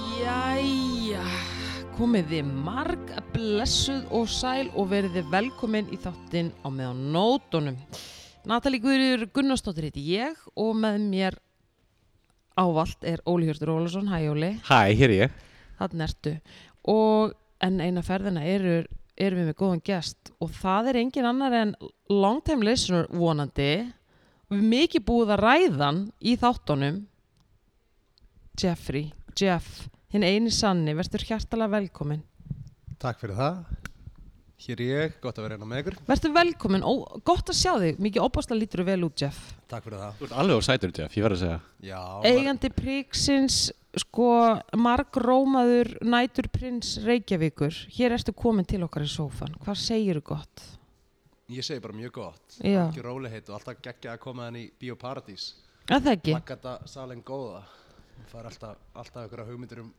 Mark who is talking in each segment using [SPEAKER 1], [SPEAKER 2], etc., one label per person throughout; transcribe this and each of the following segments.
[SPEAKER 1] Jæja, komið þið marg blessuð og sæl og verið þið velkomin í þáttinn á meðan nótunum. Natalie Guðriður Gunnarsdóttir heiti ég og með mér ávallt er Óli Hjörtur Ólason, hæ Óli,
[SPEAKER 2] Hæ, hér er ég.
[SPEAKER 1] þannig ertu. Og en eina ferðina eru, erum við með góðan gest og það er engin annar en long time listener vonandi og við mikið búið að ræðan í þáttunum Jeffrey, Jeff, hinn eini sanni, verður hjartalega velkomin.
[SPEAKER 3] Takk fyrir það. Hér er ég, gott að vera hérna með ykkur.
[SPEAKER 1] Verður velkomin, ó, gott að sjá þig, mikið opasla lítur þú vel út, Jeff.
[SPEAKER 3] Takk fyrir það.
[SPEAKER 2] Þú ert alveg á sætur, Jeff, ég verð að segja.
[SPEAKER 3] Já,
[SPEAKER 1] Eigandi príksins, sko, margrómaður nætur prins Reykjavíkur, hér ertu komin til okkar í sófan, hvað segir þú gott?
[SPEAKER 3] var- ég segi bara mjög gott.
[SPEAKER 1] Já.
[SPEAKER 3] Ekki róliheit og alltaf geggja að koma henni í Bíóparadís.
[SPEAKER 1] Að það ekki?
[SPEAKER 3] Maggata salin góða. Það fær alltaf, alltaf ykkur hugmyndir um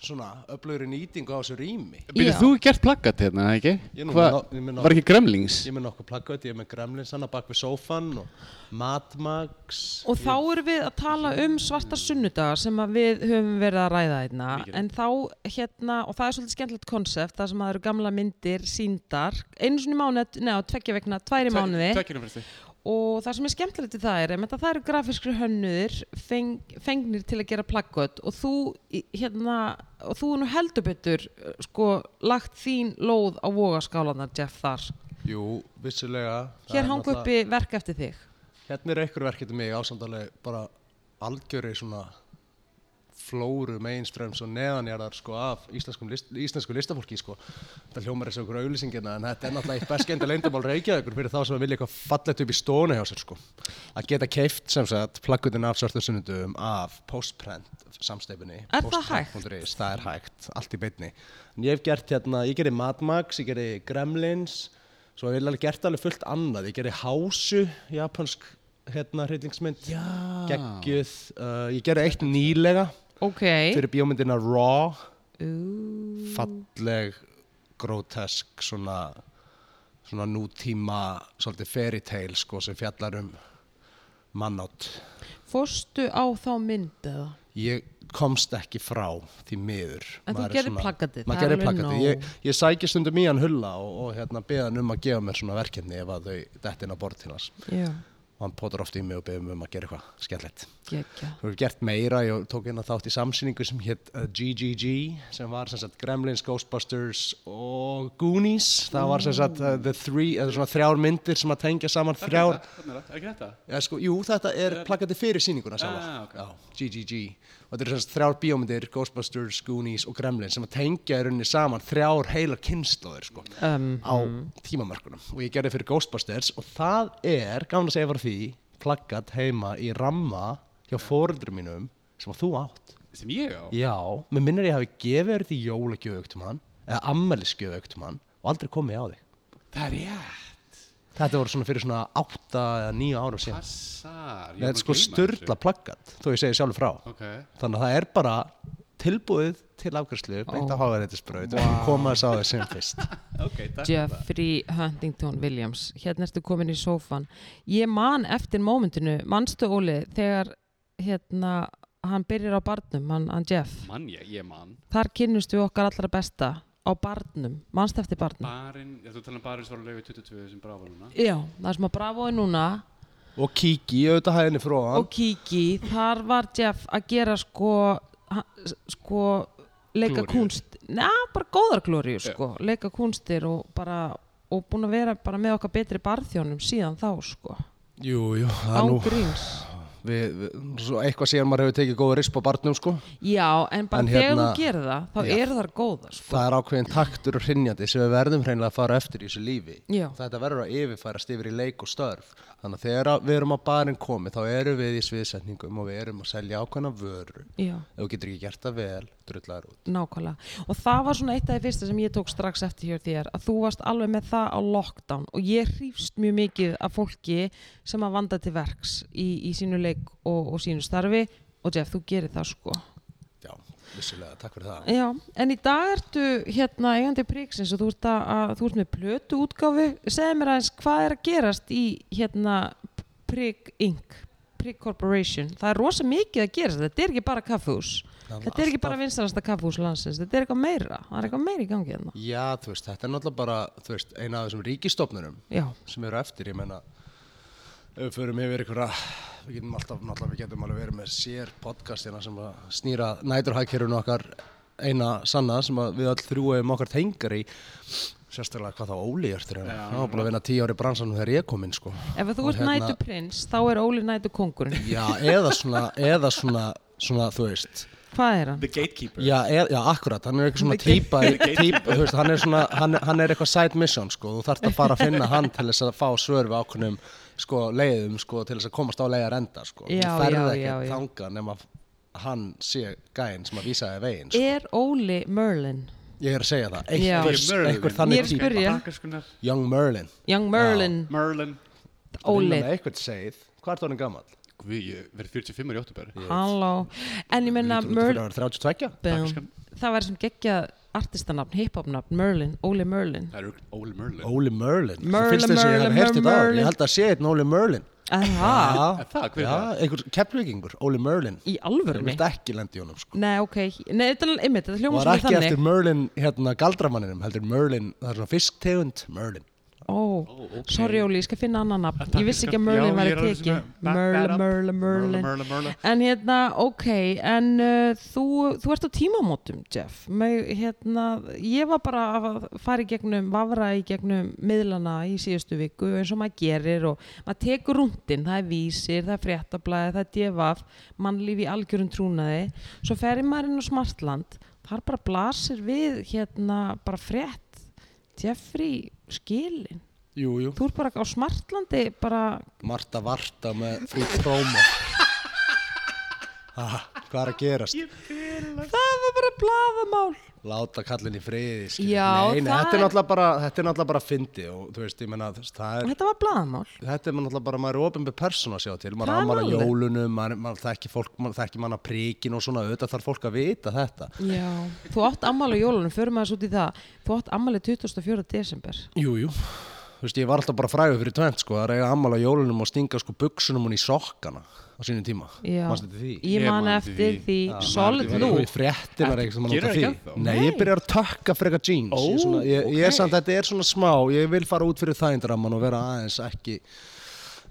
[SPEAKER 3] svona öflugri nýtingu á þessu rými.
[SPEAKER 2] Býrðu,
[SPEAKER 1] Já.
[SPEAKER 2] þú hefur gert plaggat hérna, ekki?
[SPEAKER 3] Ég er nú
[SPEAKER 2] Hvað-
[SPEAKER 3] með ná- ég er með ná-
[SPEAKER 2] Var ekki gremlings?
[SPEAKER 3] Ég er með nokkuð plakkvöld, ég er með gremlinsanna bak við sófan og matmags.
[SPEAKER 1] Og þá erum við að tala um svarta sunnudaga sem að við höfum verið að ræða hérna en þá hérna, og það er svolítið skemmtilegt konsept það sem að það eru gamla myndir síndar einu sinni í mánuð, neða, tveggja vegna, tværi mánuði
[SPEAKER 2] Tvekkinu fyrstu.
[SPEAKER 1] og það sem er skemmtilegt við það er einmitt að það eru grafískri hönnuðir feng, fengnir til að gera plakkot og þú í- hérna, og þú er nú heldur betur uh, sko, lagt þín lóð á vogaskálanar Jeff þar
[SPEAKER 3] Jú, vissulega. það er
[SPEAKER 1] hér hangu
[SPEAKER 3] náttúrulega-
[SPEAKER 1] uppi verk eftir þig
[SPEAKER 3] Hérna er einhver verkefni mig ásamtalið bara algjöri svona flóru mainstreams og neðanjarðar sko af íslenskum list, íslensku listafólki sko. Þetta hljómar þessu okkur auðlýsingina en þetta er náttúrulega eitt best geinda leyndamál reykjaðugur fyrir þá sem vilja eitthvað fallet upp í stónu hjá sér sko. Að geta keift sem sagt plakkutin af svörstu sunnundum af postprint samsteifinni.
[SPEAKER 1] Er það hægt?
[SPEAKER 3] Andrés, það er hægt, allt í beinni. En ég hef gert hérna, ég gerði Madmax, ég gerði Gremlins, svo hef ég alveg gert alveg fullt annað. Ég gerði Hásu, japansk hérna hryllingsmynd, geggjuð. Uh, ég gerði eitt nýlega
[SPEAKER 1] ok,
[SPEAKER 3] fyrir bíómyndina Raw,
[SPEAKER 1] Ú,
[SPEAKER 3] falleg, grotesk, svona, svona nútíma, svolítið fairy tale sko sem fjallar um mannátt.
[SPEAKER 1] fórstu á þá mynd eða?
[SPEAKER 3] ég komst ekki frá því miður
[SPEAKER 1] En þú
[SPEAKER 3] Maður er
[SPEAKER 1] gerðir
[SPEAKER 3] svona-
[SPEAKER 1] plaggatið, það
[SPEAKER 3] maður
[SPEAKER 1] er
[SPEAKER 3] gerir
[SPEAKER 1] alveg nóg.
[SPEAKER 3] plakatið, ég, ég sæki stundum í hann hulla og, og hérna beðan um að gefa mér svona verkefni ef að þau dettin á borð til hans
[SPEAKER 1] Já,
[SPEAKER 3] og hann potar oft í mig og beður mig um að gera eitthvað skemmtilegt
[SPEAKER 1] gekkja.
[SPEAKER 3] Þú hefur gert meira, ég tók inn að þátt í samsýningu sem hétt uh, GGG sem var sem sagt Gremlins, Ghostbusters og Goonies það var sem sagt uh, the three, eða svona þrjár myndir sem að tengja saman þrjár
[SPEAKER 2] Ekki þetta?
[SPEAKER 3] Já, sko, jú, þetta er plakatið fyrir sýninguna sjálf.
[SPEAKER 2] Ah, ok.
[SPEAKER 3] Já, GGG. Og þetta eru semst þrjár bíómyndir, Ghostbusters, Goonies og Gremlin sem að tengja í rauninni saman þrjár heilar kynnslóðir, sko,
[SPEAKER 1] Um,
[SPEAKER 3] á tímamörkunum. Og ég gerði fyrir Ghostbusters og það er, gaman að segja var því, plakat heima í ramma hjá foreldrum mínum sem að þú átt.
[SPEAKER 2] Sem ég á?
[SPEAKER 3] Já, mér minnir ég hafi gefið þér því jólagjöfaukt um hann, eða ammælisgjöfaukt um hann og aldrei komið á þig.
[SPEAKER 2] Það er rétt.
[SPEAKER 3] Þetta voru svona fyrir svona átta eða níu árum síðan.
[SPEAKER 2] Passar. Ég
[SPEAKER 3] Nei,
[SPEAKER 2] var búin
[SPEAKER 3] þetta er sko
[SPEAKER 2] að gleyma þessu.
[SPEAKER 3] störla plaggat þó ég segi sjálfur frá
[SPEAKER 2] Ok.
[SPEAKER 3] þannig að það er bara tilbúið til afgjörslu beint að hafa þetta spröyt og koma þess á þess sem fyrst
[SPEAKER 2] Ok, takk.
[SPEAKER 1] Jeffrey Huntington Williams, hérna ertu komin í sófan. Ég man eftir mómentinu, manstu Óli, þegar hérna hann byrjar á barnum, hann, hann Jeff.
[SPEAKER 2] Mann ég, ég mann.
[SPEAKER 1] Þar kynnust við okkar allra besta á barnum, manstu eftir barnum.
[SPEAKER 2] Barinn, ég þú tala um barinn svo lögu 22 sem brafa núna.
[SPEAKER 1] Já, það er sem að bravoði núna
[SPEAKER 3] og kíki auðvitað hæðinni frá hann
[SPEAKER 1] og Kiki, þar var Jeff að gera sko, ha- sko leika
[SPEAKER 2] Glóríur.
[SPEAKER 1] kunst neða, bara góðar glóriur sko leika kunstir og bara og búin að vera bara með okkar betri barþjónum síðan þá sko,
[SPEAKER 3] jú, jú, það er Ah, nú
[SPEAKER 1] ágríns
[SPEAKER 3] við, við, svo eitthvað síðan maður hefur tekið góða risp á barnum sko
[SPEAKER 1] já, en bara
[SPEAKER 3] En
[SPEAKER 1] þegar þú
[SPEAKER 3] hérna-
[SPEAKER 1] gerir það þá
[SPEAKER 3] Já.
[SPEAKER 1] eru þar góðar sko.
[SPEAKER 3] það er ákveðin taktur og hrinjandi sem við verðum hreinlega að fara eftir í þessu lífi
[SPEAKER 1] Já.
[SPEAKER 3] þetta verður að yfirfærast yfir í leik og störf þannig að þegar að við erum á barinn komið þá erum við í sviðsetningum og við erum að selja ákveðna vöru
[SPEAKER 1] já,
[SPEAKER 3] ef þú getur ekki gert það vel, drullar út
[SPEAKER 1] nákvæmlega og það var svona eitt af því fyrsta sem ég tók strax eftir hjá þér að þú varst alveg með það á lockdown og ég hrýfst mjög mikið af fólki sem að vanda til verks í, í sínu leik og, og sínu starfi og Jeff, þú gerir það sko
[SPEAKER 3] Já, vissulega, takk fyrir það
[SPEAKER 1] Já, en í dag ertu hérna eigandi príksins og þú ert, að, að, þú ert með plötu útgáfu. Segðu mér aðeins hvað er að gerast í hérna Prík Inc. Prík Corporation. Það er rosa mikið að gerast. Þetta er ekki bara kaffús.
[SPEAKER 3] Það
[SPEAKER 1] Þetta er ekki bara vinstarasta kaffús landsins. Þetta er eitthvað meira. Það er eitthvað meira í gangi hérna.
[SPEAKER 3] Já, þú veist, þetta er náttúrulega bara, þú veist, eina af þessum ríkistofnunum
[SPEAKER 1] Já,
[SPEAKER 3] sem eru eftir, ég meina ef við förum yfir einhverja við getum alltaf, náttúrulega við getum alveg verið með sér podcastina sem að snýra næturhagkerfinu okkar eina sanna sem að við öll þrjú hefum okkar tengar í sérstaklega hvað þá Óli er eftir hérna,
[SPEAKER 2] Já,
[SPEAKER 3] hann var búin að vinna tíu ári bransanum þegar ég kom inn sko
[SPEAKER 1] ef þú
[SPEAKER 3] Og
[SPEAKER 1] ert hérna... nætu prins, þá er Óli nætu kongurinn.
[SPEAKER 3] Já, eða svona, eða svona, svona, þú veist
[SPEAKER 1] Hvað er hann?
[SPEAKER 2] The Gatekeeper
[SPEAKER 3] Já, er, já, akkurat, hann er eitthvað svona típa, í- típa þú veist, hann er svona, hann, hann er eitthvað side mission, sko, þú þarft að fara að finna hann til þess að fá svör við ákveðnum, sko, leiðum, sko, til þess að komast á leiðar enda, sko,
[SPEAKER 1] Já,
[SPEAKER 3] þú ferð
[SPEAKER 1] já,
[SPEAKER 3] ekki
[SPEAKER 1] já, já.
[SPEAKER 3] þanga nema hann sé gæinn sem að vísa þér veginn, sko,
[SPEAKER 1] Er Óli Merlin?
[SPEAKER 3] ég er að segja það,
[SPEAKER 1] Já.
[SPEAKER 3] einhver,
[SPEAKER 2] Ég er Merlin.
[SPEAKER 3] einhver
[SPEAKER 1] Ég er
[SPEAKER 3] þannig
[SPEAKER 1] að
[SPEAKER 3] típa,
[SPEAKER 1] spyrja.
[SPEAKER 2] Bakerskunar
[SPEAKER 3] Young Merlin,
[SPEAKER 1] Young Merlin,
[SPEAKER 2] Merlin
[SPEAKER 1] Óli.
[SPEAKER 3] Vinna með einhvern segið, hvað er það hann gammal?
[SPEAKER 2] Guð, ég verið 45 í óttubæri
[SPEAKER 1] Halló. En ég menna Merlin...
[SPEAKER 3] Merlin, 32?
[SPEAKER 1] Bum.
[SPEAKER 2] Dagskan.
[SPEAKER 1] Það var sem geggja artistanafn, hiphopnafn, Merlin, Óli Merlin.
[SPEAKER 2] Það eru Óli Merlin
[SPEAKER 3] Óli Merlin,
[SPEAKER 1] Merlin,
[SPEAKER 3] það finnst þess að ég hef
[SPEAKER 1] Merlin,
[SPEAKER 3] heyrt í dag,
[SPEAKER 1] Merlin. Ah.
[SPEAKER 3] ég held að sé einn Óli Merlin.
[SPEAKER 1] Aha,
[SPEAKER 3] Já,
[SPEAKER 2] Er það? Hver er
[SPEAKER 3] já,
[SPEAKER 2] það?
[SPEAKER 3] einhver keflvíkingur, Óli Merlin
[SPEAKER 1] í
[SPEAKER 3] Ég
[SPEAKER 1] alvörni?
[SPEAKER 3] vilt ekki lenda í honum sko.
[SPEAKER 1] Nei, ok, nei, þetta er einmitt, þetta
[SPEAKER 3] Og
[SPEAKER 1] hljóma sem
[SPEAKER 3] það er ekki
[SPEAKER 1] þannig.
[SPEAKER 3] eftir Merlin, hérna galdramanninum heldur Merlin, það er svona fisktegund Merlin,
[SPEAKER 1] Ó,
[SPEAKER 2] ok.
[SPEAKER 1] sorry Óli, ég skal finna annan nafn. Ég vissi ekki að
[SPEAKER 2] Já,
[SPEAKER 1] Merlin
[SPEAKER 2] ég
[SPEAKER 1] væri
[SPEAKER 2] er
[SPEAKER 1] tekið.
[SPEAKER 2] alveg svona- back that
[SPEAKER 1] Merlin,
[SPEAKER 2] up.
[SPEAKER 1] Merlin, Merlin.
[SPEAKER 2] Merlin, Merlin
[SPEAKER 1] En hérna, ok, en uh, þú, þú ert á tímamótum, Jeff. Með, hérna, ég var bara að fara í gegnum, vafra í gegnum miðlana í síðustu viku eins og maður gerir og maður tekur rúndin, það er vísir, það er fréttablaði, það er devaf, mannlíf í algjörum trúnaði. Svo ferði maður inn á Smartland, þar bara blasir við hérna bara frétt, Jeffrey skilin.
[SPEAKER 3] jú, jú
[SPEAKER 1] Þú ert bara á Smartlandi bara,
[SPEAKER 3] Marta Varta með frú prómo ah, Hvað er að gerast?
[SPEAKER 1] það var bara blaðamál.
[SPEAKER 3] Láta kallin í friði skilur.
[SPEAKER 1] Já,
[SPEAKER 3] Nei,
[SPEAKER 1] það
[SPEAKER 3] nei, þetta er
[SPEAKER 1] er-
[SPEAKER 3] náttúrulega bara, þetta er náttúrulega bara fyndi og þú veist, ég menna, þú veist, það er
[SPEAKER 1] Þetta var blaðamál.
[SPEAKER 3] Þetta er maður náttúrulega bara, maður er ofinbjörn persóna að sjá til, maður
[SPEAKER 1] Það er
[SPEAKER 3] ámala
[SPEAKER 1] málið.
[SPEAKER 3] jólunum, maður, maður þekki fólk, maður þekki manna príkin og svona, auðvitað þarf fólk að vita þetta.
[SPEAKER 1] Já, þú átt ammali á jólunum, förum aðeins út í það. Þú átt ammali 24. desember.
[SPEAKER 3] Jú, jú. Þú veist, ég var alltaf bara fræður fyrir tvent, sko, það er eiga ammala jólunum og stinga, sko, buksunum hún í sokkana á sínum tíma.
[SPEAKER 1] Já.
[SPEAKER 3] Manstu eftir því?
[SPEAKER 1] Ég
[SPEAKER 2] Ég
[SPEAKER 1] man
[SPEAKER 2] man
[SPEAKER 1] eftir
[SPEAKER 2] því.
[SPEAKER 1] því, solid
[SPEAKER 2] man eftir
[SPEAKER 1] nú.
[SPEAKER 3] Nú, fréttin er eitthvað sem
[SPEAKER 2] Gerir
[SPEAKER 3] út af
[SPEAKER 2] það
[SPEAKER 3] því.
[SPEAKER 2] ekki ennþá?
[SPEAKER 3] Nei, ég byrjar að tökka freka jeans. Ó, ég, er svona, ég, ég er
[SPEAKER 1] ok.
[SPEAKER 3] samt, þetta er svona smá, ég vil fara út fyrir þægindraman og vera aðeins ekki,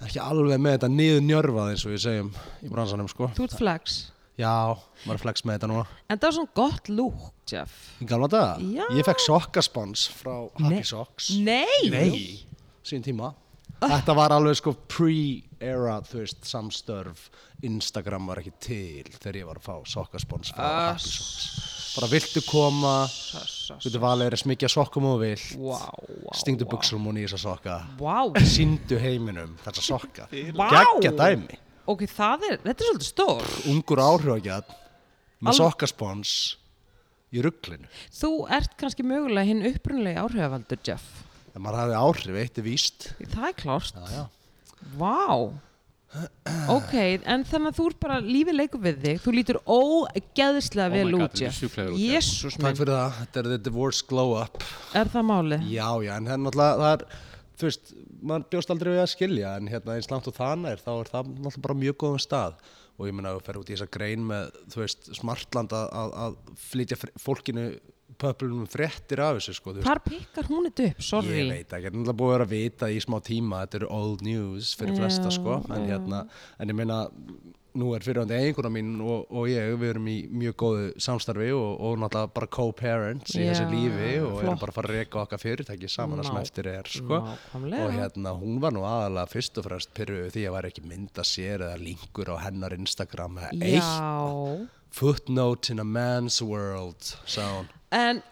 [SPEAKER 3] ekki alveg með þetta niður njörfað eins og ég segjum í bransanum, sko.
[SPEAKER 1] Þú ert flex.
[SPEAKER 3] Já, maður er flex með þetta núna.
[SPEAKER 1] En það var svona gott lúk, Jeff.
[SPEAKER 3] Í gamla daga?
[SPEAKER 1] Já.
[SPEAKER 3] Ég fekk sokkaspons frá Happy Socks
[SPEAKER 1] Nei!
[SPEAKER 3] sín tíma. Þetta var alveg sko pre-era, þú veist, samstörf. Instagram var ekki til þegar ég var að fá sokkaspons frá
[SPEAKER 1] Ah,
[SPEAKER 3] Happy Socks. Bara viltu koma, viltu valið er að smikja sokkum og þú vilt.
[SPEAKER 1] Vá, vá.
[SPEAKER 3] Stingdu buksum og nýja sokka.
[SPEAKER 1] Vá,
[SPEAKER 3] Sýndu heiminum þessa sokka.
[SPEAKER 1] Vá.
[SPEAKER 3] Geggja dæmi.
[SPEAKER 1] ok, það er, þetta er svolítið stór.
[SPEAKER 3] Ungur áhrifagjarn með sokkaspons í rugglinu.
[SPEAKER 1] Þú ert kannski mögulega hinn upprunlega áhrifavaldur, Jeff.
[SPEAKER 3] En maður hafði áhrif, eitt er víst.
[SPEAKER 1] Það er klárt.
[SPEAKER 3] Já, já.
[SPEAKER 1] Vá. Ok, en þannig að þú ert bara lífið leikur við þig. Þú lítur ógeðslega
[SPEAKER 2] Oh my
[SPEAKER 1] vel
[SPEAKER 2] God,
[SPEAKER 1] út,
[SPEAKER 2] þetta er
[SPEAKER 1] Jeff.
[SPEAKER 2] sjúklega vel út, Jeff.
[SPEAKER 1] Jésús
[SPEAKER 3] Takk
[SPEAKER 1] minn,
[SPEAKER 3] fyrir það, þetta er The Divorce Glow Up
[SPEAKER 1] er það málið?
[SPEAKER 3] Já, já, en það er náttúrulega, það er, þú veist, maður bjóst aldrei við að skilja En hérna eins langt og þannig er, þá er það náttúrulega bara á mjög góðum stað Og ég meina að þú fer út í þessa grein með, þú veist, smartland að, að, að flytja fr- fólkinu, pöplunum fréttir af þessu, sko þú veist.
[SPEAKER 1] Hvar pikkar hún þetta upp, sorry?
[SPEAKER 3] Ég veit ekki, þetta er náttúrulega búið að vera að vita í smá tíma, þetta eru old news fyrir flesta sko, en hérna, en ég meina, nú er fyrirhandi eiginkona mín og, og ég, við erum í mjög góðu samstarfi og, og náttúrulega bara co-parents í
[SPEAKER 1] Já,
[SPEAKER 3] þessu lífi og
[SPEAKER 1] flott.
[SPEAKER 3] erum bara að fara að reka okkar fyrirtæki saman að sem
[SPEAKER 1] Ná-
[SPEAKER 3] eftir er sko,
[SPEAKER 1] nákvæmlega.
[SPEAKER 3] og hérna, hún var nú aðalega fyrst og fremst pyrruð því að var ekki mynda sér eða linkur á hennar Instagram eða eitt
[SPEAKER 1] Já,
[SPEAKER 3] footnote in a man's world, sound.
[SPEAKER 1] en,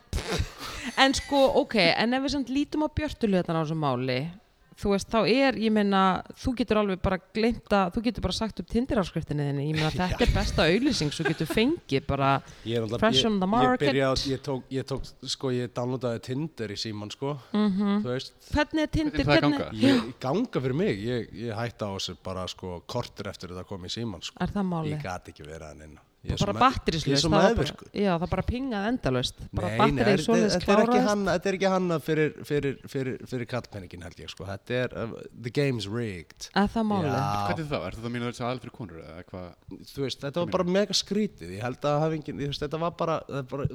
[SPEAKER 1] en sko, ok, en ef við samt lítum á björtulöðan á þessu máli, þú veist, þá er, ég meina, þú getur alveg bara glemta, þú getur bara sagt upp tindirafskriftinni þinni, ég meina, þetta er besta auðlýsing, svo getur fengið bara
[SPEAKER 3] Ég, er náttúrulega-
[SPEAKER 1] fresh
[SPEAKER 3] ég,
[SPEAKER 1] on the
[SPEAKER 3] ég,
[SPEAKER 1] market.
[SPEAKER 3] byrja, ég, tók, ég tók, sko, ég downloadaði Tinder í síman, sko, -hmm.
[SPEAKER 1] Mhm.
[SPEAKER 3] þú veist,
[SPEAKER 1] Hvernig er tindir,
[SPEAKER 2] það
[SPEAKER 1] hvernig,
[SPEAKER 2] ganga?
[SPEAKER 3] ég ganga fyrir mig, ég, ég hætti á þessu bara, sko, kortur eftir þetta kom í síman, sko,
[SPEAKER 1] er það
[SPEAKER 3] ég
[SPEAKER 1] máli?
[SPEAKER 3] gati ekki verið hann inn, á. Ég er
[SPEAKER 1] bara
[SPEAKER 3] svo me- ég er
[SPEAKER 1] batterislaust
[SPEAKER 3] svo
[SPEAKER 1] það var
[SPEAKER 3] meðvirkur.
[SPEAKER 1] bara, já, það bara pingað endalaust bara
[SPEAKER 3] Nei, nei,
[SPEAKER 1] batterið
[SPEAKER 3] þetta
[SPEAKER 1] svoleiðis
[SPEAKER 3] þetta er ekki
[SPEAKER 1] kláraðist
[SPEAKER 3] hanna, þetta er ekki hanna fyrir, fyrir, fyrir, fyrir kallpenningin held ég sko. Þetta er, uh, the game's rigged.
[SPEAKER 1] að það máli
[SPEAKER 3] Já,
[SPEAKER 2] Hvað er það? Er það mínu þessi aðal fyrir konur eða hvað?
[SPEAKER 3] þú veist, þetta var bara mega skrítið, ég held að hafa engin, þú veist, þetta var bara, það er bara,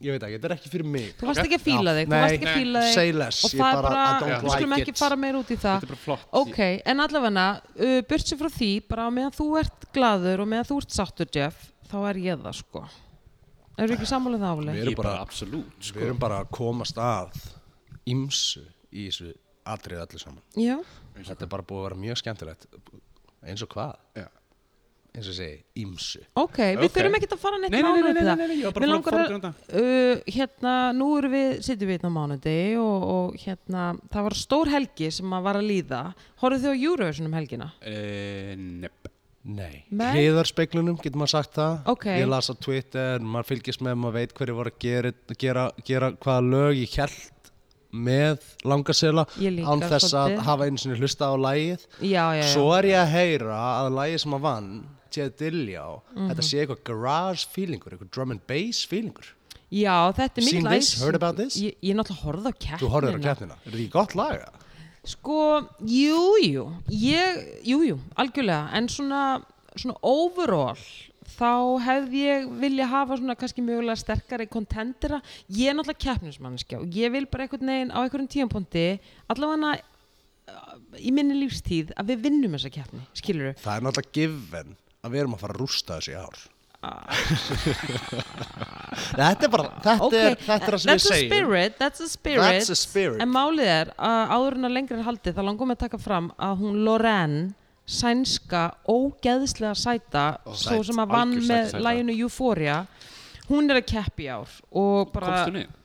[SPEAKER 3] ég veit ekki, þetta er ekki fyrir mig.
[SPEAKER 1] þú varst ekki að fíla
[SPEAKER 3] Já.
[SPEAKER 1] þig, þú
[SPEAKER 3] Nei,
[SPEAKER 1] varst ekki að
[SPEAKER 2] nei,
[SPEAKER 1] fíla
[SPEAKER 3] say
[SPEAKER 1] þig
[SPEAKER 3] less,
[SPEAKER 1] og
[SPEAKER 3] ég
[SPEAKER 1] það er
[SPEAKER 3] bara,
[SPEAKER 1] bara,
[SPEAKER 3] I don't
[SPEAKER 1] við skulum
[SPEAKER 3] like
[SPEAKER 1] ekki
[SPEAKER 3] it.
[SPEAKER 1] fara meir út í það
[SPEAKER 2] Þetta er bara flott.
[SPEAKER 1] ok, en allavega uh, burt sér frá því, bara á meðan þú ert gladur og meðan þú ert sáttur Jeff þá er ég það sko eru ekki sammála um það
[SPEAKER 3] Við
[SPEAKER 1] álega?
[SPEAKER 3] erum
[SPEAKER 2] Ég
[SPEAKER 3] bara-
[SPEAKER 2] bara absolutt
[SPEAKER 3] Við
[SPEAKER 2] sko.
[SPEAKER 3] erum bara að komast að ímsu í þessu atrið öllu saman.
[SPEAKER 1] já,
[SPEAKER 2] Eins og
[SPEAKER 3] Þetta er bara búið að vera mjög skemmtilegt, eins og hvað,
[SPEAKER 2] Já.
[SPEAKER 3] eins og ég segi, ímsu.
[SPEAKER 1] ok, við
[SPEAKER 2] Ok.
[SPEAKER 1] þurfum ekki að fara neitt
[SPEAKER 2] Nei, nei, nei,
[SPEAKER 1] nánar út í
[SPEAKER 2] nei,
[SPEAKER 1] það.
[SPEAKER 2] nei, nei, nei, ég var bara
[SPEAKER 1] Mig
[SPEAKER 2] búin að
[SPEAKER 1] langar að-
[SPEAKER 2] forgrunda.
[SPEAKER 1] uh, hérna, nú erum við sittum við hérna á mánudegi og, og hérna, það var stór helgi sem að var að líða horfðu þið á Eurovision um helgina?
[SPEAKER 2] Eh, Nepp.
[SPEAKER 3] Nei,
[SPEAKER 1] Nei.
[SPEAKER 3] hliðarspeglunum getur maður sagt það
[SPEAKER 1] Ok.
[SPEAKER 3] Ég las á Twitter, maður fylgist með, maður veit hverju voru að gera, gera, gera hvaða lög ég held með langasela
[SPEAKER 1] Ég líka,
[SPEAKER 3] án þess að
[SPEAKER 1] svolítið.
[SPEAKER 3] hafa einu sinni hlusta á lægið
[SPEAKER 1] já, já, já,
[SPEAKER 3] Svo er ég að heyra að lægið sem að vann Tjeð Dilljá,
[SPEAKER 1] Mhm.
[SPEAKER 3] þetta sé eitthvað garage feelingur, eitthvað drum and bass feelingur
[SPEAKER 1] já þetta er
[SPEAKER 3] Seen
[SPEAKER 1] mikil
[SPEAKER 3] this?
[SPEAKER 1] æsing.
[SPEAKER 3] Heard about this?
[SPEAKER 1] ég, ég náttúrulega horfði á keppnina
[SPEAKER 3] Þú horfður á keppnina, er þetta ekki gott lag? eða?
[SPEAKER 1] Sko, jú, jú, ég, jú, jú, algjörlega, en svona, svona overall, þá hefði ég vilja hafa svona kannski mjögulega sterkari kontendera. Ég er náttúrulega keppnismannskja og ég vil bara einhvern veginn á einhverjum tíampunkti, allavega uh, í minni lífstíð, að við vinnum þessa keppni, skilur við?
[SPEAKER 3] Það er náttúrulega given að við erum að fara að rústa þessu í ár
[SPEAKER 1] Ah.
[SPEAKER 3] Þetta er bara, þetta er, þetta er það sem ég
[SPEAKER 1] that's a
[SPEAKER 3] segi
[SPEAKER 1] spirit, that's a spirit
[SPEAKER 3] That's a spirit.
[SPEAKER 1] En málið er að áður en að lengra er haldið þá langum við að taka fram að hún Lorraine sænska, ógeðslega sæta svo
[SPEAKER 3] sæt,
[SPEAKER 1] sem að vann
[SPEAKER 2] algjör
[SPEAKER 1] með
[SPEAKER 2] sæta.
[SPEAKER 1] læginu Euphoria hún er að keppi ár og bara
[SPEAKER 2] Komst hún inn?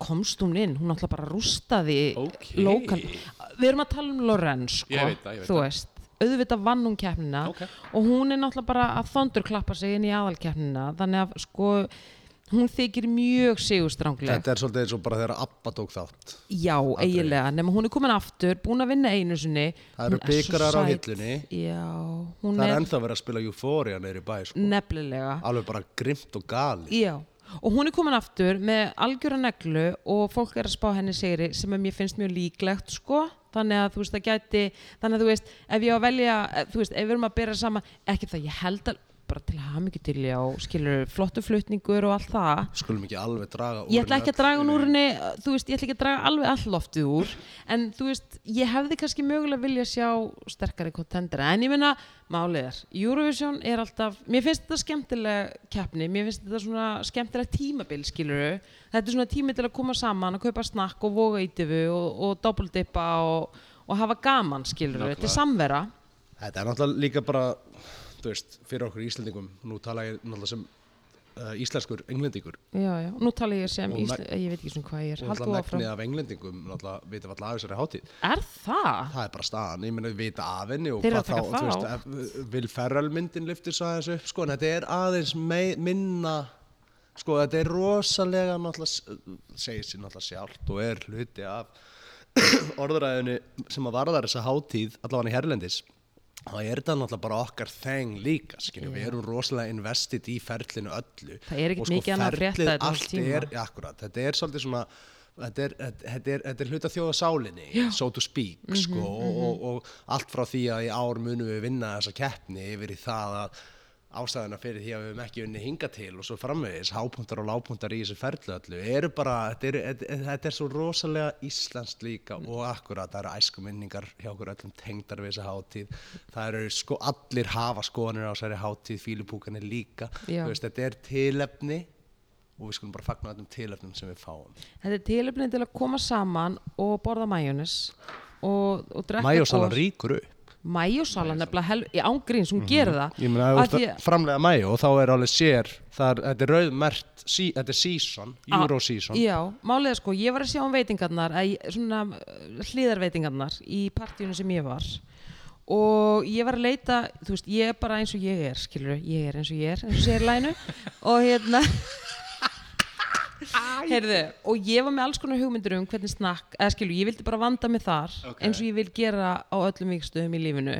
[SPEAKER 1] komst hún inn, hún ætla bara að rústa því
[SPEAKER 2] Ok.
[SPEAKER 1] lokal við erum að tala um Lorraine sko,
[SPEAKER 2] Ég veit það, ég veit
[SPEAKER 1] þú
[SPEAKER 2] það.
[SPEAKER 1] veist auðvitað vann hún keppnina
[SPEAKER 2] Ok.
[SPEAKER 1] og hún er náttúrulega bara að þondurklappa sig inn í aðalkeppnina þannig að sko hún þykir mjög sigurstrangleg
[SPEAKER 3] Þetta er svolítið eins og bara þegar Abba tók þátt.
[SPEAKER 1] já, eiginlega, nema hún er komin aftur búin að vinna einu sinni
[SPEAKER 3] Það eru
[SPEAKER 1] Hún er svo
[SPEAKER 3] bikarar á
[SPEAKER 1] sæt.
[SPEAKER 3] hillunni.
[SPEAKER 1] já, hún
[SPEAKER 3] Það er
[SPEAKER 1] er
[SPEAKER 3] ennþá verið að spila Euphoria neyri bæ, sko.
[SPEAKER 1] nefnilega
[SPEAKER 3] Alveg bara grimt og gali.
[SPEAKER 1] Já, og hún er komin aftur með algjöra neglu og fólk er að spá henni sigri sem að mér finnst mjög líklegt sko þannig að þú veist það gæti þannig að þú veist ef ég á að velja eh, þú veist ef við erum að byrja sama ekki það ég held að bara til að hafa mikið til já skilur flottu flutningur og allt það
[SPEAKER 3] Skulum ekki alveg draga úr
[SPEAKER 1] ég ætla ekki
[SPEAKER 3] henni
[SPEAKER 1] að draga hún úr henni uh, þú veist, ég ætla ekki að draga alveg all loftið úr en þú veist, ég hefði kannski mögulega vilja sjá sterkari kontendera en ég minna, málið er Eurovision er alltaf, mér finnst þetta skemmtileg keppni, mér finnst þetta svona skemmtileg tímabil, skiluru þetta er svona tími til að koma saman, að kaupa snakk og voga ítifu og, og dobbldippa og, og hafa gaman, skiluru þetta er samvera
[SPEAKER 3] öll. Þetta er náttúrulega líka bara, þú veist, fyrir okkur Íslandingum, nú tala ég náttúrulega sem uh, íslenskur englendingur.
[SPEAKER 1] já, já, nú tala ég sem,
[SPEAKER 3] Og
[SPEAKER 1] Ísla, ég veit ekki svona hvað ég er
[SPEAKER 3] Og
[SPEAKER 1] hald þú
[SPEAKER 3] náttúrulega
[SPEAKER 1] áfram,
[SPEAKER 3] megnið af englendingum, náttúrulega, veitum alltaf af þessari hátíð.
[SPEAKER 1] er það?
[SPEAKER 3] Það er bara staðan, ég meina við vita af henni og
[SPEAKER 1] Þeir eru
[SPEAKER 3] hvað
[SPEAKER 1] að taka
[SPEAKER 3] þá, þú
[SPEAKER 1] þá.
[SPEAKER 3] veist, ef- vil ferralmyndin liftir svo aðeins upp, sko, en þetta er aðeins mei, minna, sko, þetta er rosalega náttúrulega, s- segir sér náttúrulega sjálft og er hluti af orðræðinu sem að varðar þessa hátíð, allavega í Herlendis, þá er þetta náttúrulega bara okkar þeng líka, skiljum, við erum rosalega investið í ferlinu öllu.
[SPEAKER 1] Það er ekkert
[SPEAKER 3] Og sko,
[SPEAKER 1] mikið annað að frétta
[SPEAKER 3] ferlið
[SPEAKER 1] þetta á
[SPEAKER 3] allt
[SPEAKER 1] tíma.
[SPEAKER 3] er- Já, akkurat, þetta er svolítið svona þetta er, þetta, þetta er, þetta er hluta þjóða sálinni so to speak sko, og, og, og allt frá því að í ár munum við vinna þessa keppni yfir í það að ástæðuna fyrir því að við höfum ekki unni hinga til og svo framvegis, hápunktar og lápunktar í þessu ferlu öllu, eru bara þetta er, þetta, þetta er svo rosalega íslenskt líka og akkurat, það eru æskuminningar hjá okkur öllum tengdar við þessa hátíð það eru sko, allir hafa skoðanir á þessari hátíð, fílupúkanir líka
[SPEAKER 1] Já.
[SPEAKER 3] Þú veist, þetta er tilefni og við skulum bara fagna öllum tilöfnum sem við fáum
[SPEAKER 1] Þetta er tilöfnið til að koma saman og borða majónis og, og drekka
[SPEAKER 3] Mæjósalan ríkur upp
[SPEAKER 1] Majósalan nefnilega hel... Í ángríns, hún gerir það.
[SPEAKER 3] Mhm. Ég meina, ef
[SPEAKER 1] Af
[SPEAKER 3] þú
[SPEAKER 1] því
[SPEAKER 3] ert að framlega mæjó þá er alveg sér það er, þetta er rauðmert, sí, þetta er season
[SPEAKER 1] að-
[SPEAKER 3] Euro season
[SPEAKER 1] Ah. Já, málið er sko, ég var að sjá um veitingarnar, eða ég- svona uh, hliðarveitingarnar í partíunum sem ég var og ég var að leita, þú veist, ég er bara eins og ég er, skilur, ég er eins og ég er, eins og segir lænu og hérna... Heyrðu, og ég var með alls konar hugmyndur um hvernig snakk, eða skilur, ég vildi bara vanda mig þar
[SPEAKER 2] Ok.
[SPEAKER 1] eins og ég vil gera á öllum vikstöðum í lífinu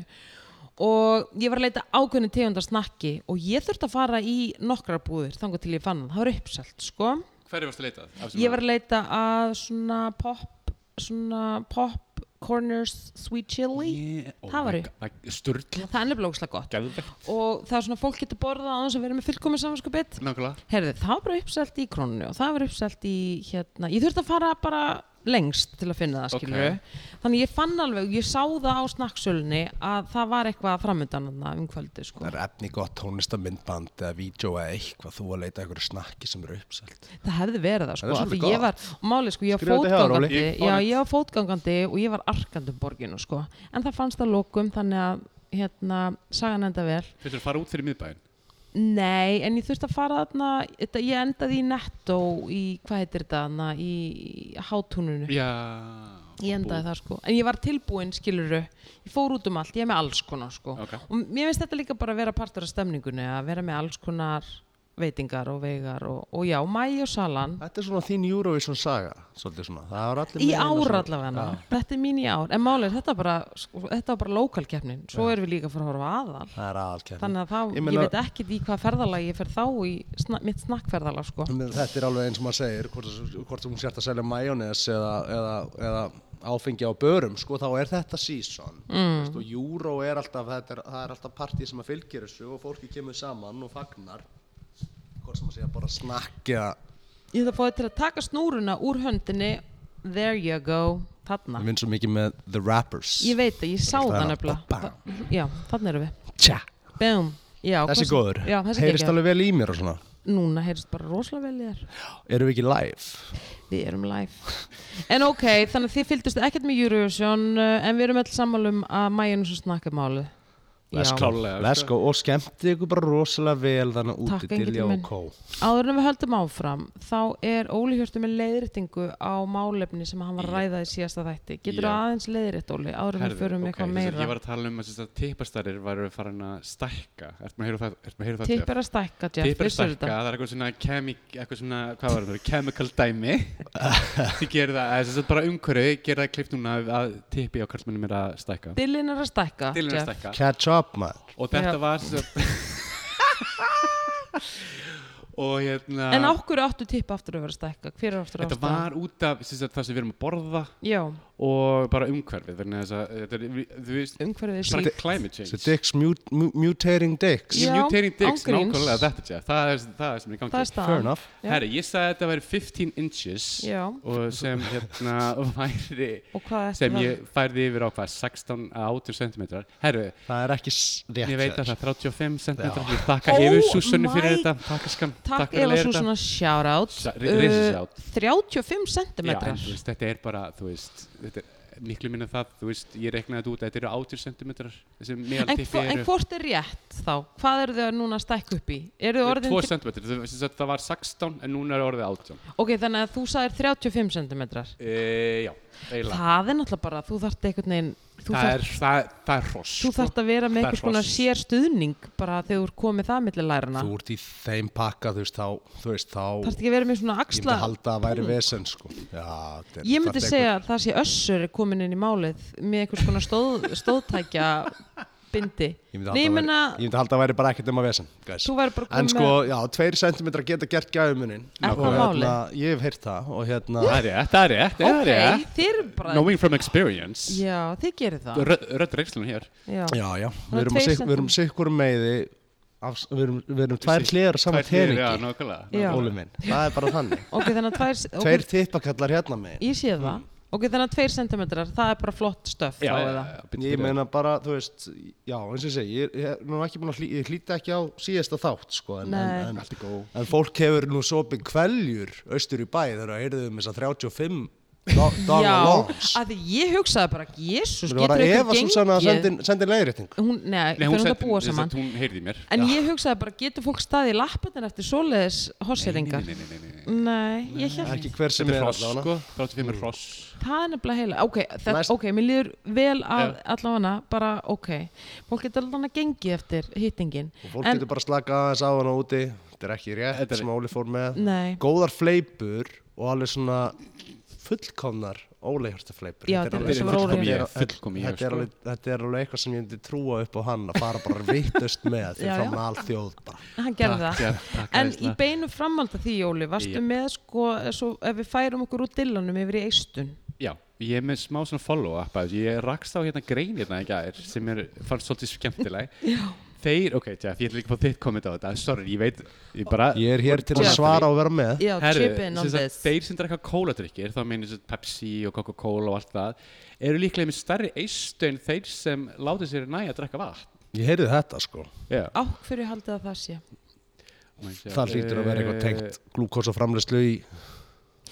[SPEAKER 1] og ég var að leita ákveðinu tegundar snakki og ég þurfti að fara í nokkrar búðir þangar til ég fann það, það var uppselt sko
[SPEAKER 2] Hverju varst að leita að? Af sem
[SPEAKER 1] ég var að leita að svona pop svona pop corners sweet chili
[SPEAKER 2] Ég- ó,
[SPEAKER 1] Það var
[SPEAKER 2] my
[SPEAKER 1] ég.
[SPEAKER 2] God, Sturla
[SPEAKER 1] það er nefnilega ógeðslega gott
[SPEAKER 2] Gæðvegt
[SPEAKER 1] og það er svona fólk getur borðað á þess að vera með fullkomis samanskapið
[SPEAKER 2] Nákvæmlega
[SPEAKER 1] Herði, það var bara uppselt í krónu og það var uppselt í hérna, ég þurfti að fara bara lengst til að finna það,
[SPEAKER 2] Ok.
[SPEAKER 1] skilur Þannig ég fann alveg, ég sá það á snakksölunni að það var eitthvað framöndan þarna um kvöldi, sko.
[SPEAKER 3] Það er efni gott tónlistamindband eða vídeo eða eitthvað, þú að leita einhverju snakki sem eru uppselt.
[SPEAKER 1] Það hefði verið það,
[SPEAKER 3] Það
[SPEAKER 1] sko,
[SPEAKER 3] er
[SPEAKER 1] af því
[SPEAKER 3] svolítið
[SPEAKER 1] ég var, og máli, sko, ég var
[SPEAKER 3] Skrifaðu þetta hjá þér, Óli.
[SPEAKER 1] fótgangandi,
[SPEAKER 2] Ég-
[SPEAKER 1] já, ég var fótgangandi og ég var arkandi um borginu, sko. En það fannst það lokum, þannig að, hérna, sagan enda vel.
[SPEAKER 2] Þetta er að fara út fyrir miðbæinn
[SPEAKER 1] Nei, en ég þurfti að fara þarna, þetta, ég endaði í Netto í, hvað heitir þetta, þarna, í, í hátúnunu.
[SPEAKER 2] Já
[SPEAKER 1] Ég endaði það sko, en ég var tilbúin skiluru, ég fór út um allt, ég er með alls konar sko
[SPEAKER 2] Ok.
[SPEAKER 1] og mér finnst þetta líka bara að vera partur af stemningunni að vera með alls konar veitingar og vegar og, og já, mæ og salan
[SPEAKER 3] Þetta er svona þín Eurovision saga, svolítið svona. Það var allir
[SPEAKER 1] í
[SPEAKER 3] með einu
[SPEAKER 1] ár
[SPEAKER 3] svona-
[SPEAKER 1] allavega,
[SPEAKER 3] Já.
[SPEAKER 1] þetta er mín í ár en málið, er þetta, bara, sko, þetta var bara lokalkeppnin svo erum við líka að fara að horfa á aðal
[SPEAKER 3] Það er aðalkefni.
[SPEAKER 1] þannig að þá,
[SPEAKER 3] Ég
[SPEAKER 1] ég,
[SPEAKER 3] meina-
[SPEAKER 1] veit ekki í hvað ferðalag ég fer þá í sna mitt snakkferðalag sko
[SPEAKER 3] Ég meina, Þetta er alveg eins og maður segir, hvort, hvort þú sért að selja majónes eða, eða, eða áfengi á börum, sko, þá er þetta season. Mm. Veist, og júró er alltaf, þetta er, það er alltaf partí sem að fylgir þessu og fólki kemur saman og fagnar. Hvort sem að segja bara snakkja.
[SPEAKER 1] Ég ætla að fá þið til að taka snúruna úr höndinni there you go, þarna
[SPEAKER 3] Ég vinn svo mikið með The Rappers.
[SPEAKER 1] Ég veit það, ég sá
[SPEAKER 3] Það er
[SPEAKER 1] það
[SPEAKER 3] að-
[SPEAKER 1] nefnilega
[SPEAKER 3] bam.
[SPEAKER 1] Þa- Já, þannig erum við
[SPEAKER 3] Tja,
[SPEAKER 1] Bum. Já,
[SPEAKER 3] þessi
[SPEAKER 1] hversu-
[SPEAKER 3] góður.
[SPEAKER 1] Já, þessi
[SPEAKER 3] Heyrist
[SPEAKER 1] geggjaður.
[SPEAKER 3] alveg vel í mér og svona.
[SPEAKER 1] Núna heyrist bara rosalega vel í þér
[SPEAKER 3] Erum við ekki live?
[SPEAKER 1] Við erum live En ok, þannig að þið fylgdust ekkert með Eurovision uh, En við erum öll sammálum að mæjunum svo snakka máli
[SPEAKER 3] Let's
[SPEAKER 1] Já.
[SPEAKER 3] go,
[SPEAKER 2] Klárlega,
[SPEAKER 3] let's
[SPEAKER 2] sko.
[SPEAKER 3] go og skemmti ykkur bara rosalega vel þannig úti
[SPEAKER 1] Takk, Engill
[SPEAKER 3] Dilja og
[SPEAKER 1] minn.
[SPEAKER 3] Kó
[SPEAKER 1] Áður en við höldum áfram Þá er Óli Hjörtu með leiðréttingu á málefni sem hann var að ræða í síðasta þætti Getur þú
[SPEAKER 2] Já.
[SPEAKER 1] aðeins leiðrétt, Óli? Áður en við
[SPEAKER 2] Herðu,
[SPEAKER 1] förum
[SPEAKER 2] ok,
[SPEAKER 1] eitthvað
[SPEAKER 2] ég-
[SPEAKER 1] meira
[SPEAKER 2] Ég var að tala um að sem sagt tippastarir varu farin að stækka Ertu maður að heyra það? Ertu maður að heyra það? Jeff?
[SPEAKER 1] Tipp er að stækka, Jeff,
[SPEAKER 2] Pippar
[SPEAKER 1] vissur
[SPEAKER 2] stakka,
[SPEAKER 1] þetta
[SPEAKER 2] það er eitthvað svona, kemi, eitthvað svona hvað var það, chemical dæmi því gerir það, þess að bara umhverju gerir það klift núna að tippi á karlmennum er að stækka
[SPEAKER 1] Dillin er að stækka,
[SPEAKER 2] Dillin er að
[SPEAKER 1] Jeff
[SPEAKER 2] stækka
[SPEAKER 3] Catch up maður
[SPEAKER 2] og þetta
[SPEAKER 1] Já.
[SPEAKER 2] var svo, og hérna
[SPEAKER 1] En okkur áttu tipp aftur að vera að stækka? Hver er aftur að
[SPEAKER 2] þetta var út af sem sagt, það sem við erum að borða
[SPEAKER 1] Já,
[SPEAKER 2] og bara umhverfið þannig að þess að þetta er, við- þú veist,
[SPEAKER 1] umhverfið er
[SPEAKER 2] bara climate
[SPEAKER 3] So
[SPEAKER 2] change
[SPEAKER 3] dicks mut, mu- mutating dicks
[SPEAKER 1] Já,
[SPEAKER 2] mutating dicks,
[SPEAKER 1] án gríns.
[SPEAKER 2] nákvæmlega þetta Jeff. það er það er sem er í
[SPEAKER 1] Það
[SPEAKER 2] gangi
[SPEAKER 1] er staðan
[SPEAKER 3] Fair enough
[SPEAKER 1] Já.
[SPEAKER 2] Herri, ég sagði að þetta væri 15 inches
[SPEAKER 1] Já.
[SPEAKER 2] og sem hérna væri
[SPEAKER 1] Og hvað er
[SPEAKER 2] sem ég færði yfir á hvað 16 að 18 cm Herru,
[SPEAKER 3] Það er ekki s- rétt
[SPEAKER 2] ég veit að það er 35 cm ég þakka
[SPEAKER 1] Oh
[SPEAKER 2] yfir Súsunni fyrir
[SPEAKER 1] my-
[SPEAKER 2] þetta Takk skam,
[SPEAKER 1] Takk
[SPEAKER 2] fyrir að
[SPEAKER 1] Eva
[SPEAKER 2] leiða
[SPEAKER 1] Súsanna, shout out
[SPEAKER 2] Sa- ri-
[SPEAKER 1] Eh,
[SPEAKER 2] risashout.
[SPEAKER 1] 35
[SPEAKER 2] Já, en
[SPEAKER 1] centimetrar
[SPEAKER 2] þú veist, þetta er bara, þú veist þetta er miklu minna það, þú veist, ég reiknaði þetta út að þetta eru 18 cm sem
[SPEAKER 1] en, hvo-
[SPEAKER 2] meðaltipi
[SPEAKER 1] en
[SPEAKER 2] eru
[SPEAKER 1] hvort er rétt þá? Hvað eru þau núna að stækka upp í? Eru þau orðin
[SPEAKER 2] 2 cm, þú veist, sem sagt, það var 16 en núna er orðið 18
[SPEAKER 1] Ok, þannig að þú sagðir 35 centimetrar
[SPEAKER 2] e, Já, eiginlega
[SPEAKER 1] Það er náttúrulega bara, þú þarft einhvern veginn Þú
[SPEAKER 2] Það er,
[SPEAKER 1] þarft,
[SPEAKER 2] það, það er hross
[SPEAKER 1] þú
[SPEAKER 2] sko.
[SPEAKER 1] þarft að vera með
[SPEAKER 2] það er
[SPEAKER 1] einhvers konar
[SPEAKER 2] hross.
[SPEAKER 1] sér stuðning bara þegar þú er komið það millir lærana
[SPEAKER 3] Þú
[SPEAKER 1] Þú
[SPEAKER 3] ert í þeim pakka þú veist þá Þú veist þá
[SPEAKER 1] þarft ekki að vera með svona
[SPEAKER 3] Ég myndi
[SPEAKER 1] axla
[SPEAKER 3] halda að væri vesen sko Já, þetta er-
[SPEAKER 1] Ég myndi
[SPEAKER 3] þarna er
[SPEAKER 1] segja að það sé össur er komin inn í málið með einhvers konar stóð, stóðtækja bindi
[SPEAKER 3] einhver- Ég
[SPEAKER 1] Nei, ég
[SPEAKER 3] myndi, halda að væri-
[SPEAKER 1] meina,
[SPEAKER 3] ég myndi halda að væri bara ekkert um að vesen guys.
[SPEAKER 1] þú væri bara
[SPEAKER 3] En
[SPEAKER 1] komin
[SPEAKER 3] sko, já, tveir sentimetrar geta gert gæfumunin
[SPEAKER 1] Er það
[SPEAKER 3] Ég hef heyrt það og hérna
[SPEAKER 2] Það er rétt, það er rétt, það er
[SPEAKER 1] með
[SPEAKER 2] rétt
[SPEAKER 1] Ok, þið eru bara
[SPEAKER 2] Knowing from experience
[SPEAKER 1] Já, þið gerir það
[SPEAKER 2] Rödd rödd reynslun hér
[SPEAKER 1] Já.
[SPEAKER 3] Já, já,
[SPEAKER 1] Þannig
[SPEAKER 3] við erum,
[SPEAKER 1] tveir
[SPEAKER 3] sig, við erum sikkur meiði af, við, erum, við erum tvær
[SPEAKER 2] Sig-
[SPEAKER 3] hliðar á sama
[SPEAKER 2] Tvær hliðar, Já,
[SPEAKER 3] teningi
[SPEAKER 2] nákvæmlega
[SPEAKER 1] Já.
[SPEAKER 3] Óli minn, það er bara þannig
[SPEAKER 1] Ok, þannig að tvær
[SPEAKER 3] Tveir
[SPEAKER 1] okay,
[SPEAKER 3] tippakallar hérna minn
[SPEAKER 1] Ég sé það Ok, þannig að tveir sentimetrar, það er bara flott stöf
[SPEAKER 2] Já,
[SPEAKER 1] þá,
[SPEAKER 2] já,
[SPEAKER 1] eða?
[SPEAKER 2] já, bíddu,
[SPEAKER 3] Ég
[SPEAKER 2] bíddu.
[SPEAKER 3] meina bara, þú veist, já, eins og ég segi Ég, ég, er nú ekki búin að hlý, ég hlýta ekki á síðasta þátt sko, en,
[SPEAKER 1] Nei.
[SPEAKER 3] en,
[SPEAKER 2] Allt í
[SPEAKER 3] en,
[SPEAKER 2] góð
[SPEAKER 3] en fólk hefur nú sopið kveljur austur í bæ þegar það heyrðu um þess að 35 do-
[SPEAKER 1] já
[SPEAKER 3] daga longs
[SPEAKER 1] að því ég hugsaði bara Jésús,
[SPEAKER 3] Mér
[SPEAKER 1] getur
[SPEAKER 3] var að
[SPEAKER 1] ykkur
[SPEAKER 3] Eva Susanna að
[SPEAKER 1] gengið
[SPEAKER 3] sendi, sendi leiðrétting
[SPEAKER 1] Hún, nei, þau
[SPEAKER 2] Nei, hún
[SPEAKER 1] erum það að
[SPEAKER 2] sagði-
[SPEAKER 1] búa
[SPEAKER 2] sem
[SPEAKER 1] saman
[SPEAKER 2] sagt, Hún heyrði í mér
[SPEAKER 1] En ég hugsaði bara, getur fólk staðið í lappetin eftir svoleiðis hosseringar?
[SPEAKER 2] Nei, nei, nei, nei, nei.
[SPEAKER 1] Nei, ég held
[SPEAKER 3] Ekki hver sem
[SPEAKER 2] Þetta er
[SPEAKER 3] er
[SPEAKER 2] hross,
[SPEAKER 3] allavega Mm.
[SPEAKER 2] sko 35 er hross
[SPEAKER 1] Það er nefnilega heila, ok, það,
[SPEAKER 3] Næst-
[SPEAKER 1] ok, mér líður vel að
[SPEAKER 2] Já.
[SPEAKER 1] allavega, bara ok, fólk getur allavega gengið eftir hittingin,
[SPEAKER 3] Og fólk
[SPEAKER 1] En-
[SPEAKER 3] getur bara slakað aðeins á hana úti Þetta er ekki rétt
[SPEAKER 2] Þetta er-
[SPEAKER 3] sem Óli fór með
[SPEAKER 1] nei,
[SPEAKER 3] Góðar fleipur og alveg svona fullkomnar Óli Hjörtafleipur
[SPEAKER 1] Já, þetta er
[SPEAKER 2] sem var Óli. Fullkomi,
[SPEAKER 3] þetta, er
[SPEAKER 2] sko.
[SPEAKER 3] alveg- þetta er alveg eitthvað sem ég myndi trúa upp á hann að fara bara vittust með
[SPEAKER 1] Já,
[SPEAKER 3] fyrir
[SPEAKER 1] já.
[SPEAKER 3] fram að all þjóð bara
[SPEAKER 1] hann gerði það
[SPEAKER 2] Takk, takk, hérna.
[SPEAKER 1] En í
[SPEAKER 2] æðislega.
[SPEAKER 1] beinu framhald af því, Jóli, varstu
[SPEAKER 2] Já.
[SPEAKER 1] með sko, svo, ef við færum okkur úr dillanum yfir í eistun.
[SPEAKER 2] Já, ég er með smá svona follow-up að þessu. ég rakst á hérna grein hérna í gær sem er, fannst svolítið skemmtileg
[SPEAKER 1] Já.
[SPEAKER 2] Þeir, ok, Jeff, ég ætla líka að fá þitt komment á þetta Sorry, ég veit, ég bara
[SPEAKER 3] Ég er hér til að
[SPEAKER 1] Já.
[SPEAKER 3] svara og vera með
[SPEAKER 1] Já,
[SPEAKER 2] Herru,
[SPEAKER 1] chip in on
[SPEAKER 2] sem sagt,
[SPEAKER 1] this.
[SPEAKER 2] Þeir sem drekka kóladrykkir, þá meina sem Pepsi og Coca-Cola og allt það eru líklega með stærri eistu en þeir sem láta sér næja að drekka vatn
[SPEAKER 3] Ég heyrði þetta sko
[SPEAKER 2] Já,
[SPEAKER 1] Á hverju haldið að það sé?
[SPEAKER 3] Það hlýtur að vera eitthvað
[SPEAKER 2] Eh,
[SPEAKER 3] tengt glúkosa framleyslu í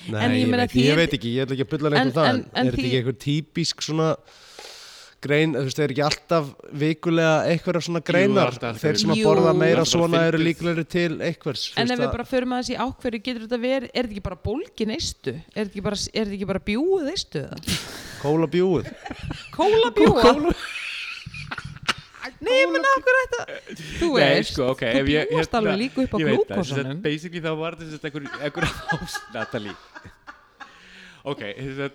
[SPEAKER 3] Nei,
[SPEAKER 1] En ég
[SPEAKER 3] ég,
[SPEAKER 1] meina
[SPEAKER 3] veit, ég
[SPEAKER 1] þið-
[SPEAKER 3] veit ekki, ég ætla ekki að bulla
[SPEAKER 1] En-
[SPEAKER 3] neitt um það
[SPEAKER 1] en-
[SPEAKER 3] en,
[SPEAKER 1] en
[SPEAKER 3] Er þetta
[SPEAKER 1] þið-
[SPEAKER 3] ekki eitthvað típisk svona grein, þú veist, er ekki alltaf vikulega eitthvað svona greinar
[SPEAKER 2] alltaf greinar.
[SPEAKER 3] Þeir sem að
[SPEAKER 1] Jú.
[SPEAKER 3] borða meira
[SPEAKER 2] Alltaf
[SPEAKER 3] svona eru
[SPEAKER 2] fyndið.
[SPEAKER 3] líklegri til eitthvers þú
[SPEAKER 1] En
[SPEAKER 3] veist
[SPEAKER 1] ef við
[SPEAKER 3] að-
[SPEAKER 1] bara förum aðeins í á hverju getur þetta verið, er þetta ekki bara bólgin eistu? Er þetta ekki bara, er þetta ekki bara bjúið eistu eða?
[SPEAKER 3] Kóla bjúið
[SPEAKER 1] Kóla bjúa? Nei, ég menna okkur þetta, þú
[SPEAKER 2] Nei,
[SPEAKER 1] veist,
[SPEAKER 2] sko, ok
[SPEAKER 1] þú
[SPEAKER 2] ef ég-
[SPEAKER 1] bjúast
[SPEAKER 2] hérna,
[SPEAKER 1] alveg líka upp á
[SPEAKER 2] ég veit það, sem sagt,
[SPEAKER 1] glúkosanum.
[SPEAKER 2] Basically þá var þetta sem sagt einhver, einhver ás, Natalie Ok, þess að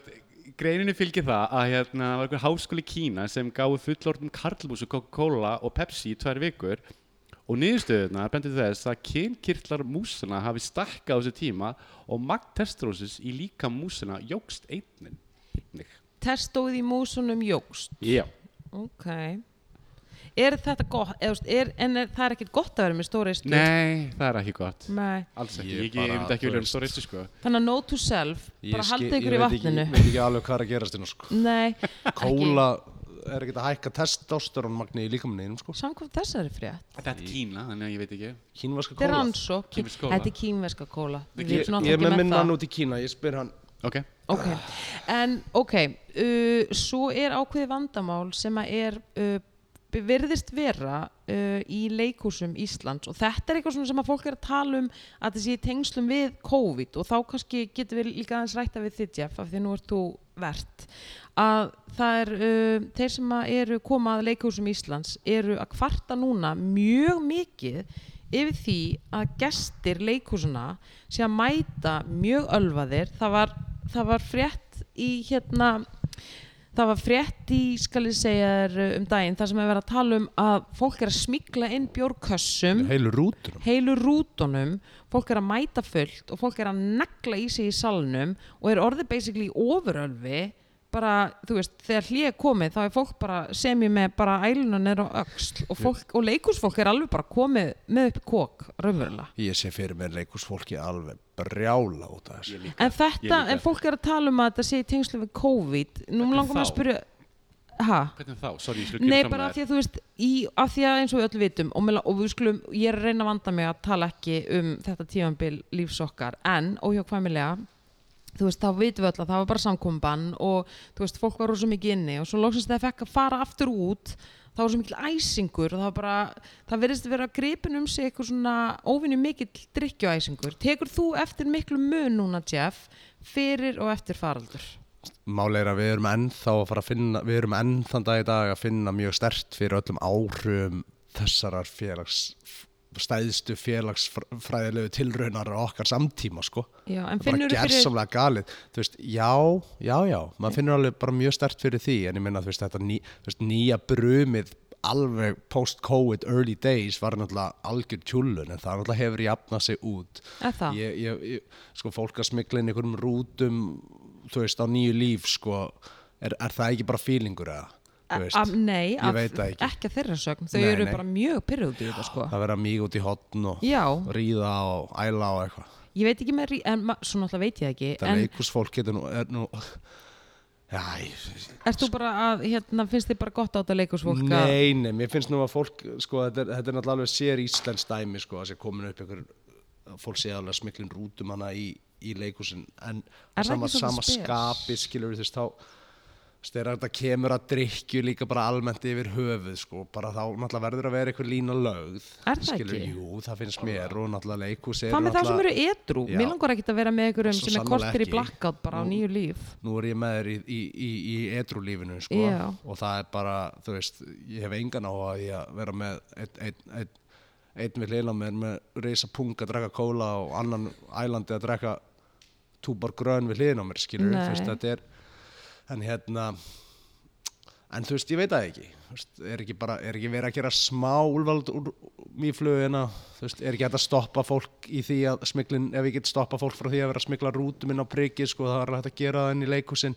[SPEAKER 2] greininu fylgir það að hérna það var einhver háskóli í Kína sem gáði fullorðum karlbús og Coca-Cola og Pepsi í tvær vikur og niðurstöðuna bendur þess að kynkirtlar músina hafi stakka á þessu tíma og magn testrósis í líka músina jógst einnig. einnig.
[SPEAKER 1] Testóið í músunum jógst,
[SPEAKER 2] Já.
[SPEAKER 1] ok. Er þetta gott, eða, þú veist, er, en er, það er ekkert gott að vera með stóra eistu?
[SPEAKER 2] Nei, það er ekki gott.
[SPEAKER 1] Nei.
[SPEAKER 2] Alls ekki.
[SPEAKER 3] Ég
[SPEAKER 2] Ég, ég, ég
[SPEAKER 3] bara,
[SPEAKER 2] myndi ekki
[SPEAKER 3] þú
[SPEAKER 2] vilja um
[SPEAKER 3] veist.
[SPEAKER 2] stóristu sko.
[SPEAKER 1] Þannig að note to self, bara haldið ykkur í vatninu.
[SPEAKER 3] Ég veit ekki alveg hvað er að gerast inn sko
[SPEAKER 1] Nei,
[SPEAKER 3] Kóla er ekki að hækka testosteronmagni í líkamanninum sko
[SPEAKER 1] ekki. Samkvæmt þessari frétt.
[SPEAKER 2] Þetta er Kína, þannig að ég veit ekki.
[SPEAKER 3] Kínvarska
[SPEAKER 1] Þetta er
[SPEAKER 3] kóla
[SPEAKER 1] rannsó,
[SPEAKER 2] Kínversk kóla.
[SPEAKER 1] þetta er kínverska kóla. Við
[SPEAKER 2] Ég-
[SPEAKER 3] Ég,
[SPEAKER 1] erum svona
[SPEAKER 3] ég er
[SPEAKER 1] alltaf
[SPEAKER 3] með
[SPEAKER 1] ekki
[SPEAKER 3] minn
[SPEAKER 1] það.
[SPEAKER 3] mann út í Kína, ég spyr hann
[SPEAKER 2] Ok.
[SPEAKER 1] Ok, en ok, uh, svo er ákveði vandamál sem að er uh, virðist vera uh, í leikúsum Íslands og þetta er eitthvað svona sem að fólk er að tala um að þessi tengslum við COVID og þá kannski getum við líka aðeins rætta við þitt Jeff af því nú ert þú vert að það er uh, þeir sem að eru koma að leikúsum Íslands eru að kvarta núna mjög mikið yfir því að gestir leikúsuna sé að mæta mjög ölvaðir það var, það var frétt í hérna það var frétt í skal ég segja þér um daginn þar sem er verið að tala um að fólk er að smikla inn bjórkössum
[SPEAKER 3] Heilu rútur
[SPEAKER 1] heilu rútonum fólk er að mæta fullt og fólk er að negla í sig í salnum og er orðið basically ofurölvi bara, þú veist, þegar hlið er komið þá er fólk bara semi með bara ælunan er á öxl og, fólk, og leikúsfólk er alveg bara komið með upp í kók raunverulega
[SPEAKER 3] Ég sé fyrir mér leikusfólki alveg brjála út af þessu.
[SPEAKER 1] en þetta,
[SPEAKER 2] líka.
[SPEAKER 1] en fólk er að tala um að þetta sé í tengslu við COVID nú
[SPEAKER 2] Hvernig
[SPEAKER 1] langar maður að
[SPEAKER 2] þá?
[SPEAKER 1] spyrja ha?
[SPEAKER 2] Hvernig þá? Sorry, ég slukki
[SPEAKER 1] Nei, bara af því að þú veist, í, af því að eins og við öll vitum og, meðla, og við skulum, ég er að reyna að vanda mig að tala ekki um þetta tífambil lífs okkar, en óhjákvæmilega þú veist, þá vitum við öll að það var bara samkomban og þú veist, fólk var rosa mikið inni og svo loksins þegar fekk að fara aftur út þá var svo mikil æsingur og það var bara það verðist að vera gripin um sig eitthvað svona óvinni mikill drikkjuæsingur tekur þú eftir miklu mun núna, Jeff fyrir og eftir faraldur
[SPEAKER 3] Máli er að við erum ennþá að fara að finna, við erum enn þann dag í dag að finna mjög stert fyrir öllum áhrifum þessarar félags, stæðstu félagsfræðilegu tilraunar á okkar samtíma, sko.
[SPEAKER 1] Já, en
[SPEAKER 3] Það er bara
[SPEAKER 1] finnurðu fyrir-
[SPEAKER 3] gersamlega galið. Þú veist, já, já, já, maður finnur alveg bara mjög stert fyrir því, en ég minna, þú veist, þetta ný, þú veist, nýja brumið alveg post-COVID early days var náttúrulega algjör tjúlun, en það náttúrulega hefur jafnað sig út.
[SPEAKER 1] eða það?
[SPEAKER 3] ég, ég, ég, sko fólk að smikla inn einhverjum rútum þú veist á nýju líf sko er, er það ekki bara feelingur eða þú
[SPEAKER 1] A-
[SPEAKER 3] veist,
[SPEAKER 1] af- Nei,
[SPEAKER 3] ég veit það ekki
[SPEAKER 1] ekki að þeirra sögn Þau
[SPEAKER 3] Nei,
[SPEAKER 1] eru
[SPEAKER 3] nei.
[SPEAKER 1] bara mjög pyrrðuð í þetta sko
[SPEAKER 3] að vera mýg út í hotn og
[SPEAKER 1] Já,
[SPEAKER 3] ríða og æla og eitthvað
[SPEAKER 1] ég veit ekki með rí- en ma- svo náttúrulega veit ég ekki
[SPEAKER 3] það en...
[SPEAKER 1] en
[SPEAKER 3] leikusfólk getur nú, er nú Æ,
[SPEAKER 1] erst þú bara að hérna, finnst þið bara gott á þetta leikusfólk að-
[SPEAKER 3] nei, nei, mér finnst nú að fólk sko, þetta er, þetta er náttúrulega alveg sér íslensk dæmi sko, að sé komin upp einhver að fólk sé alveg smiklin rútum hana í, í leikusin en
[SPEAKER 1] Er það
[SPEAKER 3] sama,
[SPEAKER 1] ekki svolítið
[SPEAKER 3] sama
[SPEAKER 1] spes?
[SPEAKER 3] skapi skilur þú veist þá þegar þetta kemur að drikju líka bara almennt yfir höfuð sko, bara þá náttúrulega verður að vera einhver lína lögð
[SPEAKER 1] Er það
[SPEAKER 3] skilurðu,
[SPEAKER 1] ekki?
[SPEAKER 3] Jú, það finnst mér og náttúrulega leikus
[SPEAKER 1] Hvað með þá sem eru edru?
[SPEAKER 3] Já.
[SPEAKER 1] Mér langar ekki að vera með ykkur um
[SPEAKER 3] Svo
[SPEAKER 1] sem er
[SPEAKER 3] sannarlega
[SPEAKER 1] kortir í
[SPEAKER 3] ekki.
[SPEAKER 1] blackout bara á nýju líf
[SPEAKER 3] nú er ég með þér í, í, í, í edrúlífinu sko,
[SPEAKER 1] Já.
[SPEAKER 3] og það er bara, þú veist ég hef engan á að ég að vera með einn ein, ein, ein við leila með, með reysa pung að drekka kóla og annan ælandi að drekka túbar grön við hliðin á mér skilur
[SPEAKER 1] Nei.
[SPEAKER 3] þú veist, þetta er en hérna en þú veist, ég veit það ekki Þú veist, er ekki, bara, er ekki verið að gera smá úlvald úr mýflugina þú veist, er ekki hægt að stoppa fólk í því að smiklin, ef ég get stoppa fólk frá því að vera að smikla rútum inn á prikið, sko, það er alveg hægt að gera það inn í leikhúsin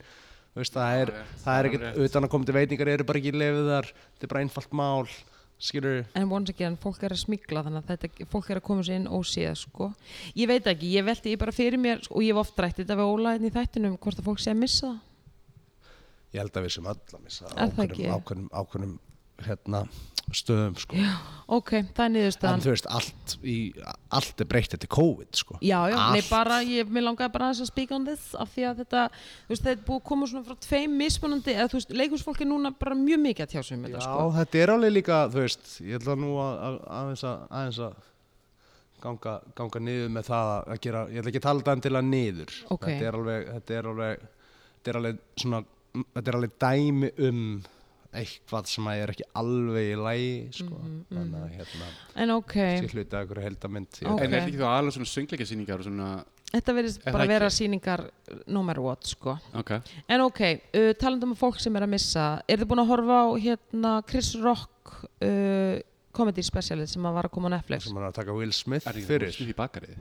[SPEAKER 3] Þú veist, það er, það er ekkert utan að koma til veitingar eru bara ekki lefið þar, þetta er bara einfalt mál skilur,
[SPEAKER 1] en once again, fólk er að smigla þannig að þetta, fólk er að koma sér inn óséð sko. ég veit ekki, ég velti ég bara fyrir mér sko, og ég hef oft rætt þetta við Óla hérna í þættinum hvort að fólk sé að missa það.
[SPEAKER 3] ég held að við sem öll að missa
[SPEAKER 1] Er það
[SPEAKER 3] ákveðnum,
[SPEAKER 1] ekki?
[SPEAKER 3] ákveðnum, ákveðnum hérna, stöðum sko. já,
[SPEAKER 1] ok, það er
[SPEAKER 3] en
[SPEAKER 1] niðurstaðan
[SPEAKER 3] þú veist, allt, í, allt er breytt eftir COVID sko.
[SPEAKER 1] já, já, nei
[SPEAKER 3] Allt.
[SPEAKER 1] bara, ég, mér langaði bara aðeins að speak on this af því að þetta, þú veist, þetta er búið að koma svona frá tveim mismunandi, eða þú veist, leikhúsfólk er núna bara mjög mikið að tjá sig um
[SPEAKER 3] já,
[SPEAKER 1] þetta sko.
[SPEAKER 3] þetta er alveg líka þú veist, ég ætla nú að, að, aðeins, að, aðeins að ganga, ganga niður með það að gera ég ætla ekki að tala þetta endilega niður
[SPEAKER 1] Ok.
[SPEAKER 3] þetta er alveg þetta er alveg, þetta er alveg, svona, þetta er alveg dæmi um eitthvað sem að ég er ekki alveg í lægi sko. þannig að hérna
[SPEAKER 1] en Mhm, ok,
[SPEAKER 3] sé hluti að einhverju heldamind
[SPEAKER 1] Ok.
[SPEAKER 2] En er þetta ekki þá alveg svona söngleikasýningar og svona,
[SPEAKER 1] þetta verðist
[SPEAKER 2] Er
[SPEAKER 1] bara
[SPEAKER 2] það
[SPEAKER 1] vera
[SPEAKER 2] ekki?
[SPEAKER 1] sýningar no matter what sko.
[SPEAKER 2] ok,
[SPEAKER 1] En ok, uh, talandum um fólk sem er að missa Er þið búin að horfa á hérna Chris Rock uh, comedy specialið sem að var að koma á Netflix
[SPEAKER 3] sem hann er að taka Will Smith
[SPEAKER 2] er ekki það
[SPEAKER 3] fyrir
[SPEAKER 2] búið í bakarið?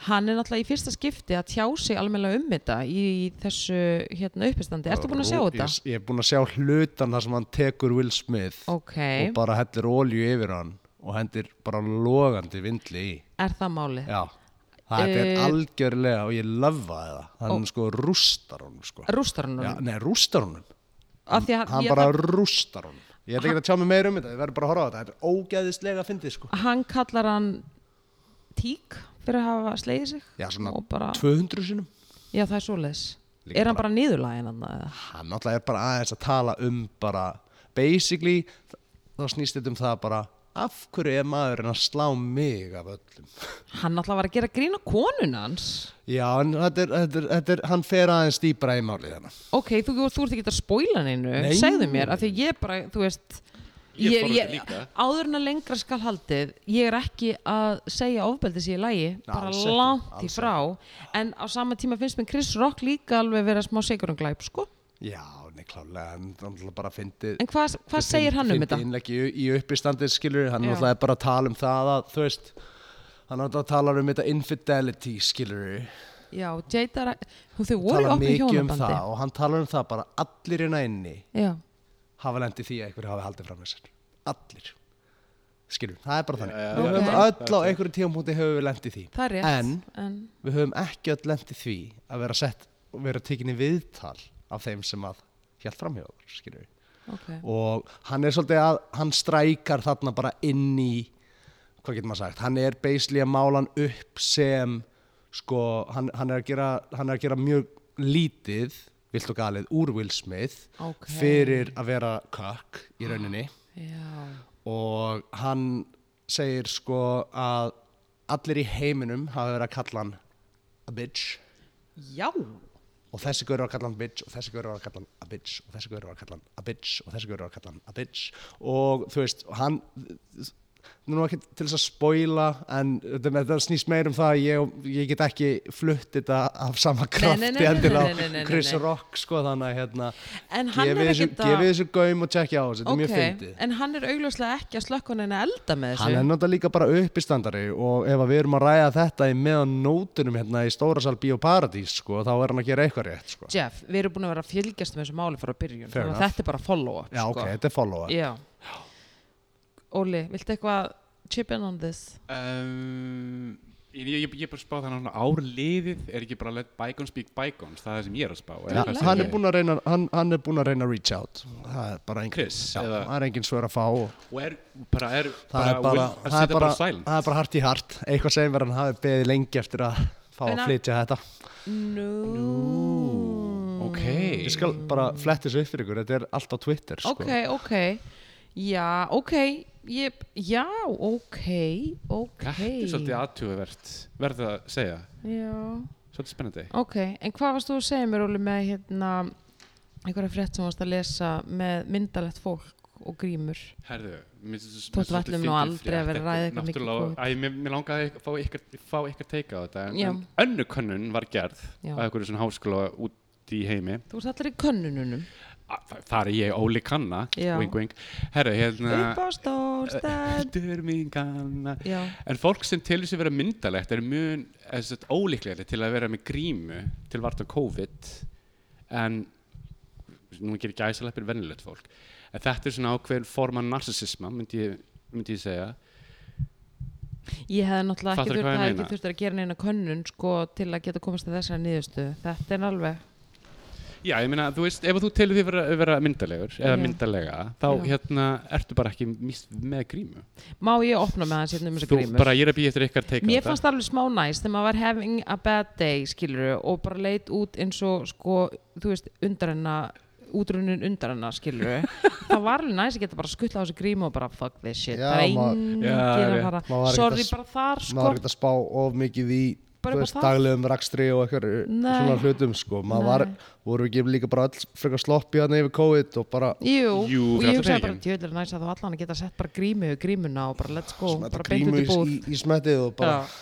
[SPEAKER 1] Hann er náttúrulega í fyrsta skipti að tjá sig almennilega um þetta í þessu hérna uppistandi Ertu búin að sjá þetta?
[SPEAKER 3] Ég, ég er búin að sjá hlutan þar sem hann tekur Will Smith
[SPEAKER 1] Ok,
[SPEAKER 3] og bara hellir ólju yfir hann og hendir bara logandi vindli í
[SPEAKER 1] er það málið?
[SPEAKER 3] já, þetta er
[SPEAKER 1] Eh,
[SPEAKER 3] algjörlega og ég löfva það hann sko rústar honum sko.
[SPEAKER 1] Rústar hann
[SPEAKER 3] já,
[SPEAKER 1] honum?
[SPEAKER 3] nei, rústar honum
[SPEAKER 1] Af því að
[SPEAKER 3] hann
[SPEAKER 1] ég-
[SPEAKER 3] bara rústar honum ég ætla ekki að tjá mig meira um þetta, ég verður bara að horfa á þetta þetta er ógæðislega að fyndið sko
[SPEAKER 1] hann kallar hann tík fyrir að hafa slegið sig
[SPEAKER 3] já, svona
[SPEAKER 1] Og bara,
[SPEAKER 3] 200 sinum
[SPEAKER 1] já það er svoleiðis
[SPEAKER 3] Líka
[SPEAKER 1] Er hann bara niðurlægin hann? eða?
[SPEAKER 3] hann náttúrulega er bara aðeins að tala um bara basically þ- þá snýst þetta um það bara af hverju er maðurinn að slá mig af öllum
[SPEAKER 1] Hann náttúrulega var að gera grína konun hans
[SPEAKER 3] já, en þetta er, þetta er, þetta er, hann fer aðeins dýbra í málið hérna. hennar
[SPEAKER 1] ok, þú, þú, þú ert ekki að spóila neinu
[SPEAKER 3] Nei.
[SPEAKER 1] segðu mér, af því ég bara, þú veist
[SPEAKER 2] Ég fór þetta líka.
[SPEAKER 1] áður en að lengra skal haldið ég er ekki að segja ofbeldið sér í lægi, bara
[SPEAKER 3] alls ekki,
[SPEAKER 1] langt í
[SPEAKER 3] alls
[SPEAKER 1] frá en á sama tíma finnst mér Chris Rock líka alveg vera smá sigurum glæp, sko
[SPEAKER 3] já, nei, klálega, hann náttúrulega bara fyndið
[SPEAKER 1] en hvað hva segir hann um þetta?
[SPEAKER 3] innlegg í, í uppistandið skilur hann
[SPEAKER 1] Já.
[SPEAKER 3] náttúrulega er bara að tala um það að þú veist hann náttúrulega talar um þetta infidelity skilur
[SPEAKER 1] Já, Jada, hún þau voru í
[SPEAKER 3] tala
[SPEAKER 1] opnu
[SPEAKER 3] mikið um
[SPEAKER 1] hjónabandi
[SPEAKER 3] það og hann talar um það bara allir hérna inni
[SPEAKER 1] Já,
[SPEAKER 3] hafa lendið því að einhver hafi haldið fram með sér allir skilur, það er bara þannig
[SPEAKER 2] já,
[SPEAKER 1] já,
[SPEAKER 3] við höfum
[SPEAKER 1] já.
[SPEAKER 3] öll á einhverju tímapunkti höfum við lendið því
[SPEAKER 1] það er rétt
[SPEAKER 3] en
[SPEAKER 1] en
[SPEAKER 3] við höfum ekki öll lendið því að vera sett og vera tekinni viðtal af þeim sem að hjælt fram hjá okkur skilur við
[SPEAKER 1] ok.
[SPEAKER 3] og hann er svolítið að hann strækar þarna bara inn í hvað getur maður sagt, hann er basically að mála hann upp sem sko, hann, hann, er að gera, hann er að gera mjög lítið vilt og galið úr Will Smith
[SPEAKER 1] Ok.
[SPEAKER 3] fyrir að vera kökk í rauninni
[SPEAKER 1] Já,
[SPEAKER 3] og hann segir sko að allir í heiminum hafa verið að kalla hann a bitch
[SPEAKER 1] já
[SPEAKER 3] og þessi gaur var að kalla hann bitch og þessi gaur var að kalla hann a bitch og þessi gaur var að kalla hann a bitch og þessi gaur var að kalla hann a bitch og þú veist, hann nú ekki til þess að spoila en þetta þetta snýst meir um það að ég, ég get ekki flutt þetta af sama krafti
[SPEAKER 1] nei, nei, nei,
[SPEAKER 3] endilega á
[SPEAKER 1] nei, nei, nei, nei,
[SPEAKER 3] Chris
[SPEAKER 1] nei.
[SPEAKER 3] Rock sko þannig að hérna
[SPEAKER 1] En hann
[SPEAKER 3] gefið
[SPEAKER 1] er
[SPEAKER 3] þessu,
[SPEAKER 1] ekkert að-
[SPEAKER 3] gefið þessu gaum og tjekkja á þessu, þetta er mjög
[SPEAKER 1] Ok,
[SPEAKER 3] fyndið
[SPEAKER 1] en hann er augljóslega ekki að slökka hann en að elda með þessu
[SPEAKER 3] Hann er náttúrulega líka bara uppistandari og ef að við erum að ræða þetta í meðan nótunum hérna í Stórasal Bíóparadís sko, þá er hann að gera eitthvað rétt sko.
[SPEAKER 1] Jeff, við erum búin að vera að fylgjast með þessu máli frá byrjun,
[SPEAKER 3] Fair
[SPEAKER 1] þannig að
[SPEAKER 3] enough.
[SPEAKER 1] þetta er bara follow-up sko.
[SPEAKER 3] Já, ok, þetta er follow-up.
[SPEAKER 1] Já. Óli, viltu eitthvað chip in on this?
[SPEAKER 2] Um, ég, ég, ég bara spá þannig að ár liðið er ekki bara let bygones be bygones, það er það sem ég er að spá.
[SPEAKER 3] Ja,
[SPEAKER 2] eða hvað
[SPEAKER 3] hann,
[SPEAKER 2] segir
[SPEAKER 3] er
[SPEAKER 2] þið?
[SPEAKER 3] búinn að reyna, hann, hann er búin að reyna að reach out það er bara engin,
[SPEAKER 2] Chris,
[SPEAKER 3] já,
[SPEAKER 2] eða-
[SPEAKER 3] það er engin svör að fá og
[SPEAKER 2] Og er bara, er
[SPEAKER 3] það er
[SPEAKER 2] bara,
[SPEAKER 3] bara,
[SPEAKER 2] will- að
[SPEAKER 3] það er
[SPEAKER 2] setja
[SPEAKER 3] bara,
[SPEAKER 2] bara silent.
[SPEAKER 3] það er bara hart í hart eitthvað segir mér að hann hafi beðið lengi eftir að fá að
[SPEAKER 1] Hvenær?
[SPEAKER 3] flytja þetta
[SPEAKER 1] Nú.
[SPEAKER 2] Ok.
[SPEAKER 3] ég skal bara fletta þessu upp fyrir ykkur, þetta er allt á Twitter sko.
[SPEAKER 1] Ok, ok. Já, ok. Ég, já, ok, ok.
[SPEAKER 2] Þetta er svolítið aðtjóðvert, verður að segja.
[SPEAKER 1] Já,
[SPEAKER 2] Svolítið spennandi.
[SPEAKER 1] ok. En hvað varst þú að segja mér, Óli, með hérna einhverja frétt sem varst að lesa með myndalegt fólk og grímur?
[SPEAKER 2] Herðu, mér finnst
[SPEAKER 1] Þótt við ætlum nú aldrei að vera að ræða eitthvað mikið
[SPEAKER 2] Náttúrulega, æ, mér, mér langaði að fá ykkar, fá ykkar teika á þetta. En,
[SPEAKER 1] Já.
[SPEAKER 2] en önnu könnun var gerð
[SPEAKER 1] Já.
[SPEAKER 2] af einhverju svona háskóla út, úti í heimi
[SPEAKER 1] Þú ert allir í könnununum.
[SPEAKER 2] A- þa- þar er ég Óli Kanna
[SPEAKER 1] Já.
[SPEAKER 2] wing wing, herru hérna
[SPEAKER 1] Upp á stórstæð.
[SPEAKER 2] Heldur mín kanna
[SPEAKER 1] Já.
[SPEAKER 2] En fólk sem telur sér vera myndalegt er mun ólíklegri til að vera með grímu til vart á COVID en nú gerir gæsalappir vennilegt fólk en þetta er svona ákveðin form af narsisisma myndi ég, myndi ég segja
[SPEAKER 1] Ég hefði náttúrulega ekki
[SPEAKER 2] Fattarðu
[SPEAKER 1] þurft
[SPEAKER 2] hvað ég
[SPEAKER 1] að, ekki
[SPEAKER 2] meina?
[SPEAKER 1] þurft að gera neina könnun sko, til að geta komast að þessari niðurstöðu. Þetta er alveg,
[SPEAKER 2] Já, ég meina, þú veist, ef þú telur því vera, vera myndalegur eða
[SPEAKER 1] Já.
[SPEAKER 2] myndalega, þá
[SPEAKER 1] Já.
[SPEAKER 2] hérna ertu bara ekki mist með grímu
[SPEAKER 1] má ég opna með hans hérna um þessar
[SPEAKER 2] Þú
[SPEAKER 1] grímur?
[SPEAKER 2] bara, ég er að býja eftir ykkar teika
[SPEAKER 1] Mér fannst það alveg smá næst þegar maður var having a bad day, skilur og bara leit út eins og, sko, þú veist, undarenna, útrunin undarenna, skilur Það var alveg næst að geta bara skuttla á þessu grímu og bara fuck this shit.
[SPEAKER 3] Já,
[SPEAKER 1] það er
[SPEAKER 3] maður-
[SPEAKER 1] enginn
[SPEAKER 2] Já,
[SPEAKER 1] að
[SPEAKER 2] rétt.
[SPEAKER 1] fara,
[SPEAKER 3] Maður var ekkert
[SPEAKER 1] sorry,
[SPEAKER 3] að-
[SPEAKER 1] bara þar, sko.
[SPEAKER 3] maður er ekkert að spá of mikið í
[SPEAKER 1] Bara
[SPEAKER 3] þú
[SPEAKER 1] upp á
[SPEAKER 3] veist,
[SPEAKER 1] það.
[SPEAKER 3] daglegum rakstri og eitthvað
[SPEAKER 1] Nei.
[SPEAKER 3] svona hlutum sko. maður var, voru ekki líka bara alls frekar sloppið hann yfir COVID og bara
[SPEAKER 1] Jú,
[SPEAKER 2] Jú,
[SPEAKER 1] og ég
[SPEAKER 2] fyrir alla
[SPEAKER 1] hugsaði
[SPEAKER 2] daginn.
[SPEAKER 1] bara djöðlega næst að þú allan að geta sett bara grímu í grímuna og bara let's go,
[SPEAKER 3] smetta
[SPEAKER 1] bara beint út
[SPEAKER 3] grímu
[SPEAKER 1] í
[SPEAKER 3] í,
[SPEAKER 1] búð.
[SPEAKER 3] í, í smettið og bara
[SPEAKER 1] Já.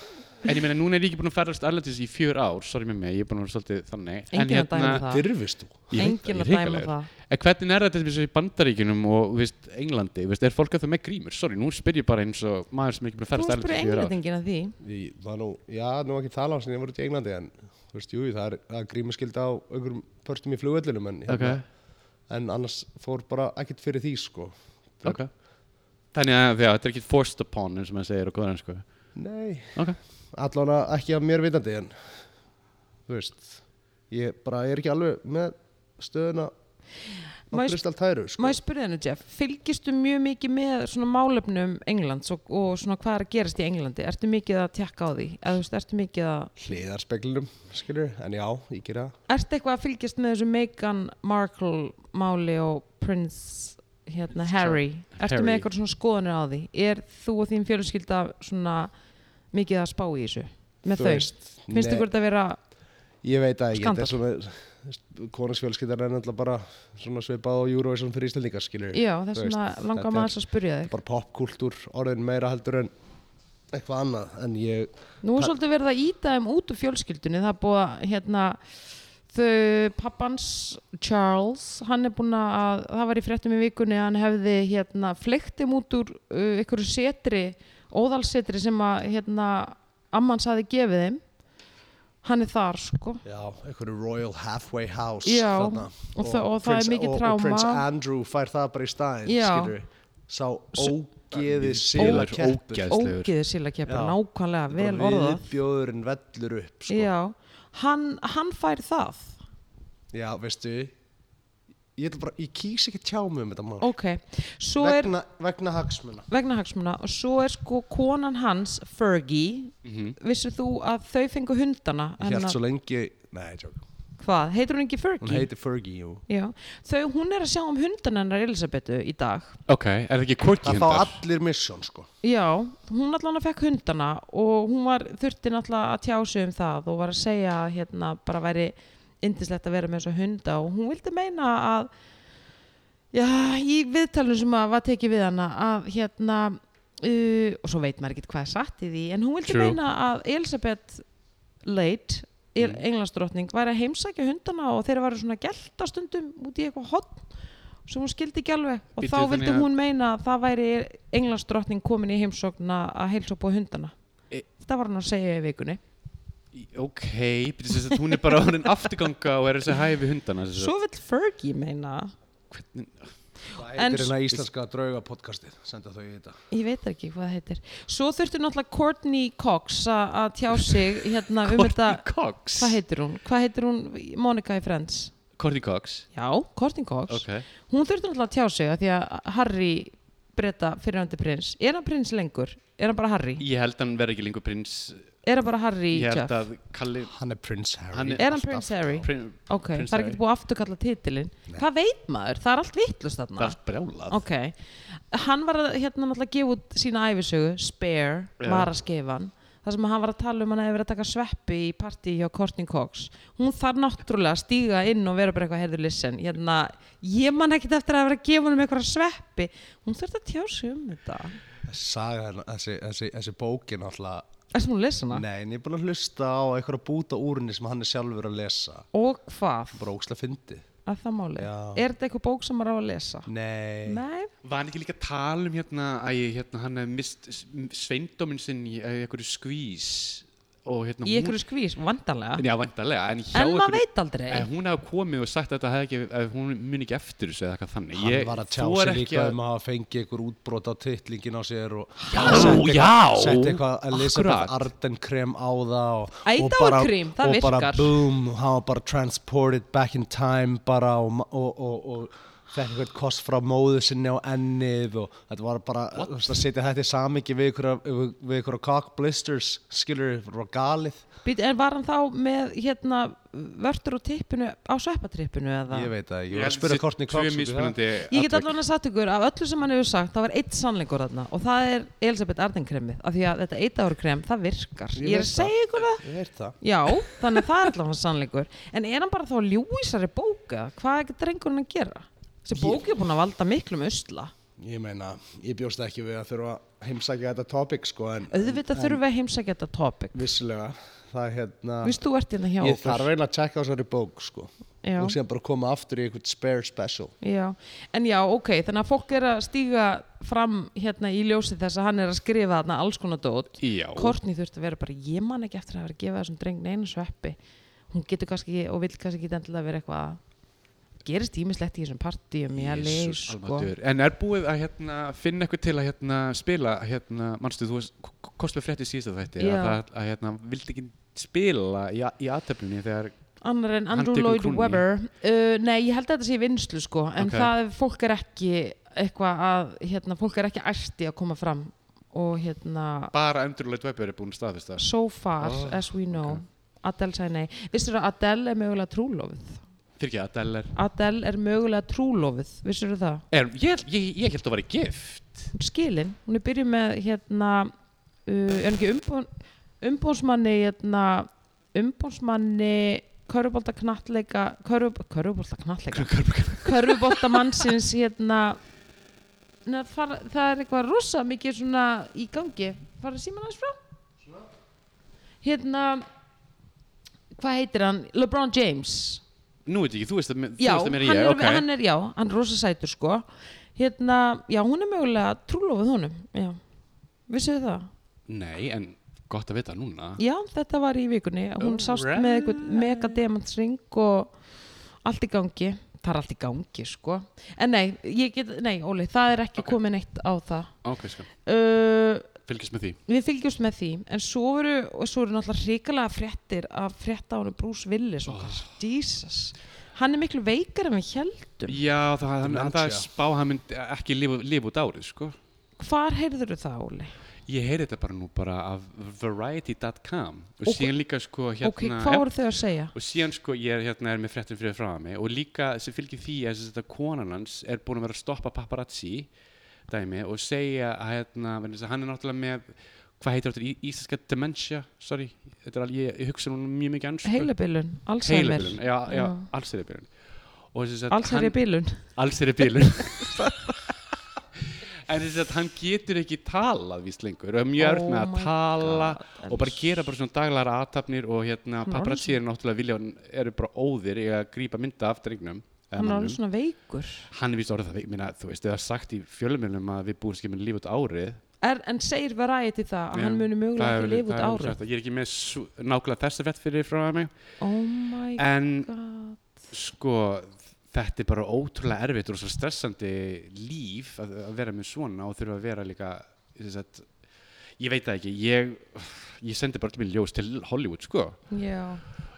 [SPEAKER 2] En ég meina, núna er ég ekki búin að ferðast erlendis í fjör ár, sorry með mig, ég er búin að vera svolítið þannig En
[SPEAKER 1] Enginn að dæma það.
[SPEAKER 3] dyrfist þú
[SPEAKER 2] Ég veit
[SPEAKER 1] Enginn
[SPEAKER 2] það, ég
[SPEAKER 1] að
[SPEAKER 2] er
[SPEAKER 1] dæma
[SPEAKER 2] hrikalegur.
[SPEAKER 1] það.
[SPEAKER 2] En hvernig er þetta eins og í bandaríkjunum og þú veist, Englandi, þú veist, er fólk að það með grímur? Sorry, nú spyr ég bara eins og maður sem er ekki búin að
[SPEAKER 1] Þú
[SPEAKER 2] ferðast
[SPEAKER 1] spyrir
[SPEAKER 2] í fjögur ár.
[SPEAKER 1] englendingin að því.
[SPEAKER 3] Í- það er nú, já, nú ekki tala á sinni, ég voru út í Englandi en, þú veist, jú, það er, það er grímuskylda á einhverjum pörstum í flugvöllunum en, hérna-
[SPEAKER 2] Ok,
[SPEAKER 3] en annars fór bara ekkert fyrir því, sko
[SPEAKER 2] ok. Þannig að já, þetta er ekki forced upon eins og maður segir og góðan sko.
[SPEAKER 3] Nei,
[SPEAKER 2] Ok,
[SPEAKER 3] allan ekki af mér vitandi en, þú veist ég bara er ekki alveg með stöðuna á
[SPEAKER 1] Má ég sp-
[SPEAKER 3] Kristal Tæru,
[SPEAKER 1] Má
[SPEAKER 3] sko
[SPEAKER 1] ég spyrja þennu, Jeff, fylgistu mjög mikið með svona málefnum Englands og, og svona hvað er að gerast í Englandi? Ertu mikið að tjekka á því? Eða þú veist, ertu mikið að,
[SPEAKER 3] hliðarspeglinum, skilur, en já, ég gera
[SPEAKER 1] ertu eitthvað að fylgjast með þessu Meghan Markle máli og Prince, hérna, Harry? Ertu
[SPEAKER 2] Harry.
[SPEAKER 1] með eitthvað svona skoðanir á því? Er þú og þín fjölskylda svona mikið að spá í þessu? Með
[SPEAKER 3] Þú
[SPEAKER 1] þau?
[SPEAKER 3] veist,
[SPEAKER 1] Finnst
[SPEAKER 3] nei.
[SPEAKER 1] ykkur þetta vera,
[SPEAKER 3] Ég veit að ég, þetta
[SPEAKER 1] Skandal.
[SPEAKER 3] er svona konarsfjölskyldar er náttúrulega bara svona svipað á Eurovision fyrir Íslandingar, skilur
[SPEAKER 1] já,
[SPEAKER 3] Þú
[SPEAKER 1] þess
[SPEAKER 3] veist,
[SPEAKER 1] vegna
[SPEAKER 3] þetta
[SPEAKER 1] langar
[SPEAKER 3] er-
[SPEAKER 1] maður þess að spyrja þig.
[SPEAKER 3] bara popkúltúr orðin meira heldur en eitthvað annað en ég,
[SPEAKER 1] Nú er svolítið verið að íta þeim út úr fjölskyldunni það er búið að hérna þau pappans Charles hann er búin að, það var í fréttum í vikunni að hann hefði hérna fleikt þeim út úr uh, einhverju setri óðalsetri sem að hérna amman saði gefið þeim hann er þar sko
[SPEAKER 3] já, einhverju Royal Halfway House
[SPEAKER 1] Já, og það- og það er
[SPEAKER 3] Prince-
[SPEAKER 1] mikið
[SPEAKER 3] og,
[SPEAKER 1] tráma.
[SPEAKER 3] og Prince Andrew fær það bara í staðinn,
[SPEAKER 1] Já.
[SPEAKER 3] skilur sá ógeði
[SPEAKER 2] Ógeður,
[SPEAKER 3] sila keppi
[SPEAKER 2] ógeð. Æðislegur.
[SPEAKER 1] ógiðu síla keppur,
[SPEAKER 3] Já.
[SPEAKER 1] nákvæmlega vel orðað
[SPEAKER 3] viðbjóðurinn vellur upp sko.
[SPEAKER 1] já, hann, hann fær það
[SPEAKER 3] já, veistu ég, ætla bara, ég kýs ekki tjá mig um þetta mál
[SPEAKER 1] ok, svo er
[SPEAKER 3] vegna, vegna hagsmuna
[SPEAKER 1] vegna hagsmuna og svo er sko konan hans Fergie vissir þú að þau fengu hundana
[SPEAKER 3] ég held
[SPEAKER 1] hennar-
[SPEAKER 3] svo lengi, nei, tjók
[SPEAKER 1] hvað, heitir hún ekki
[SPEAKER 3] hún
[SPEAKER 1] Fergie?
[SPEAKER 3] heiti Fergie, jú
[SPEAKER 1] Já, þau, hún er að sjá um hundana hennar Elisabetu í dag
[SPEAKER 2] ok, er það ekki quirky
[SPEAKER 3] það fá
[SPEAKER 2] hundar?
[SPEAKER 3] allir misjón, sko
[SPEAKER 1] já, hún allan að fekk hundana og hún var þurfti náttúrulega að tjá sig um það og var að segja að hérna bara væri indislegt að vera með þessa hunda og hún vildi meina að já, í viðtalinu sem að var tekið við hana að hérna uh, og svo veit maður ekkert hvað er satt í því en hún vildi
[SPEAKER 2] True.
[SPEAKER 1] meina að Elisabeth Leit mm. englandsdrottning væri að heimsækja hundana og þeirra varu svona gælta stundum út í eitthvað hotn sem hún skildi ekki alveg og
[SPEAKER 2] Bíddu,
[SPEAKER 1] þá vildi
[SPEAKER 2] þannig að-
[SPEAKER 1] hún meina að það væri englandsdrottning komin í heimsókna að heilsa upp á hundana
[SPEAKER 2] E-
[SPEAKER 1] það var hann að segja í vikunni
[SPEAKER 2] Ok, betur þess að hún er bara orðin afturganga og er þess að hæfi hundana. sem sagt.
[SPEAKER 1] svo vill Fergie meina
[SPEAKER 2] Hvernig-
[SPEAKER 3] það
[SPEAKER 1] En-
[SPEAKER 3] heitir hérna íslenska drauga podcastið senda þau í þetta
[SPEAKER 1] Ég veit ekki hvað það heitir. Svo þurfti náttúrulega Courtney Cox a- að tjá sig hérna um þetta,
[SPEAKER 2] Courtney Cox?
[SPEAKER 1] hvað heitir hún? Hvað heitir hún Monica í Friends?
[SPEAKER 2] Courtney Cox?
[SPEAKER 1] Já, Courtney Cox.
[SPEAKER 2] Ok.
[SPEAKER 1] Hún þurfti náttúrulega að tjá sig að því að Harry breyta fyrirhandi prins. Er hann prins lengur? Er hann bara Harry?
[SPEAKER 2] Ég held að hann verði ekki lengur prins.
[SPEAKER 1] Er hann bara Harry
[SPEAKER 2] Ég held
[SPEAKER 1] Jeff?
[SPEAKER 2] að Kalli...
[SPEAKER 3] hann er Prince Harry
[SPEAKER 2] Hann
[SPEAKER 1] Er hann prins Harry?
[SPEAKER 2] Prin,
[SPEAKER 1] ok,
[SPEAKER 2] Prince
[SPEAKER 1] það er
[SPEAKER 2] Harry.
[SPEAKER 1] ekki búið að afturkalla titilin. Hvað veit maður? Það er allt vittlust þarna.
[SPEAKER 2] Það er allt brjálað.
[SPEAKER 1] Ok, hann var að hérna náttúrulega gefa út sína æfisögu, Spare,
[SPEAKER 2] Já.
[SPEAKER 1] var að skefa hann þar sem hann var að tala um hann að hefur verið að taka sveppi í partí hjá Courtney Cox hún þarf náttúrulega að stíga inn og vera bara eitthvað heyrðu listen, hérna ég man ekkit eftir að vera að gefa hann um eitthvað sveppi hún þurfti að tjá sig um þetta
[SPEAKER 3] hérna, saga hennar, þessi, þessi, þessi bókin alltaf
[SPEAKER 1] Erstu múin að lesa hana?
[SPEAKER 3] Nei, en ég er búin að hlusta á eitthvað að búta úrinni sem hann er sjálfur að lesa
[SPEAKER 1] Og hvað?
[SPEAKER 3] Bara ókslega fyndið
[SPEAKER 1] Að það máli?
[SPEAKER 3] Já.
[SPEAKER 1] Er þetta eitthvað bók sem maður á að lesa?
[SPEAKER 3] Nei,
[SPEAKER 1] Nei.
[SPEAKER 2] Var hann ekki líka að tala um hérna að ég, hérna, hann hef mist sveindóminn sinn í eh, einhverju skvís og hérna
[SPEAKER 1] Í einhverju skvís, vandarlega.
[SPEAKER 2] Já, vantarlega En, hjá
[SPEAKER 1] En maður
[SPEAKER 2] einhverju-
[SPEAKER 1] veit aldrei.
[SPEAKER 2] En hún hef komið og sagt að þetta hefði ekki að hún muni ekki eftir þessu eða eitthvað þannig
[SPEAKER 3] hann
[SPEAKER 2] Ég
[SPEAKER 3] var að tjá
[SPEAKER 2] þor
[SPEAKER 3] sig
[SPEAKER 2] ekki
[SPEAKER 3] líka
[SPEAKER 2] að-
[SPEAKER 3] um að hafa fengið einhver útbrot á titlingin á sér og
[SPEAKER 2] Já,
[SPEAKER 3] sett
[SPEAKER 2] já,
[SPEAKER 3] sett eitthvað
[SPEAKER 2] akkurat.
[SPEAKER 3] Elizabeth Arden krem á það og,
[SPEAKER 1] Æ,
[SPEAKER 3] og
[SPEAKER 1] það var krem, það
[SPEAKER 3] og bara
[SPEAKER 1] virkar.
[SPEAKER 3] boom, hann var bara transported back in time bara og, og, og, og fekk eitthvað kost frá móðu sinni á ennið og þetta var bara þú veist, að setja þetta í samingi við ykkur, við ykkur cock blisters skilur, var galið
[SPEAKER 1] Býtu, en var hann þá með hérna vörtur og tippinu á sveppatrippinu eða?
[SPEAKER 3] ég veit það, ég
[SPEAKER 2] Ég
[SPEAKER 3] var
[SPEAKER 2] held
[SPEAKER 3] að spyrja
[SPEAKER 2] þessi
[SPEAKER 3] Courtney
[SPEAKER 2] tvö
[SPEAKER 3] Cox um út í það.
[SPEAKER 2] mismunandi
[SPEAKER 1] Ég get
[SPEAKER 2] atvik.
[SPEAKER 1] allan að sagt ykkur af öllu sem hann hefur sagt, þá var eitt sannleikur þarna og það er Elisabeth Ardenkremið af því að þetta eitárukrem, það virkar.
[SPEAKER 3] Ég
[SPEAKER 1] Ég, er
[SPEAKER 3] veit
[SPEAKER 1] að
[SPEAKER 3] það.
[SPEAKER 1] segja ykkur það.
[SPEAKER 3] ég veit það
[SPEAKER 1] Já, þannig að það er allan sannleikur. En er hann bara þá ljúísari bóka? Hvað er drengurinn að gera? Þessi bók er búin að valda miklum usla.
[SPEAKER 3] Ég meina, ég bjóst ekki við að þurfa að heimsækja þetta topic sko en
[SPEAKER 1] Auðvitað þurfum við að heimsækja þetta topic.
[SPEAKER 3] vissulega, það er hérna
[SPEAKER 1] Vist þú ert hérna hjá
[SPEAKER 3] ég
[SPEAKER 1] okkur?
[SPEAKER 3] þarf eiginlega að tjekka á þessari bók sko
[SPEAKER 1] Já.
[SPEAKER 3] og síðan bara koma aftur í eitthvað spare special
[SPEAKER 1] Já, en já, ok, þannig að fólk er að stíga fram hérna í ljósið þess að hann er að skrifa þarna alls konar dót
[SPEAKER 2] Já.
[SPEAKER 1] Kortni þurfti að vera bara, ég man ekki eftir að hafa verið að gefa þessum dreng neina sveppi hún getur kannski og vill kannski ekki endilega vera eitthvað að gerist ímislegt í þessum partíum í LA
[SPEAKER 2] Jesús
[SPEAKER 1] sko.
[SPEAKER 2] almáttugur. En er búið að hérna, finna eitthvað til að hérna, spila, hérna, mannstu, þú kostum við frétti síðast að þetta,
[SPEAKER 1] Já.
[SPEAKER 2] að, það- að hérna, vildi ekki spila í, a- í aðtöflunni þegar,
[SPEAKER 1] annar en
[SPEAKER 2] Hann
[SPEAKER 1] Andrew
[SPEAKER 2] tekur
[SPEAKER 1] Lloyd
[SPEAKER 2] krúnni.
[SPEAKER 1] Webber uh, nei, ég held að þetta sé í vinnslu sko, en
[SPEAKER 2] Ok.
[SPEAKER 1] það er- fólk er ekki eitthvað að, hérna, fólk er ekki ætti að koma fram og hérna,
[SPEAKER 2] bara Andrew Lloyd Webber er búin að staðfesta það.
[SPEAKER 1] so far
[SPEAKER 2] Ah,
[SPEAKER 1] as we know Adele sagði nei vissir að Adele er mögulega trúlofið
[SPEAKER 2] Fyrir ekki, Adele er,
[SPEAKER 1] Adele er mögulega trúlofið vissir það,
[SPEAKER 2] er ég, ég, ég held að það væri gift.
[SPEAKER 1] hún er skilin hún er byrjuð með hérna uh, er hún ekki umbón, umbónsmanni hérna, umbónsmanni körfubolta knattleika körfub, körfubolta knattleika körfubolta mannsins hérna Nei, það, það er eitthvað rosa mikið svona í gangi fara síman aðeins frá hérna hvað heitir hann? LeBron James
[SPEAKER 2] Nú veit ég ekki, þú veist það me- þú
[SPEAKER 1] já,
[SPEAKER 2] veist það meira en
[SPEAKER 1] hann,
[SPEAKER 2] ég,
[SPEAKER 1] er,
[SPEAKER 2] ok.
[SPEAKER 1] hann er, já, hann er rosa sætur sko hérna, já, hún er mögulega trúlofið honum, já vissuðu það?
[SPEAKER 2] Nei, en gott að vita núna.
[SPEAKER 1] Já, þetta var í vikunni hún sást með eitthvað mega demantsring og allt í gangi það er allt í gangi sko en nei, ég get, nei Óli, það er ekki komin eitt á það
[SPEAKER 2] Ok, sko,
[SPEAKER 1] uh,
[SPEAKER 2] fylgjast með því.
[SPEAKER 1] Við fylgjumst með því, en svo eru, og svo eru náttúrulega hrikalega fréttir að frétta á hann Bruce Willis
[SPEAKER 2] Oh.
[SPEAKER 1] okkar, Jesus. Hann er miklu veikar en við heldum.
[SPEAKER 2] Já, það, hann, hann, það er
[SPEAKER 3] Dementia.
[SPEAKER 2] spá, hann myndi ekki lifa, lifa út árið, sko.
[SPEAKER 1] Hvar heyrður það, Óli?
[SPEAKER 2] Ég heyri þetta bara nú bara af variety.com og
[SPEAKER 1] Ok.
[SPEAKER 2] síðan líka sko hérna
[SPEAKER 1] ok, hvað voru þau að segja?
[SPEAKER 2] og síðan sko ég er hérna er með fréttin fyrir frá mig og líka sem fylgir því að þess að konan hans er búin að vera að stoppa paparazzi dæmi og segja að hérna vegna þess að hann er náttúrulega með hvað heitir þetta í- íslenska dementia sorry, þetta er alveg, ég, ég hugsa núna mjög mikið ennsku
[SPEAKER 1] Heilabilun, Alzheimer.
[SPEAKER 2] Sko, heilabilun, já, já,
[SPEAKER 1] Já.
[SPEAKER 2] allsýribilun og þess að
[SPEAKER 1] Alzheimer bilun.
[SPEAKER 2] alls er í bílun en þess að hann getur ekki talað víst lengur og er
[SPEAKER 1] Oh
[SPEAKER 2] mjög erfitt með að
[SPEAKER 1] my
[SPEAKER 2] tala
[SPEAKER 1] God,
[SPEAKER 2] og bara gera bara svona daglæra aðtapnir og hérna
[SPEAKER 1] Hann er
[SPEAKER 2] paparazzi er náttúrulega vilja eru bara óðir í að grípa mynda af drengnum
[SPEAKER 1] Hann er
[SPEAKER 2] eða manninum.
[SPEAKER 1] alveg svona veikur.
[SPEAKER 2] hann er víst orðið það, ég meina, þú veist, eða sagt í fjölumjölum að við búum skemmur líf út árið
[SPEAKER 1] Er, en segir Variety það að
[SPEAKER 2] Já,
[SPEAKER 1] hann muni
[SPEAKER 2] það
[SPEAKER 1] mögulega
[SPEAKER 2] hefur-
[SPEAKER 1] ekki lifa
[SPEAKER 2] það
[SPEAKER 1] út
[SPEAKER 2] hefur sagt
[SPEAKER 1] árið?
[SPEAKER 2] það. ég er ekki með svo- nákvæmlega þessa fett fyrir frá mig
[SPEAKER 1] Oh my
[SPEAKER 2] en
[SPEAKER 1] god.
[SPEAKER 2] sko þetta er bara ótrúlega erfitt og svo stressandi líf að, að vera með svona og þurfa að vera líka þess að ég veit það ekki, ég, ég sendi bara allir minn ljós til Hollywood sko
[SPEAKER 1] Já,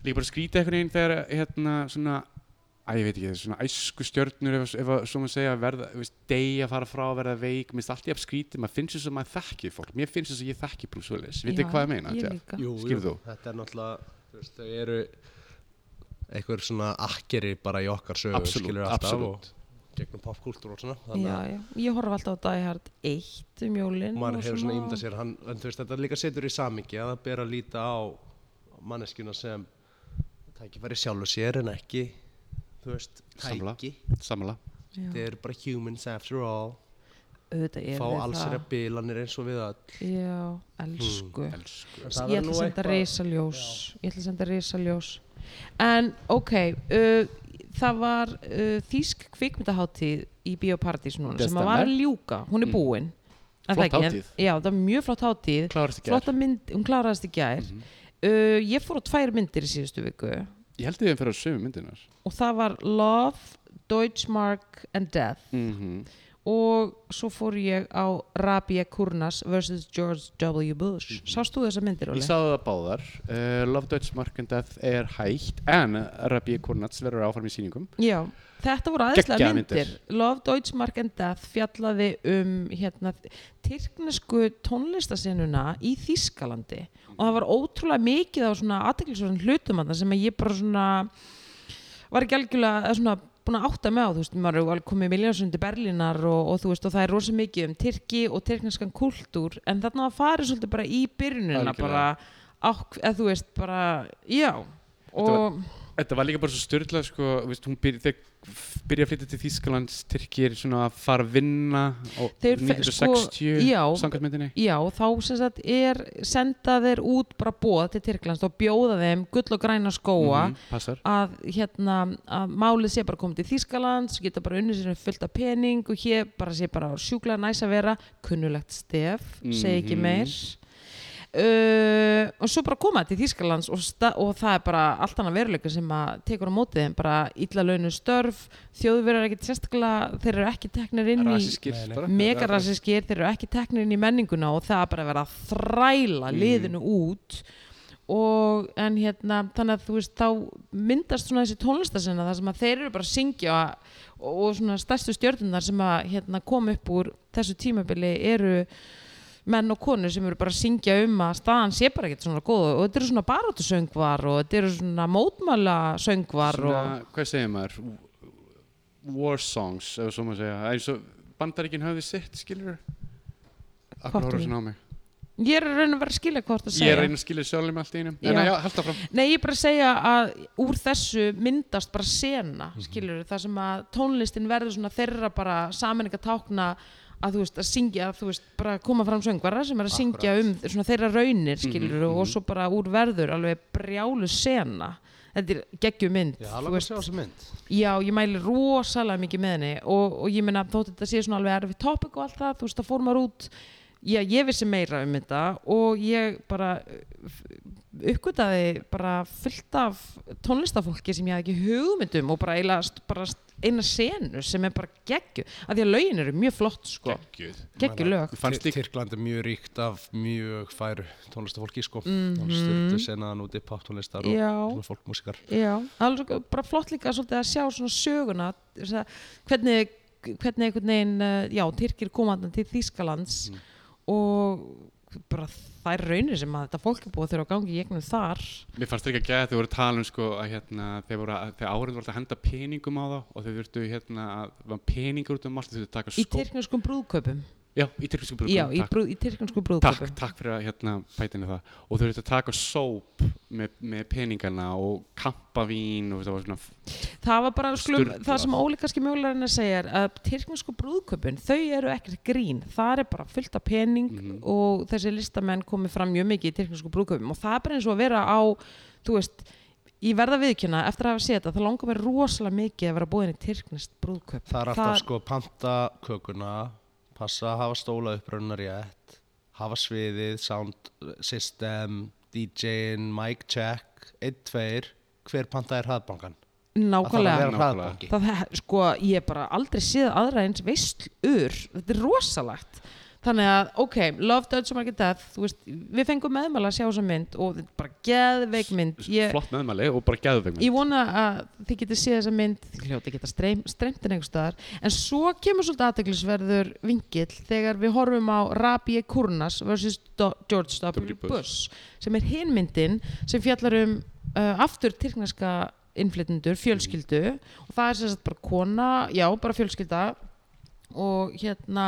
[SPEAKER 2] líka bara skrýta einhvern veginn þegar hérna svona að ég veit ekki, svona æsku stjörnur ef, ef að, svo maður segja, verða, veist, degi að fara frá að verða veik, mér finnst allt ég að skrýti maður finnst þess að maður þekki fólk, mér finnst þess að ég þekki Bruce Willis, veit
[SPEAKER 1] Já,
[SPEAKER 2] þið hvað ég meina?
[SPEAKER 1] ég
[SPEAKER 2] Jeff?
[SPEAKER 1] líka.
[SPEAKER 3] Jú,
[SPEAKER 2] Skilur þú?
[SPEAKER 3] þetta er náttúrulega, þú veist, þau eru einhver svona akkeri bara í okkar sögu,
[SPEAKER 2] Absolutt,
[SPEAKER 3] skilur alltaf
[SPEAKER 2] absolutt.
[SPEAKER 3] og gegnum popkúltúr og svona, þannig
[SPEAKER 1] já,
[SPEAKER 3] að
[SPEAKER 1] já. Ég horf alltaf á Die Hard 1 um jólinn.
[SPEAKER 3] maður
[SPEAKER 1] og
[SPEAKER 3] hefur svona ímynda sér, hann, en þú veist, þetta líka setur í samingi að það ber að líta á manneskjuna sem tækifæri sjálfu sér en ekki, þú veist,
[SPEAKER 2] Samla.
[SPEAKER 3] tæki,
[SPEAKER 2] Samla,
[SPEAKER 1] Já.
[SPEAKER 3] þeir eru bara humans after all.
[SPEAKER 1] auðvitað er
[SPEAKER 3] fá
[SPEAKER 1] við
[SPEAKER 3] alls er
[SPEAKER 1] það.
[SPEAKER 3] að bilanir eins og við öll
[SPEAKER 1] Já,
[SPEAKER 3] Mm.
[SPEAKER 1] elsku.
[SPEAKER 2] elsku
[SPEAKER 4] En
[SPEAKER 1] Ég ætla að senda risaljós Ég ætla að senda risaljós En ok uh, Það var uh, þýsk kvikmyndaháttíð í Bíóparadís núna sem að var að
[SPEAKER 2] Desember.
[SPEAKER 1] ljúka, hún er
[SPEAKER 2] Mm.
[SPEAKER 1] búin Er það
[SPEAKER 2] Flott
[SPEAKER 1] ekki?
[SPEAKER 2] hátíð.
[SPEAKER 1] Já, það var mjög flott hátíð
[SPEAKER 2] klárast ekki
[SPEAKER 1] Flotta mynd, hún kláraðist í gær uh, Ég fór á tvær myndir í síðustu viku
[SPEAKER 2] Mhm. ég held að við fyrir að sömu myndinar
[SPEAKER 1] og það var Love, Deutschmark and Death
[SPEAKER 2] mm -hmm.
[SPEAKER 1] og svo fór ég á Rabia Kurnas vs. George W. Bush Sást þú þessa myndir, Óli?
[SPEAKER 2] Mhm. ég sagði það báðar uh, Love Dutch Mark and Death er hægt en Rabbi Kornats verður áfram í sýningum
[SPEAKER 1] Já, þetta voru aðeinslega
[SPEAKER 2] Geggjaðar
[SPEAKER 1] myndir. Love, Deutschmark and Death fjallaði um hérna, tyrknesku tónlistasinnuna í Þýskalandi og það var ótrúlega mikið á svona aðteklisverðan hlutum að sem að ég bara svona var ekki algjörlega eða svona búin að átta með á, þú veist, maður er alveg komið miljónsund til Berlínar og, og þú veist, og það er rosa mikið um Tyrki og tyrkneskan kultúr en þarna var farið svolítið bara í byrjunina
[SPEAKER 2] Algjörlega.
[SPEAKER 1] bara, á, eða þú veist, bara, já
[SPEAKER 2] Þetta var-
[SPEAKER 1] og
[SPEAKER 2] Þetta var líka bara svo styrla sko, veist, hún byrja, þegar byrja að flytja til Þýskalands, Tyrkir svona að fara að vinna á
[SPEAKER 1] Þeir fe-
[SPEAKER 2] 1960
[SPEAKER 1] sko, já.
[SPEAKER 2] samkvæmt myndinni.
[SPEAKER 1] Já, þá sem sagt er senda þeir út bara bóð til Tyrklands og bjóða þeim gull og græna skóa
[SPEAKER 2] Mhm, Passar.
[SPEAKER 1] að hérna að málið sé bara komið til Þýskalands geta bara unnið sér fullt af pening og hér bara sé bara sjúklega næs að vera kunnulegt stef, segi ekki
[SPEAKER 2] Mhm.
[SPEAKER 1] meir uh, og svo bara koma til Þýskalands og, sta- og það er bara allt annað veruleika sem að tekur á mótið þeim, bara illa launu störf þjóðverðar ekkert sérstaklega þeir eru ekki teknir inn í
[SPEAKER 2] Rasískir
[SPEAKER 3] Nei, nei.
[SPEAKER 2] bara.
[SPEAKER 1] megarasiskir, þeir eru ekki teknir inn í menninguna og það er bara að vera að þræla
[SPEAKER 2] Mhm.
[SPEAKER 1] liðinu út og en hérna þannig að þú veist þá myndast svona þessi tónlistasinna þar sem að þeir eru bara að syngja og, og svona stærstu stjörnunar sem að hérna kom upp úr þessu tímabili eru menn og konur sem eru bara að syngja um að staðan sé bara ekkert svona góð og þetta eru svona barátusöngvar og þetta eru svona mótmála söngvar og
[SPEAKER 2] Svona, hvað segir maður? War songs, ef svo maður segja. Eins og bandaríkinn höfði sitt, skilur þau?
[SPEAKER 1] Hvort
[SPEAKER 2] Akkur horfður
[SPEAKER 1] við?
[SPEAKER 2] svona á mig.
[SPEAKER 1] ég er að reyna að vera að skilja hvort að
[SPEAKER 2] Ég
[SPEAKER 1] segja
[SPEAKER 2] er að reyna að skilja sjálf um allt í einu.
[SPEAKER 1] Já.
[SPEAKER 2] En já, held það fram.
[SPEAKER 1] Nei, ég er bara að segja að úr þessu myndast bara sena, skilur það sem að tónlistin verður svona þeirra bara saminninga tákna að þú veist, að syngja, þú veist, bara koma fram söngvara sem er að syngja um svona þeirra raunir, skilur og svo bara úr verður alveg brjálu sena þetta er geggjum mynd
[SPEAKER 3] Já,
[SPEAKER 1] þú
[SPEAKER 3] alveg að sjá þessu mynd
[SPEAKER 1] já, ég mæli rosalega mikið með henni og, og ég meina þótt þetta sé svona alveg erfið topic og allt það, þú veist, það fór maður út já, ég vissi meira um þetta og ég bara uppgötaði bara fullt af tónlistafólki sem ég hafði ekki hugmyndum og bara eina, bara eina senu sem er bara geggju, af því að lögin eru mjög flott sko,
[SPEAKER 2] Gekkjuð.
[SPEAKER 1] geggju lög
[SPEAKER 2] Fannst líka,
[SPEAKER 3] Tyrkland er mjög ríkt af mjög færu tónlistafólki sko mm -hmm. styrtu senaðan úti páttónlistar og
[SPEAKER 1] Mhm. Já.
[SPEAKER 3] svona fólkmúsikar
[SPEAKER 1] Já, alveg, bara flott líka svolítið að sjá svona söguna þess að hvernig, hvernig einhvern veginn eh, já, Tyrkir komandan til Þýskalands og bara þær raunir sem að þetta fólk er búið þegar á gangi í eignum þar
[SPEAKER 2] mér fannst líka gæða þegar voru að tala um sko að hérna, þegar, voru að, þegar árið voru að henda peningum á þá og þeir þurftu hérna að, var peningur út um allt, þeir þurftu að taka
[SPEAKER 1] í
[SPEAKER 2] skó.
[SPEAKER 1] tyrknarskum brúðkaupum
[SPEAKER 2] Já, í tyrkisku brúkum.
[SPEAKER 1] Já, í, brú, í tyrknarskum
[SPEAKER 2] Takk,
[SPEAKER 1] brúðkaupum
[SPEAKER 2] takk fyrir að hérna bætinu það og þau eru að taka sóp með, með peningana og kampavín og það var svona
[SPEAKER 1] Það var bara sklum,
[SPEAKER 2] Sturlað.
[SPEAKER 1] það sem Óli kannski mögulega reyna að segja er að tyrknarsku brúðkaupin, þau eru ekkert grín það er bara fullt af pening
[SPEAKER 3] Mhm.
[SPEAKER 1] og þessi listamenn komið fram mjög mikið í tyrknarsku brúðkaupum og það er bara eins og að vera á þú veist, ég verða viðkjöna eftir að hafa séð þetta, það langar mér rosalega mikið að vera búin í tyrknast brúðkaup
[SPEAKER 3] Það er alltaf sko panta kökuna, passa að hafa stóla upprunnar rétt, hafa sviðið, sound system, DJ-in, mic check, 1, 2, hver panta er hraðbankan?
[SPEAKER 1] nákvæmlega
[SPEAKER 3] Það þarf að vera
[SPEAKER 2] Nákvæmlega.
[SPEAKER 3] hraðbanki.
[SPEAKER 1] það, he- sko, ég hef bara aldrei séð aðra eins veistlur, þetta er rosalagt þannig að, ok, Love, Dead, So Market Death þú veist, við fengum meðmæla að sjá þessa mynd og þetta er bara geðveik mynd ég,
[SPEAKER 2] flott meðmæli og bara gæðveg
[SPEAKER 1] ég vona að þið getið séð þessa mynd þið hljóti geta streym, streymt en einhver staðar en svo kemur svolítið aðteglisverður vingill þegar við horfum á Rabie Kurnas vs. Do George W.
[SPEAKER 2] W. Bush.
[SPEAKER 1] Bush sem er hinmyndin sem fjallar um uh, aftur tyrkneska innflytjendur, fjölskyldu og það er sem sagt bara kona, já, bara fjölskylda og hérna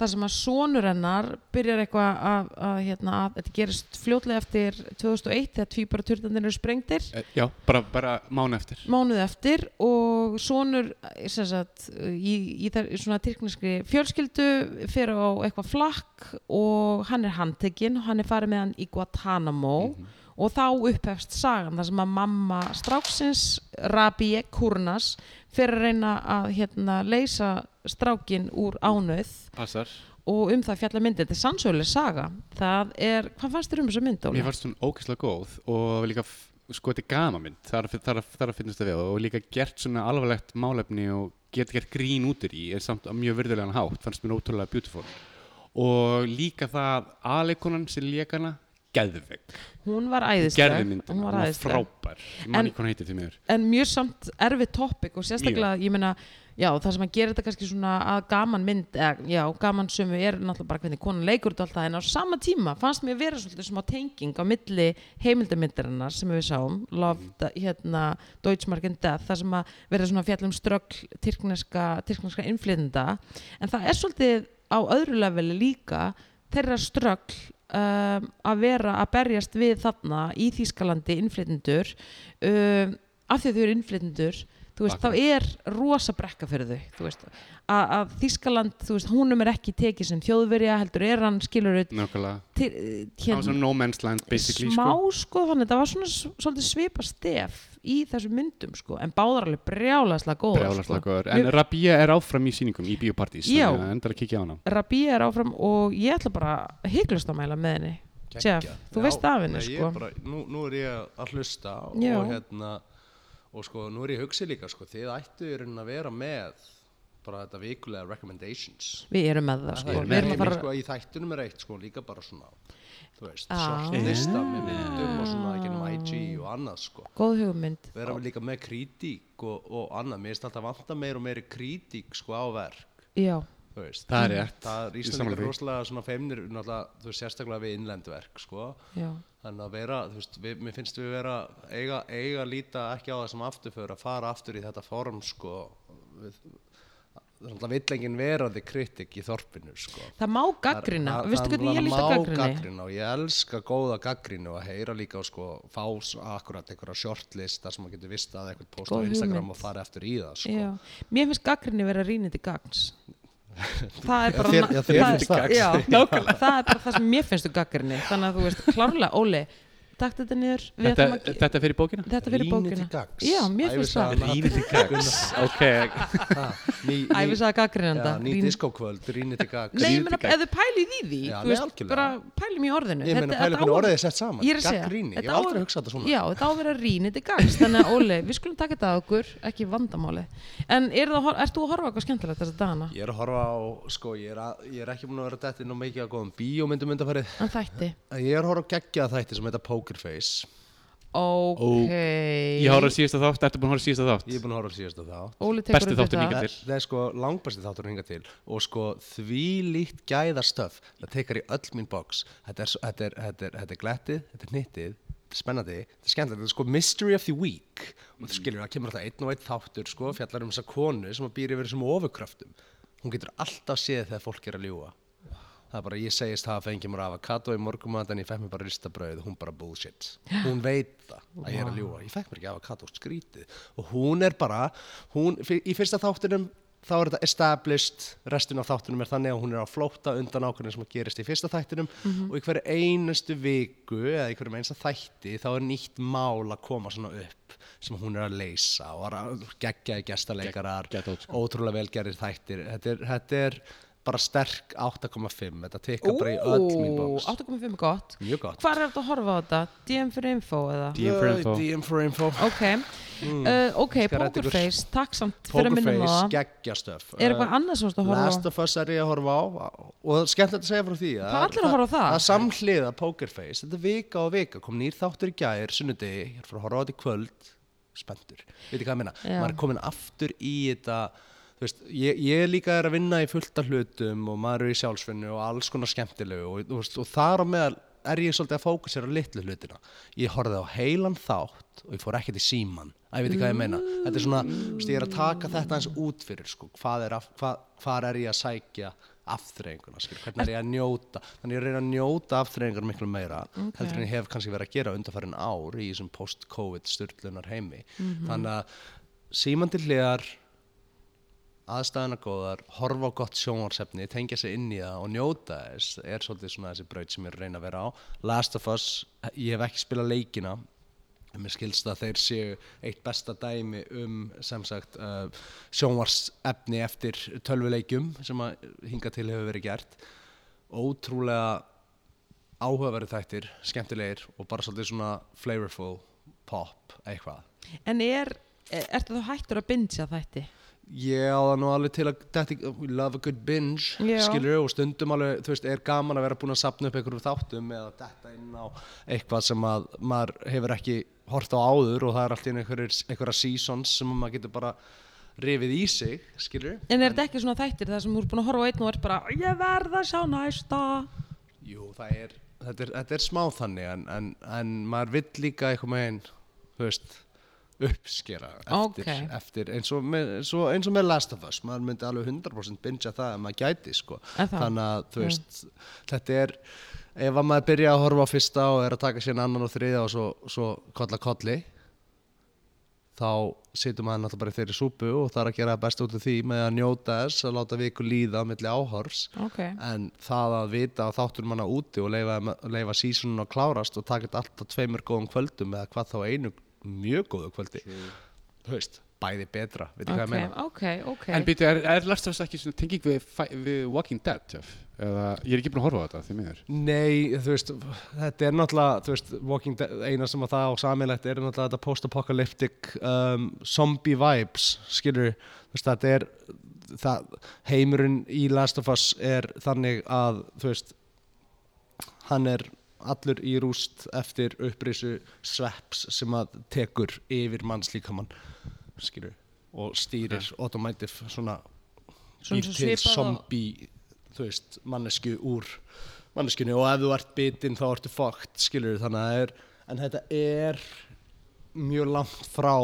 [SPEAKER 1] þar sem að sonur hennar byrjar eitthvað að, að, hérna, að þetta gerist fljótlega eftir 2001 þegar tvíbara turtandir eru sprengtir
[SPEAKER 2] Eh, Já, bara, bara mánu eftir
[SPEAKER 1] mánuð eftir og sonur eh, sem sagt, í, í þær í svona tyrkneskri fjölskyldu fer á eitthvað flakk og hann er handtekinn og hann er farið með hann í Guantanamo
[SPEAKER 2] Mhm.
[SPEAKER 1] og þá upphefst sagan þar sem að mamma stráksins Rabie Kurnas fer að reyna að hérna, leysa strákin úr ánöð
[SPEAKER 2] Passar
[SPEAKER 1] og um það fjalla myndi, þetta er sannsöguleg saga það er, hvað fannst þér um þessa mynd? Óli?
[SPEAKER 2] Mér fannst hún ógeðslega góð og líka f- sko þetta er gama mynd þar, þar, þar, þar að finnast það við og líka gert svona alvarlegt málefni og get gert grín út úr í er samt á mjög virðulegan hátt fannst mér ótrúlega beautiful og líka það aðleikunan sem leikana geðveg,
[SPEAKER 1] hún var æðisleg
[SPEAKER 2] gerði myndina,
[SPEAKER 1] hún var æðisleg
[SPEAKER 2] frábær ég man
[SPEAKER 1] En-
[SPEAKER 2] ekki hvað hún heitir því mér
[SPEAKER 1] en mjög samt erfið topic og sérstaklega, ég meina, já, það sem að gera þetta kannski svona að gaman mynd eða, já, gaman sömu er náttúrulega bara hvernig konan leikur þetta alltaf, en á sama tíma fannst mér vera svolítið smá tenging á milli heimildamyndarinnar sem við sáum Love, hérna, Deutschmark and Death það sem að verða svona fjallum ströggl tyrkneska, tyrkneska innflytenda en það er svolítið á öðru leveli líka þeirra ströggl um, að vera að berjast við þarna í Þýskalandi innflytendur um, af því að þau eru innflytendur þú veist, þá er rosa brekka fyrir þau þú veist, að, að Þýskaland þú veist, húnum er ekki tekið sem þjóðverja heldur er hann, skilur við
[SPEAKER 2] nákvæmlega,
[SPEAKER 1] til, eh, hérna,
[SPEAKER 2] það var svona no man's land basically
[SPEAKER 1] smá
[SPEAKER 2] sko.
[SPEAKER 1] sko, þannig það var svona s- svolítið svipa stef í þessum myndum sko, en báðar alveg brjálaslega góðar
[SPEAKER 2] Brjálæslega
[SPEAKER 1] sko.
[SPEAKER 2] góður. En
[SPEAKER 1] Mér-
[SPEAKER 2] Rabia er áfram í sýningum í biopartís,
[SPEAKER 1] Já.
[SPEAKER 2] þannig að endar að kíkja á hana.
[SPEAKER 1] Rabí er áfram og ég ætla bara hygglust að mæla með henni Jeff, þú veist af henni
[SPEAKER 3] nei, ég
[SPEAKER 1] sko
[SPEAKER 3] bara, nú, nú er ég að hlusta og,
[SPEAKER 1] Já.
[SPEAKER 3] hérna og sko nú er ég að hugsa líka sko, þið ættu í rauninni að vera með bara þetta vikulega recommendations
[SPEAKER 1] Við erum með það sko,
[SPEAKER 3] Það er
[SPEAKER 1] við erum
[SPEAKER 3] með-
[SPEAKER 1] að fara
[SPEAKER 3] sko, í þættunum er eitt sko, líka bara svona þú veist,
[SPEAKER 1] Ah.
[SPEAKER 3] shortlista með myndum og svona ekki um IG og annað sko
[SPEAKER 1] góð hugmynd
[SPEAKER 3] vera líka með krítík og, og annað, mér finnst alltaf vanta meir og meiri krítík sko á verk
[SPEAKER 1] Já,
[SPEAKER 3] þú veist,
[SPEAKER 2] Það er rétt.
[SPEAKER 3] það er
[SPEAKER 2] Ég sammála
[SPEAKER 3] Íslandingar
[SPEAKER 2] því.
[SPEAKER 3] rosalega svona feimnir, náttúrulega, þú veist, sérstaklega við innlendverk sko,
[SPEAKER 1] já,
[SPEAKER 3] þannig að vera þú veist, við, mér finnst við vera, eiga, eiga að líta ekki á það sem afturför að fara aftur í þetta form sko við, það er alltaf vill enginn verandi kritik í þorpinu sko
[SPEAKER 1] það má gaggrina
[SPEAKER 3] Það-
[SPEAKER 1] Veistu
[SPEAKER 3] það
[SPEAKER 1] hvernig ég
[SPEAKER 3] náttúrulega
[SPEAKER 1] líta
[SPEAKER 3] má
[SPEAKER 1] gaggrinni?
[SPEAKER 3] gagnrýna og ég elska góða gaggrínu og að heyra líka og sko fá s- akkurat einhverja shortlist þar sem maður getur vist að eitthvað post á
[SPEAKER 1] Góð
[SPEAKER 3] Instagram
[SPEAKER 1] hugmynd.
[SPEAKER 3] og fara eftir í það sko.
[SPEAKER 1] Já, mér finnst gaggrinni vera rýnið til gagns Það er bara
[SPEAKER 4] þér- já, þér
[SPEAKER 1] það-
[SPEAKER 4] finnst það.
[SPEAKER 1] Já, nákvæmlega, það er bara það sem mér finnst þú gaggrinni Þannig að þú veist, klárlega, Óli Takk þetta niður, við
[SPEAKER 2] Þetta,
[SPEAKER 1] ætlum að
[SPEAKER 2] þetta fyrir bókina?
[SPEAKER 1] Þetta fyrir
[SPEAKER 3] Rýnið til
[SPEAKER 1] bókina
[SPEAKER 3] gagns.
[SPEAKER 1] Já, mér finnst
[SPEAKER 3] Ævisaga
[SPEAKER 1] það
[SPEAKER 3] Nat-
[SPEAKER 2] Rýnið til gags. ok,
[SPEAKER 3] Ha, ný, ný,
[SPEAKER 1] Æfisaga gaggrinanda
[SPEAKER 3] já, ný diskokvöld, rýni til gags
[SPEAKER 1] Nei, ég meina, ef þið pælið í því
[SPEAKER 3] Já,
[SPEAKER 1] þú
[SPEAKER 3] nei,
[SPEAKER 1] veist,
[SPEAKER 3] algjörlega.
[SPEAKER 1] bara pælum í orðinu
[SPEAKER 3] Ég
[SPEAKER 1] Þetta-
[SPEAKER 3] meina,
[SPEAKER 1] þetta á
[SPEAKER 3] pæla hvernig
[SPEAKER 1] að-
[SPEAKER 3] orðið er sett saman.
[SPEAKER 1] Ég er að segja,
[SPEAKER 3] Gagnrýni, ég
[SPEAKER 1] þetta
[SPEAKER 3] hef
[SPEAKER 1] á
[SPEAKER 3] aldrei hugsað þetta svona.
[SPEAKER 1] Já, þetta á að vera rýni til gagns Þannig að Óli, við skulum taka þetta að okkur, ekki vandamáli En er það, ert þú að horfa á eitthvað skemmtilegt þessa dagana?
[SPEAKER 3] ég er að horfa á, sko, ég er, að, ég er ekki búin að vera dætti nú mikið að góðum bíómyndum undarfærið
[SPEAKER 1] En þætti
[SPEAKER 3] ég er að horfa á geggja þætti sem heita Pokerface
[SPEAKER 1] Ok
[SPEAKER 2] ég horfði á síðasta þátt, ertu búin að horfa á síðasta þátt?
[SPEAKER 3] ég er búin að horfa á síðasta þá
[SPEAKER 1] Óli tekur
[SPEAKER 2] Besti
[SPEAKER 1] upp
[SPEAKER 2] þáttur
[SPEAKER 1] þetta.
[SPEAKER 2] hingað
[SPEAKER 3] Það
[SPEAKER 2] til.
[SPEAKER 3] það er sko langbæsti þáttur hinga til og sko því líkt gæðastöf það tekar í öll mín box þetta er, svo- þetta er, þetta er, þetta er glættið, þetta er nýttið þetta er spennandi, þetta er skemmtilegt, þetta er sko mystery of the week og þú skilur það kemur alltaf einn og einn þáttur sko, fjallar um þessa konu sem að býr yfir þessum ofurkröftum hún getur alltaf séð þegar fólk er að ljúa það er bara ég segist það að fengi mér avokado í morgumat en ég fekk mér bara ristabrauð hún bara bullshit, hún veit það að ég er að ljúa, ég fekk mér ekki avokado skrítið og hún er bara hún, fyr- í fyrsta þáttunum þá er þetta established, restin af þáttunum er þannig að hún er á flóta undan ákveðin sem að gerist í fyrsta þættinum og í hverju einustu viku eða í hverju einsta þætti þá er nýtt mál að koma svona upp sem hún er að leysa og að geggja í gestaleikarar
[SPEAKER 2] Geggjað dót, sko.
[SPEAKER 3] ótrúlega velgerðir þættir þetta er, þetta er bara sterk 8,5 þetta tekka bara í öll mín bóks
[SPEAKER 1] 8.5 er gott
[SPEAKER 3] Mjög gott.
[SPEAKER 1] Hvar er þetta að horfa á þetta? DM fyrir info eða?
[SPEAKER 2] DM for info.
[SPEAKER 3] DM for info
[SPEAKER 1] Ok, uh, ok,
[SPEAKER 3] Mm. Skal ræta ykkur.
[SPEAKER 1] Pokerface, takk samt fyrir að minnum á
[SPEAKER 3] Pokerface,
[SPEAKER 1] það
[SPEAKER 3] geggjastöf
[SPEAKER 1] Er eitthvað annað sem þú ert að horfa á?
[SPEAKER 3] Last of Us er ég að horfa á og það er skemmtilegt að segja frá því
[SPEAKER 1] Það er allir að horfa á það.
[SPEAKER 3] Það er samhliða Pokerface, þetta er vika á vika kom nýr þáttur í gær, sunnudegi ég er fyrir að horfa á þetta í kvöld, spendur veit hvað ég meina,
[SPEAKER 1] Já.
[SPEAKER 3] maður er komin aftur í þetta þú veist, ég, ég líka er að vinna í fullta hlutum og maður er í sjálfsvinnu og alls konar skemmtilegu og, þú veist, og þar á meðal er ég svolítið að fókusera á litlu hlutina ég horfði á heilan þátt og ég fór ekkert í síman að ég veit ekki hvað ég meina þetta er svona, þú veist, ég er að taka þetta eins út fyrir sko, hvað er, af, hvað, hvað er ég að sækja afþreyinguna, skil, hvernig er ég að njóta þannig ég reyna að njóta afþreyingar miklu meira heldur en ég hef kannski verið að gera undarfærin ár í þessum post-covid styrlunar heimi þannig að símandi hliðar aðstæðuna góðar, horfa á gott sjónvarsefni, tengja sig inn í það og njóta þess, er svolítið svona þessi braut sem ég er að reyna að vera á. Last of Us, ég hef ekki spilað leikina, en mér skilst að þeir séu eitt besta dæmi um, sem sagt, uh, sjónvarsefni eftir tölvuleikjum sem að hinga til hefur verið gert. Ótrúlega áhugaverðu þættir, skemmtilegir og bara svolítið svona flavorful pop eitthvað.
[SPEAKER 1] En er, er ertu þá hættur að bingja þætti?
[SPEAKER 3] Ég á það nú alveg til að detti, we love a good binge,
[SPEAKER 1] Já.
[SPEAKER 3] skilur og stundum alveg, þú veist, er gaman að vera búin að sapna upp einhverjum þáttum eða detta inn á eitthvað sem að maður hefur ekki hort á áður og það er alltaf einhverjir, einhverja seasons sem maður getur bara rifið í sig, skilur
[SPEAKER 1] En er þetta ekki svona þættir þar sem þú ert búin að horfa á einn og ert bara ég verð að sjá næsta
[SPEAKER 3] Jú, það er, þetta er, þetta er smá þannig en, en, en maður vill líka einhvern veginn, þú veist, uppskera eftir,
[SPEAKER 1] Ókei.
[SPEAKER 3] eftir eins, og með, eins, og, eins og með Last of Us, maður myndi alveg 100% bingja það ef maður gæti, sko.
[SPEAKER 1] Er það?
[SPEAKER 3] Þannig að, þú veist, þetta er, ef að maður byrja að horfa á fyrsta og er að taka síðan annan og þriðja og svo, svo kolla kolli, þá situr maður náttúrulega bara í þeirri súpu og það er að gera best út af því með að njóta þess að láta viku líða á milli áhors
[SPEAKER 1] Ok,
[SPEAKER 3] en það að vita að þáttur manna úti og leifa, leifa sísunum að klárast og taka þetta allt á tveimur góðum kvöldum eða hvað þá einu mjög góðu kvöldi þú veist, bæði betra veit okay. hvað ég
[SPEAKER 1] ok,
[SPEAKER 3] meina
[SPEAKER 1] ok, ok
[SPEAKER 2] En býtu, er, er Last of Us ekki svona tenging við, fi- við Walking Dead, Jeff? Eða, ég er ekki búin að horfa á þetta, því miður.
[SPEAKER 3] Nei, þú veist, þetta er náttúrulega þú veist, Walking Dead, eina sem að það á samilegt er náttúrulega þetta post-apocalyptic um, zombie vibes skilur, þú veist, þetta er það, heimurinn í Last of Us er þannig að þú veist, hann er allur í rúst eftir upprisu svepps sem að tekur yfir mannslíkamann skilur, og stýrir automative svona
[SPEAKER 1] Svona svo
[SPEAKER 3] býr til
[SPEAKER 1] svipað og-
[SPEAKER 3] zombie þú veist, mannesku úr manneskinu og ef þú ert bitinn þá ertu fucked, skilur þannig að það er en þetta er mjög langt frá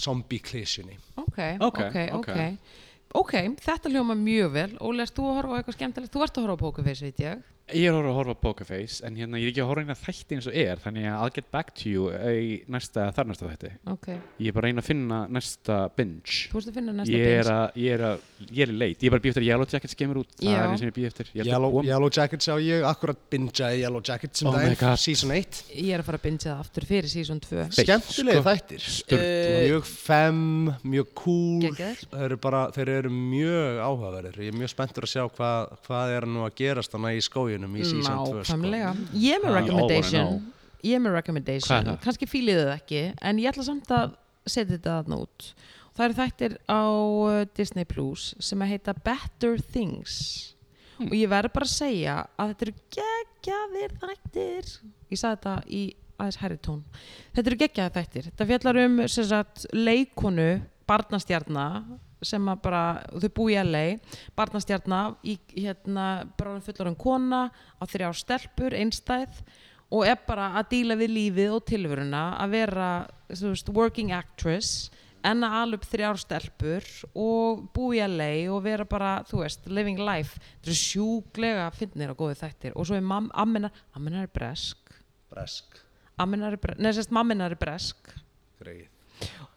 [SPEAKER 3] zombie klísjunni
[SPEAKER 1] Ok,
[SPEAKER 2] Ok,
[SPEAKER 1] ok, ok
[SPEAKER 2] ok.
[SPEAKER 1] Ok, þetta hljóma mjög vel Óli, erst þú að horfa á eitthvað skemmtilegt? Þú ert að horfa á Pokerface, veit ég
[SPEAKER 2] Ég er að horfa- horfa á Pokerface, en hérna, ég er ekki að horfa hérna þætti eins og er, þannig að I'll get back to you í næsta, þar næsta þætti.
[SPEAKER 1] Ok,
[SPEAKER 2] Ég er bara að reyna að finna næsta binge.
[SPEAKER 1] þú ert að finna næsta
[SPEAKER 2] Ég er,
[SPEAKER 1] binge.
[SPEAKER 2] að, ég, er að, ég er leit, ég er bara að býja eftir að Yellow Jackets kemur út, það
[SPEAKER 1] Já.
[SPEAKER 2] er eins sem ég býja eftir. Ég held að
[SPEAKER 3] Yellow,
[SPEAKER 2] Woman-
[SPEAKER 3] Yellow Jackets á ég akkurat bingeaði Yellow Jackets sem
[SPEAKER 2] Oh my God.
[SPEAKER 3] season 8
[SPEAKER 1] Ég er að fara að bingja það aftur fyrir season 2
[SPEAKER 2] Beitt,
[SPEAKER 3] skemmtilegi
[SPEAKER 2] sko.
[SPEAKER 3] þættir Eh,
[SPEAKER 2] Sturlað.
[SPEAKER 3] mjög fem, mjög cool
[SPEAKER 1] Geggjaðir.
[SPEAKER 3] þeir eru, bara, þeir eru mjög áhugaverðir ég er mjög spenntur að sjá hvað, hvað er nú að gerast þannig í skójunum í season sko. 2
[SPEAKER 2] sko.
[SPEAKER 1] Nákvæmlega Ég er með
[SPEAKER 2] Ah, I
[SPEAKER 1] recommendation
[SPEAKER 2] wanna
[SPEAKER 1] Ég er með
[SPEAKER 2] Hvað er
[SPEAKER 1] recommendation
[SPEAKER 2] það?
[SPEAKER 1] Kanski fílið þið ekki En ég ætla samt að setja þetta þarna út Það eru þættir á uh, Disney Plus sem að heita Better Things og ég verður bara að segja að þetta eru geggjaðir þættir Ég sagði þetta í aðeins herri tón Þetta eru geggjaðir þættir Þetta fjallar um sem sagt, leikonu barnastjarna sem að bara, þau búi í LA barnastjarnar í hérna bara fullarum kona á þrjá stelpur einstæð og er bara að díla við lífið og tilvöruna að vera, þú veist, working actress en að ala upp þrjár stelpur og búi í LA og vera bara, þú veist, living life þetta er sjúklega fyndnir og góði þættir og svo er mam, ammenar, ammenar er bresk
[SPEAKER 3] bresk,
[SPEAKER 1] ammenar er bresk, neða sérst mamminar er bresk
[SPEAKER 3] greið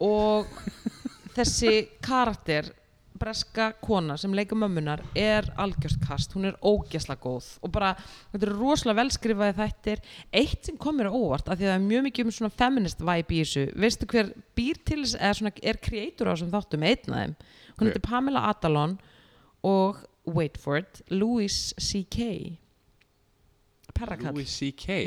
[SPEAKER 1] og þessi karakter breska kona sem leika mömmunar er algjörst kast, hún er ógæsla góð og bara, þetta eru rosalega velskrifaði þættir, eitt sem kom mér á óvart af því að það er mjög mikið um svona feminist vibe í þessu, veistu hver býr til þess- eða svona er kreatur á þessum þáttum einn af þeim, hún
[SPEAKER 2] Hver?
[SPEAKER 1] heitir Pamela Adalon og wait for it, Louis C.K. Perrakall
[SPEAKER 2] Louis C.K.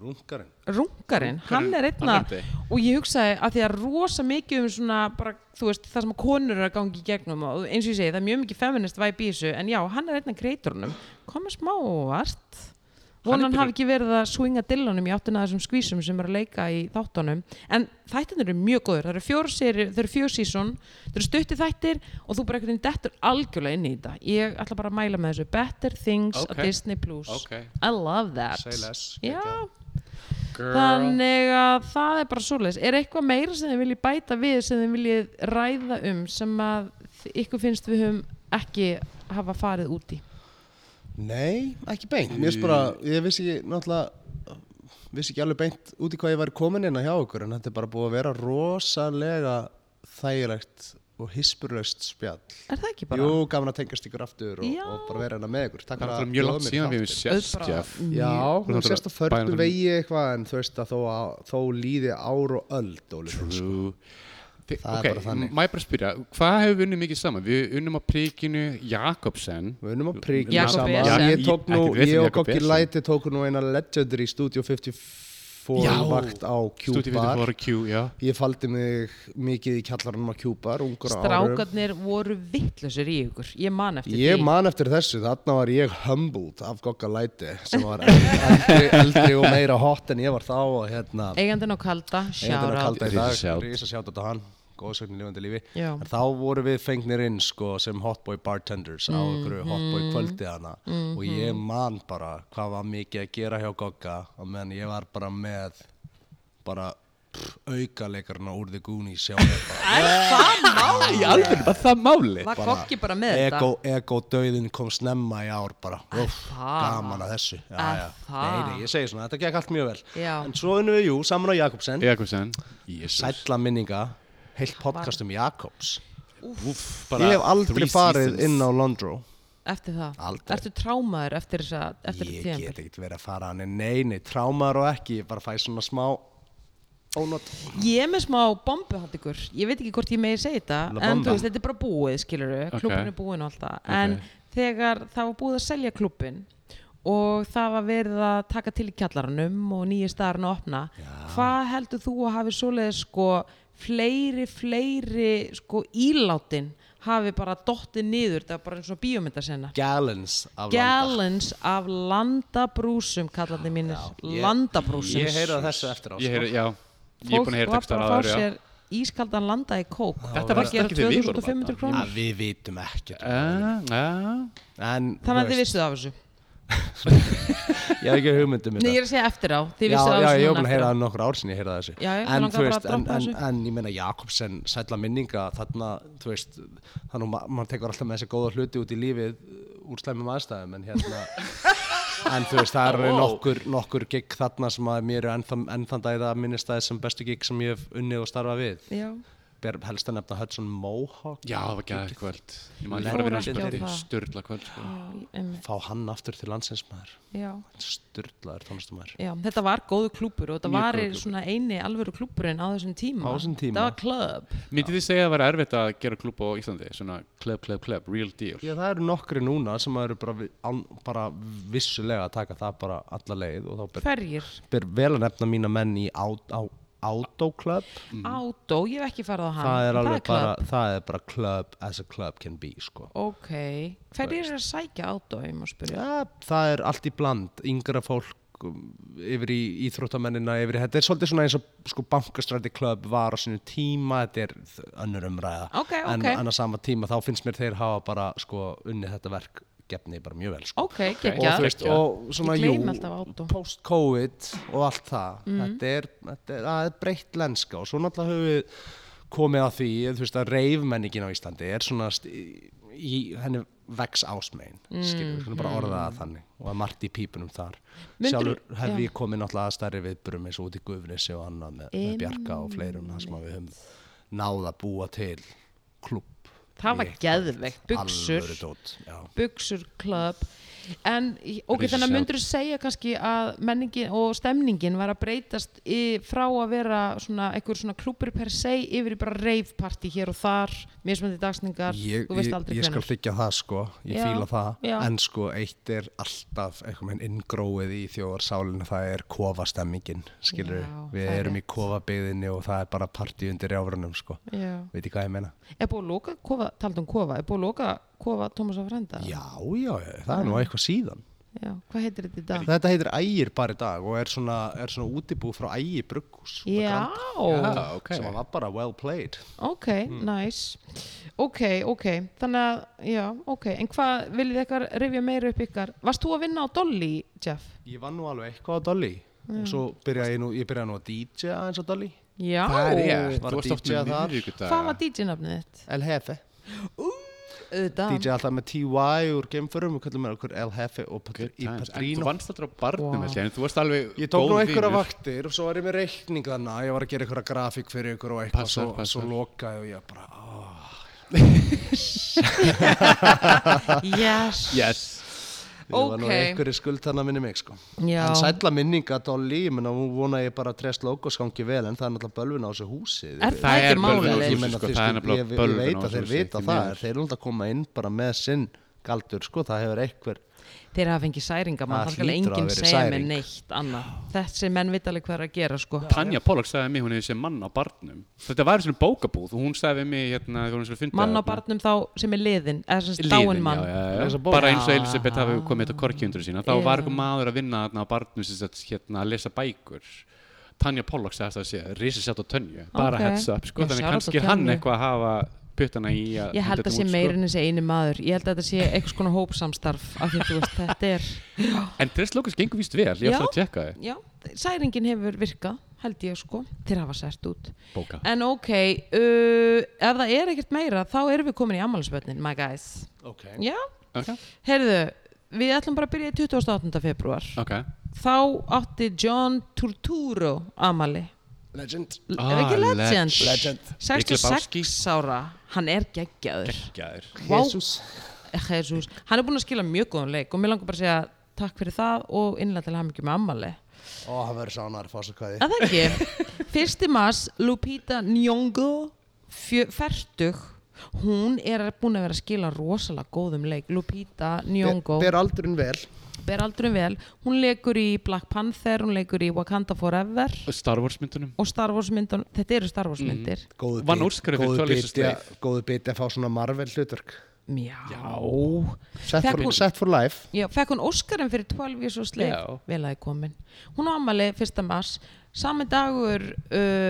[SPEAKER 3] rungarinn
[SPEAKER 1] rungarinn, hann er einn
[SPEAKER 2] Mhm. hann
[SPEAKER 1] að
[SPEAKER 2] er þetta.
[SPEAKER 1] og ég hugsaði að því að rosa mikið um svona bara, þú veist, það sem að konur eru að gangi í gegnum og eins og ég segi, það er mjög mikið feminist væp í þessu, en já, hann er einn að kreiturunum, koma smá óvart vonan
[SPEAKER 2] er
[SPEAKER 1] hafi ekki verið að swinga dillunum í áttina að þessum skvísum sem eru að leika í þáttunum en þættin eru mjög góður, það eru fjór seri, það eru fjór sísón, það eru stutti þættir og þú bara einhvern veginn dettur algjörlega inn í þetta ég ætla bara að mæla með þessu Better Things
[SPEAKER 2] Ok.
[SPEAKER 1] á Disney Plus
[SPEAKER 2] Ok.
[SPEAKER 1] I love that
[SPEAKER 5] Say less,
[SPEAKER 1] Já,
[SPEAKER 5] geggjað.
[SPEAKER 2] Girl.
[SPEAKER 1] þannig að það er bara svoleiðis er eitthvað meira sem þið viljið bæta við sem þið viljið ræða um sem að þi- ykkur finnst við höfum ekki hafa farið út í
[SPEAKER 3] Nei, ekki beint. Mér finnst bara, ég vissi ekki náttúrulega, vissi ekki alveg beint út í hvað ég væri komin inn að hjá okkur en þetta er bara búið að vera rosalega þægilegt og hispurlaust spjall.
[SPEAKER 1] er það ekki bara?
[SPEAKER 3] Jú, gaman að tengast ykkur aftur og,
[SPEAKER 1] Já.
[SPEAKER 3] og bara vera hérna með ykkur. Takk
[SPEAKER 2] Það er náttúrulega
[SPEAKER 3] fyrir að
[SPEAKER 2] mjög langt
[SPEAKER 3] bjóða mér
[SPEAKER 2] síðan við
[SPEAKER 3] þáttinn.
[SPEAKER 2] hefum sést
[SPEAKER 1] Auðvitað.
[SPEAKER 2] Jeff
[SPEAKER 3] Já,
[SPEAKER 2] Þú
[SPEAKER 3] þú
[SPEAKER 2] ert
[SPEAKER 3] sést á
[SPEAKER 2] náttúrulega
[SPEAKER 3] förnum
[SPEAKER 2] bæjarinn.
[SPEAKER 3] vegi eitthvað en þú veist að þó, að, þó líði ár og öld og
[SPEAKER 2] True Þi,
[SPEAKER 3] sko. Það er
[SPEAKER 2] Ok,
[SPEAKER 3] bara þannig.
[SPEAKER 2] maður bara spyrja Hvað hefur við unnið mikið saman? Við unnum á prikinu Jakobsen
[SPEAKER 3] Við unum að príkja
[SPEAKER 1] Jakob
[SPEAKER 3] saman
[SPEAKER 1] Besen.
[SPEAKER 3] Ég tók nú,
[SPEAKER 2] Ekki við
[SPEAKER 3] ég
[SPEAKER 2] sem
[SPEAKER 3] og
[SPEAKER 2] Jakob
[SPEAKER 3] Gokki
[SPEAKER 2] Besen.
[SPEAKER 3] Læti tóku nú eina Legendary Studio 54
[SPEAKER 2] Já.
[SPEAKER 3] vakt á
[SPEAKER 2] Stúti við
[SPEAKER 3] Q-bar
[SPEAKER 2] voru Q, já
[SPEAKER 3] Ég faldi mig mikið í kjallaranum á Q-bar ungur á árum
[SPEAKER 1] Strákarnir voru vittlusir í ykkur Ég man eftir
[SPEAKER 3] Ég
[SPEAKER 1] því
[SPEAKER 3] man eftir þessu, þarna var ég humbled af Gokka Læti sem var eldri, eldri og meira hot en ég var þá og hérna
[SPEAKER 1] Eigandinn á kalda,
[SPEAKER 3] Þetta er að
[SPEAKER 1] sjára
[SPEAKER 3] kalda í
[SPEAKER 2] Risa
[SPEAKER 3] dag,
[SPEAKER 2] shout.
[SPEAKER 3] risa sjátt á hann góðsögn í lifandi lífi
[SPEAKER 1] Já.
[SPEAKER 3] en þá voru við fengnir inn sko, sem hotboy bartenders á
[SPEAKER 1] Mm,
[SPEAKER 3] einhverju hotboy kvöldi hana og ég man bara hvað var mikið að gera hjá Gogga og menn ég var bara með bara pff, aukaleikarna úr The Goonies sjá mér bara
[SPEAKER 2] Í alveg, var það máli?
[SPEAKER 1] Var kokki bara með þetta?
[SPEAKER 3] Ego, ego döðin kom snemma í ár bara, uff,
[SPEAKER 1] það?
[SPEAKER 3] gaman að þessu já,
[SPEAKER 1] Er
[SPEAKER 3] já.
[SPEAKER 1] það?
[SPEAKER 3] Nei, nei, ég segi svona, þetta gekk allt mjög vel
[SPEAKER 1] Já.
[SPEAKER 3] en svo unnum við, jú, saman á Jakobsen
[SPEAKER 2] Jakobsen Jesus.
[SPEAKER 3] sætla minninga heilt podcast um Jakobs
[SPEAKER 2] Úff,
[SPEAKER 3] Ég hef aldrei
[SPEAKER 2] three
[SPEAKER 3] farið
[SPEAKER 2] seasons.
[SPEAKER 3] inn á Londro
[SPEAKER 1] Eftir það
[SPEAKER 3] Aldrei.
[SPEAKER 1] Ertu trámaður eftir þess að eftir
[SPEAKER 3] Ég
[SPEAKER 1] þetta
[SPEAKER 3] get
[SPEAKER 1] tímabil?
[SPEAKER 3] ekkert verið að fara hann Neini, trámar og ekki, ég bara fæ svona smá Ónot
[SPEAKER 1] Ég er með smá bombu hatt ykkur Ég veit ekki hvort ég megi segja þetta
[SPEAKER 3] La
[SPEAKER 1] En
[SPEAKER 3] bomba.
[SPEAKER 1] þú veist, þetta er bara búið, skilur við
[SPEAKER 2] Ok.
[SPEAKER 1] Klubin er búin og allt það En
[SPEAKER 2] Ok.
[SPEAKER 1] þegar það var búið að selja klubin og það var verið að taka til í kjallaranum og nýja staðarinn að opna hvað heldur þú að hafi svoleiðis sko fleiri, fleiri sko ílátin hafi bara dottið niður, það var bara eins og bíómyndasenna
[SPEAKER 3] Gallons af landa
[SPEAKER 1] gallons af landabrúsum kallandi mínir,
[SPEAKER 3] ég-
[SPEAKER 1] landabrúsum
[SPEAKER 3] Ég heyrði þessu eftir á sko.
[SPEAKER 2] Ég heyri, já Ég er
[SPEAKER 1] fólk
[SPEAKER 2] búin að heyra
[SPEAKER 1] var
[SPEAKER 2] textar
[SPEAKER 1] bara
[SPEAKER 2] á
[SPEAKER 1] að fá
[SPEAKER 2] aðra
[SPEAKER 1] sér ískaldan landa í kók
[SPEAKER 2] Þetta varst ekki þegar við vorum þarna.
[SPEAKER 1] 2500 krónur
[SPEAKER 3] að Við vitum ekkert
[SPEAKER 2] Eh,
[SPEAKER 3] En,
[SPEAKER 1] þannig að þið
[SPEAKER 3] þú veist,
[SPEAKER 1] vissuð af þessu
[SPEAKER 3] Ég hef ekki um hugmyndum
[SPEAKER 1] Nei, ég er að segja eftir á, þið
[SPEAKER 3] Já,
[SPEAKER 1] vissuð af
[SPEAKER 3] já,
[SPEAKER 1] þessu
[SPEAKER 3] ég hef
[SPEAKER 1] núna
[SPEAKER 3] búin
[SPEAKER 1] eftir
[SPEAKER 3] að heyra
[SPEAKER 1] á.
[SPEAKER 3] það nokkur ár sinni ég heyrði það þessu
[SPEAKER 1] Já, já, mig
[SPEAKER 3] En
[SPEAKER 1] langaði
[SPEAKER 3] þú
[SPEAKER 1] bara
[SPEAKER 3] veist,
[SPEAKER 1] að
[SPEAKER 3] en,
[SPEAKER 1] droppa
[SPEAKER 3] en,
[SPEAKER 1] þessu.
[SPEAKER 3] en ég meina Jakobsen sætla minninga þarna, þú veist þannig að ma- maður tekur alltaf með þessi góða hluti út í lífið uh, úr slæmum aðstæðum en hérna En þú veist, það eru nokkur, nokkur gig þarna sem að mér eru ennþann ennþan dæða að minnist það sem bestu gig sem ég hef unnið og starfað við
[SPEAKER 1] Já.
[SPEAKER 3] Ber helst að nefna Hudson Mohawk
[SPEAKER 2] Já, það var gæðið kvöld Ég maður
[SPEAKER 1] Ég
[SPEAKER 2] fara að
[SPEAKER 1] fór
[SPEAKER 2] vinna
[SPEAKER 1] ekki á
[SPEAKER 2] spilti
[SPEAKER 1] það.
[SPEAKER 2] Sturla kvöld sko.
[SPEAKER 1] Já, ég- einmitt,
[SPEAKER 3] Fá hann aftur til landsins maður
[SPEAKER 1] já,
[SPEAKER 3] Sturlaður tónlistumæður
[SPEAKER 1] já. Þetta var góðu klúpur og þetta var
[SPEAKER 2] góður klúbbur.
[SPEAKER 1] svona eini alvöru klúpurinn á þessum tíma
[SPEAKER 3] Á þessum tíma.
[SPEAKER 1] Þetta var klub
[SPEAKER 2] Myndið þið segja að það var erfitt að gera klub á Íslandi Svona klub, klub, klub, real deal
[SPEAKER 3] Já, það eru nokkri núna sem eru bara, vi- án, bara vissulega að taka það bara alla leið og þá ber,
[SPEAKER 1] Ferjir,
[SPEAKER 3] ber vel að nefna mína menn í át- á Auto Club
[SPEAKER 1] átó, ég hef ekki farið á hann
[SPEAKER 3] það er
[SPEAKER 1] en
[SPEAKER 3] alveg
[SPEAKER 1] Ah, club.
[SPEAKER 3] bara, það er bara club as a club can be sko.
[SPEAKER 1] Ok, hverjir er að sækja átó, ég má spyrja?
[SPEAKER 3] ja, það er allt í bland, yngra fólk um, yfir í íþróttamennina yfir í, þetta er svolítið svona eins og sko, bankastræti club var á sinu tíma þetta er þ- önnur umræða
[SPEAKER 1] Ok,
[SPEAKER 3] en,
[SPEAKER 1] ok.
[SPEAKER 3] en að sama tíma þá finnst mér þeir hafa bara sko, unnið þetta verk gefni bara mjög vel sko.
[SPEAKER 1] Ok,
[SPEAKER 3] og þú
[SPEAKER 1] geggjað.
[SPEAKER 3] veist, og svona
[SPEAKER 1] Ég
[SPEAKER 3] jú,
[SPEAKER 1] gleymi alltaf Mhm. Ádó.
[SPEAKER 3] post-covid og allt það þetta er, þetta er, það er breytt lenska og svo náttúrulega höfum við komið að því, þú veist að reifmenningin á Íslandi er svona st- í henni vex ásmein mm. skilur,
[SPEAKER 1] Mhm.
[SPEAKER 3] við skulum bara orða það þannig og að margt í pípunum þar
[SPEAKER 1] Myndirðu-
[SPEAKER 3] sjálfur hef
[SPEAKER 1] já.
[SPEAKER 3] ég komið náttúrulega að stærri viðburum eins og út í Guðfnissi og annað með, með Bjarka og fleirum þar sem að við höfum náða að búa til klubb
[SPEAKER 1] Það var geðveikt, buxur,
[SPEAKER 3] alvöru dót, já
[SPEAKER 1] buxur club en í- ok, þannig
[SPEAKER 2] Risa
[SPEAKER 1] að
[SPEAKER 2] shout.
[SPEAKER 1] myndur þú segja kannski að menningin og stemningin var að breytast í, frá að vera svona einhver svona klúpur per se yfir í bara reyfparti hér og þar mismöndi dagsningar,
[SPEAKER 3] ég,
[SPEAKER 1] þú veist
[SPEAKER 3] ég,
[SPEAKER 1] aldrei
[SPEAKER 3] ég skal
[SPEAKER 1] hvenær.
[SPEAKER 3] þykja það sko ég
[SPEAKER 1] Já,
[SPEAKER 3] fíla það,
[SPEAKER 1] já.
[SPEAKER 3] en sko eitt er alltaf einhvern veginn inngróið í þjóðarsálinu, það er kofastemmingin skilur,
[SPEAKER 1] Já,
[SPEAKER 3] við
[SPEAKER 1] það er
[SPEAKER 3] erum í
[SPEAKER 1] rétt.
[SPEAKER 3] kofabyðinni og það er bara partí undir jáfrunum sko,
[SPEAKER 1] Já.
[SPEAKER 3] veit ég hvað ég meina
[SPEAKER 1] er búið að loka, kofa, taldu um kofa er búið að loka kofa Tómas af Frenda
[SPEAKER 3] já, já, já, það er nú eitthvað síðan
[SPEAKER 1] já, hvað heitir þetta í dag?
[SPEAKER 3] Þetta heitir Ægir bara í dag og er svona, er svona útibú frá Ægir Brugghús svona
[SPEAKER 1] Já,
[SPEAKER 3] grand-
[SPEAKER 2] Já, Ah, ok.
[SPEAKER 3] sem var bara well played
[SPEAKER 1] ok,
[SPEAKER 3] Mm.
[SPEAKER 1] nice ok, ok, þannig að já, ok, en hvað viljið þið eitthvað rifja meira upp ykkar, varst þú að vinna á Dolly Jeff?
[SPEAKER 3] Ég vann nú alveg eitthvað á Dolly og svo byrjaði ég nú, ég byrjaði nú að DJ aðeins á Dolly
[SPEAKER 1] Já,
[SPEAKER 2] Það er ég,
[SPEAKER 3] Var
[SPEAKER 2] þú varst
[SPEAKER 3] að
[SPEAKER 2] oft
[SPEAKER 3] DJ
[SPEAKER 2] með
[SPEAKER 3] þar.
[SPEAKER 2] miðvikudaga.
[SPEAKER 1] hvað var DJ nafnið þitt?
[SPEAKER 3] El Hefe
[SPEAKER 1] Auðvitað.
[SPEAKER 3] DJ alltaf með TY úr geimförum og kallum mér okkur El Hefe og Patr
[SPEAKER 2] Good
[SPEAKER 3] í
[SPEAKER 2] times. En þú
[SPEAKER 3] Patrino
[SPEAKER 2] vannst alltaf á barnum
[SPEAKER 1] Vá.
[SPEAKER 2] wow. en þú varst alveg
[SPEAKER 3] Ég tók nú
[SPEAKER 2] góður
[SPEAKER 3] einhverja
[SPEAKER 2] vinur.
[SPEAKER 3] vaktir og svo var ég með reikning þarna, ég var að gera einhverja grafík fyrir ykkur og eitthvað,
[SPEAKER 2] Passar,
[SPEAKER 3] svo,
[SPEAKER 2] passar.
[SPEAKER 3] svo lokaði og ég bara, oh.
[SPEAKER 1] yes,
[SPEAKER 2] Yes
[SPEAKER 3] ég var nú
[SPEAKER 1] Ok.
[SPEAKER 3] einhverju skuld þarna minni mig, sko.
[SPEAKER 1] já,
[SPEAKER 3] En sætla minninga Dolly, ég menna, hún vona ég bara að trest logos gangi vel, en það er náttúrulega bölvin á þessu húsi.
[SPEAKER 1] Er það
[SPEAKER 2] Það
[SPEAKER 1] ekki
[SPEAKER 2] er
[SPEAKER 1] málið?
[SPEAKER 2] bölvun á
[SPEAKER 3] Ég
[SPEAKER 2] þessu,
[SPEAKER 3] menna,
[SPEAKER 2] sko,
[SPEAKER 3] þú
[SPEAKER 2] það er
[SPEAKER 3] veist,
[SPEAKER 2] nefnilega
[SPEAKER 3] ég, ég
[SPEAKER 2] bölvun á
[SPEAKER 3] veit að
[SPEAKER 2] þessu,
[SPEAKER 3] þeir vita
[SPEAKER 2] því
[SPEAKER 3] það,
[SPEAKER 2] miður.
[SPEAKER 3] þeir eru alltaf að koma inn bara með sinn galdur, sko, það hefur einhver,
[SPEAKER 1] þeir hafa fengið særinga
[SPEAKER 3] Það
[SPEAKER 1] maður, það skal
[SPEAKER 3] hlýtur að
[SPEAKER 1] enginn
[SPEAKER 3] hafa verið
[SPEAKER 1] segja mér
[SPEAKER 3] særing.
[SPEAKER 1] neitt annað, þessi menn vita alveg hvað er að gera sko,
[SPEAKER 2] Tanja Pollock sagði mig, hún hefði séð mann á barnum Þetta var svona bókabúð og hún sagði mig hérna, þegar hún svona fyndi
[SPEAKER 1] mann á barnum þá sem er liðin, eða sem sagt dáin
[SPEAKER 2] Líðin,
[SPEAKER 1] mann
[SPEAKER 2] já, já,
[SPEAKER 3] Lesa
[SPEAKER 2] já.
[SPEAKER 3] bók.
[SPEAKER 2] bara eins og Elisabeth hafi komið þetta korkjöndur sína þá
[SPEAKER 1] Já.
[SPEAKER 2] var eitthvað maður að vinna þarna á barnum sem sagt, hérna, að lesa bækur Tanja Pollock sagði alltaf að segja risa sjátt á tönju bara
[SPEAKER 1] Ok.
[SPEAKER 2] heads up, sko,
[SPEAKER 1] Já,
[SPEAKER 2] þannig
[SPEAKER 1] shout out
[SPEAKER 2] kannski
[SPEAKER 1] á
[SPEAKER 2] hann
[SPEAKER 1] Tönju.
[SPEAKER 2] eitthvað að hafa puttana í að
[SPEAKER 1] Ég held að
[SPEAKER 2] sko.
[SPEAKER 1] sé meira en þessi einu maður Ég held að þetta sé einhvers konar hópsamstarf af því að þú veist, þetta er
[SPEAKER 2] en Dress Locus gengur víst vel, ég ætla að
[SPEAKER 1] Já.
[SPEAKER 2] tjekka þið
[SPEAKER 1] Já, særingin hefur virkað held ég sko, þeir hafa sært út
[SPEAKER 2] bóka
[SPEAKER 1] En ok, uh, ef það er ekkert meira þá erum við komin í ammælisbönnin, my guys
[SPEAKER 3] ok,
[SPEAKER 1] Já,
[SPEAKER 2] okay.
[SPEAKER 1] heyrðu Við ætlum bara að byrja í 28. februar
[SPEAKER 2] ok,
[SPEAKER 1] Þá átti John Turturro ammæli
[SPEAKER 3] legend,
[SPEAKER 1] L-
[SPEAKER 2] Ah,
[SPEAKER 1] Er ekki legend?
[SPEAKER 2] legend.
[SPEAKER 3] Legend.
[SPEAKER 1] 66 ára, hann er geggjaður
[SPEAKER 2] gæður
[SPEAKER 1] Vá.
[SPEAKER 3] Jesus,
[SPEAKER 1] Jesus. hann er búinn að skila mjög góðan leik og mér langar bara að segja takk fyrir það og innlega til hann ekki með ammali
[SPEAKER 3] ó, það verður sánar, fórsakvæði,
[SPEAKER 1] að það ekki, fyrsti mas Lupita Nyong'o fjö- fertug hún er búin að vera að skila rosalega góðum leik Lupita Nyong'o
[SPEAKER 3] ber aldurinn vel,
[SPEAKER 1] ber aldurum vel, hún leikur í Black Panther, hún leikur í Wakanda Forever
[SPEAKER 2] Star Wars myndunum
[SPEAKER 1] og Star Wars myndun, þetta eru Star Wars myndir
[SPEAKER 3] góðu
[SPEAKER 2] Vann Óskarinn fyrir
[SPEAKER 3] góðu
[SPEAKER 2] 12 Years a
[SPEAKER 3] biti
[SPEAKER 2] Slave.
[SPEAKER 3] góðu biti að fá svona Marvel hlutverk,
[SPEAKER 1] já,
[SPEAKER 3] set
[SPEAKER 1] Fekk
[SPEAKER 3] for,
[SPEAKER 1] hún-
[SPEAKER 3] set for life,
[SPEAKER 1] Já, fekk hún Óskarinn fyrir 12 years og sleif
[SPEAKER 2] Já.
[SPEAKER 1] vel aðeins komin. Hún á ammali 1. mars, sami dagur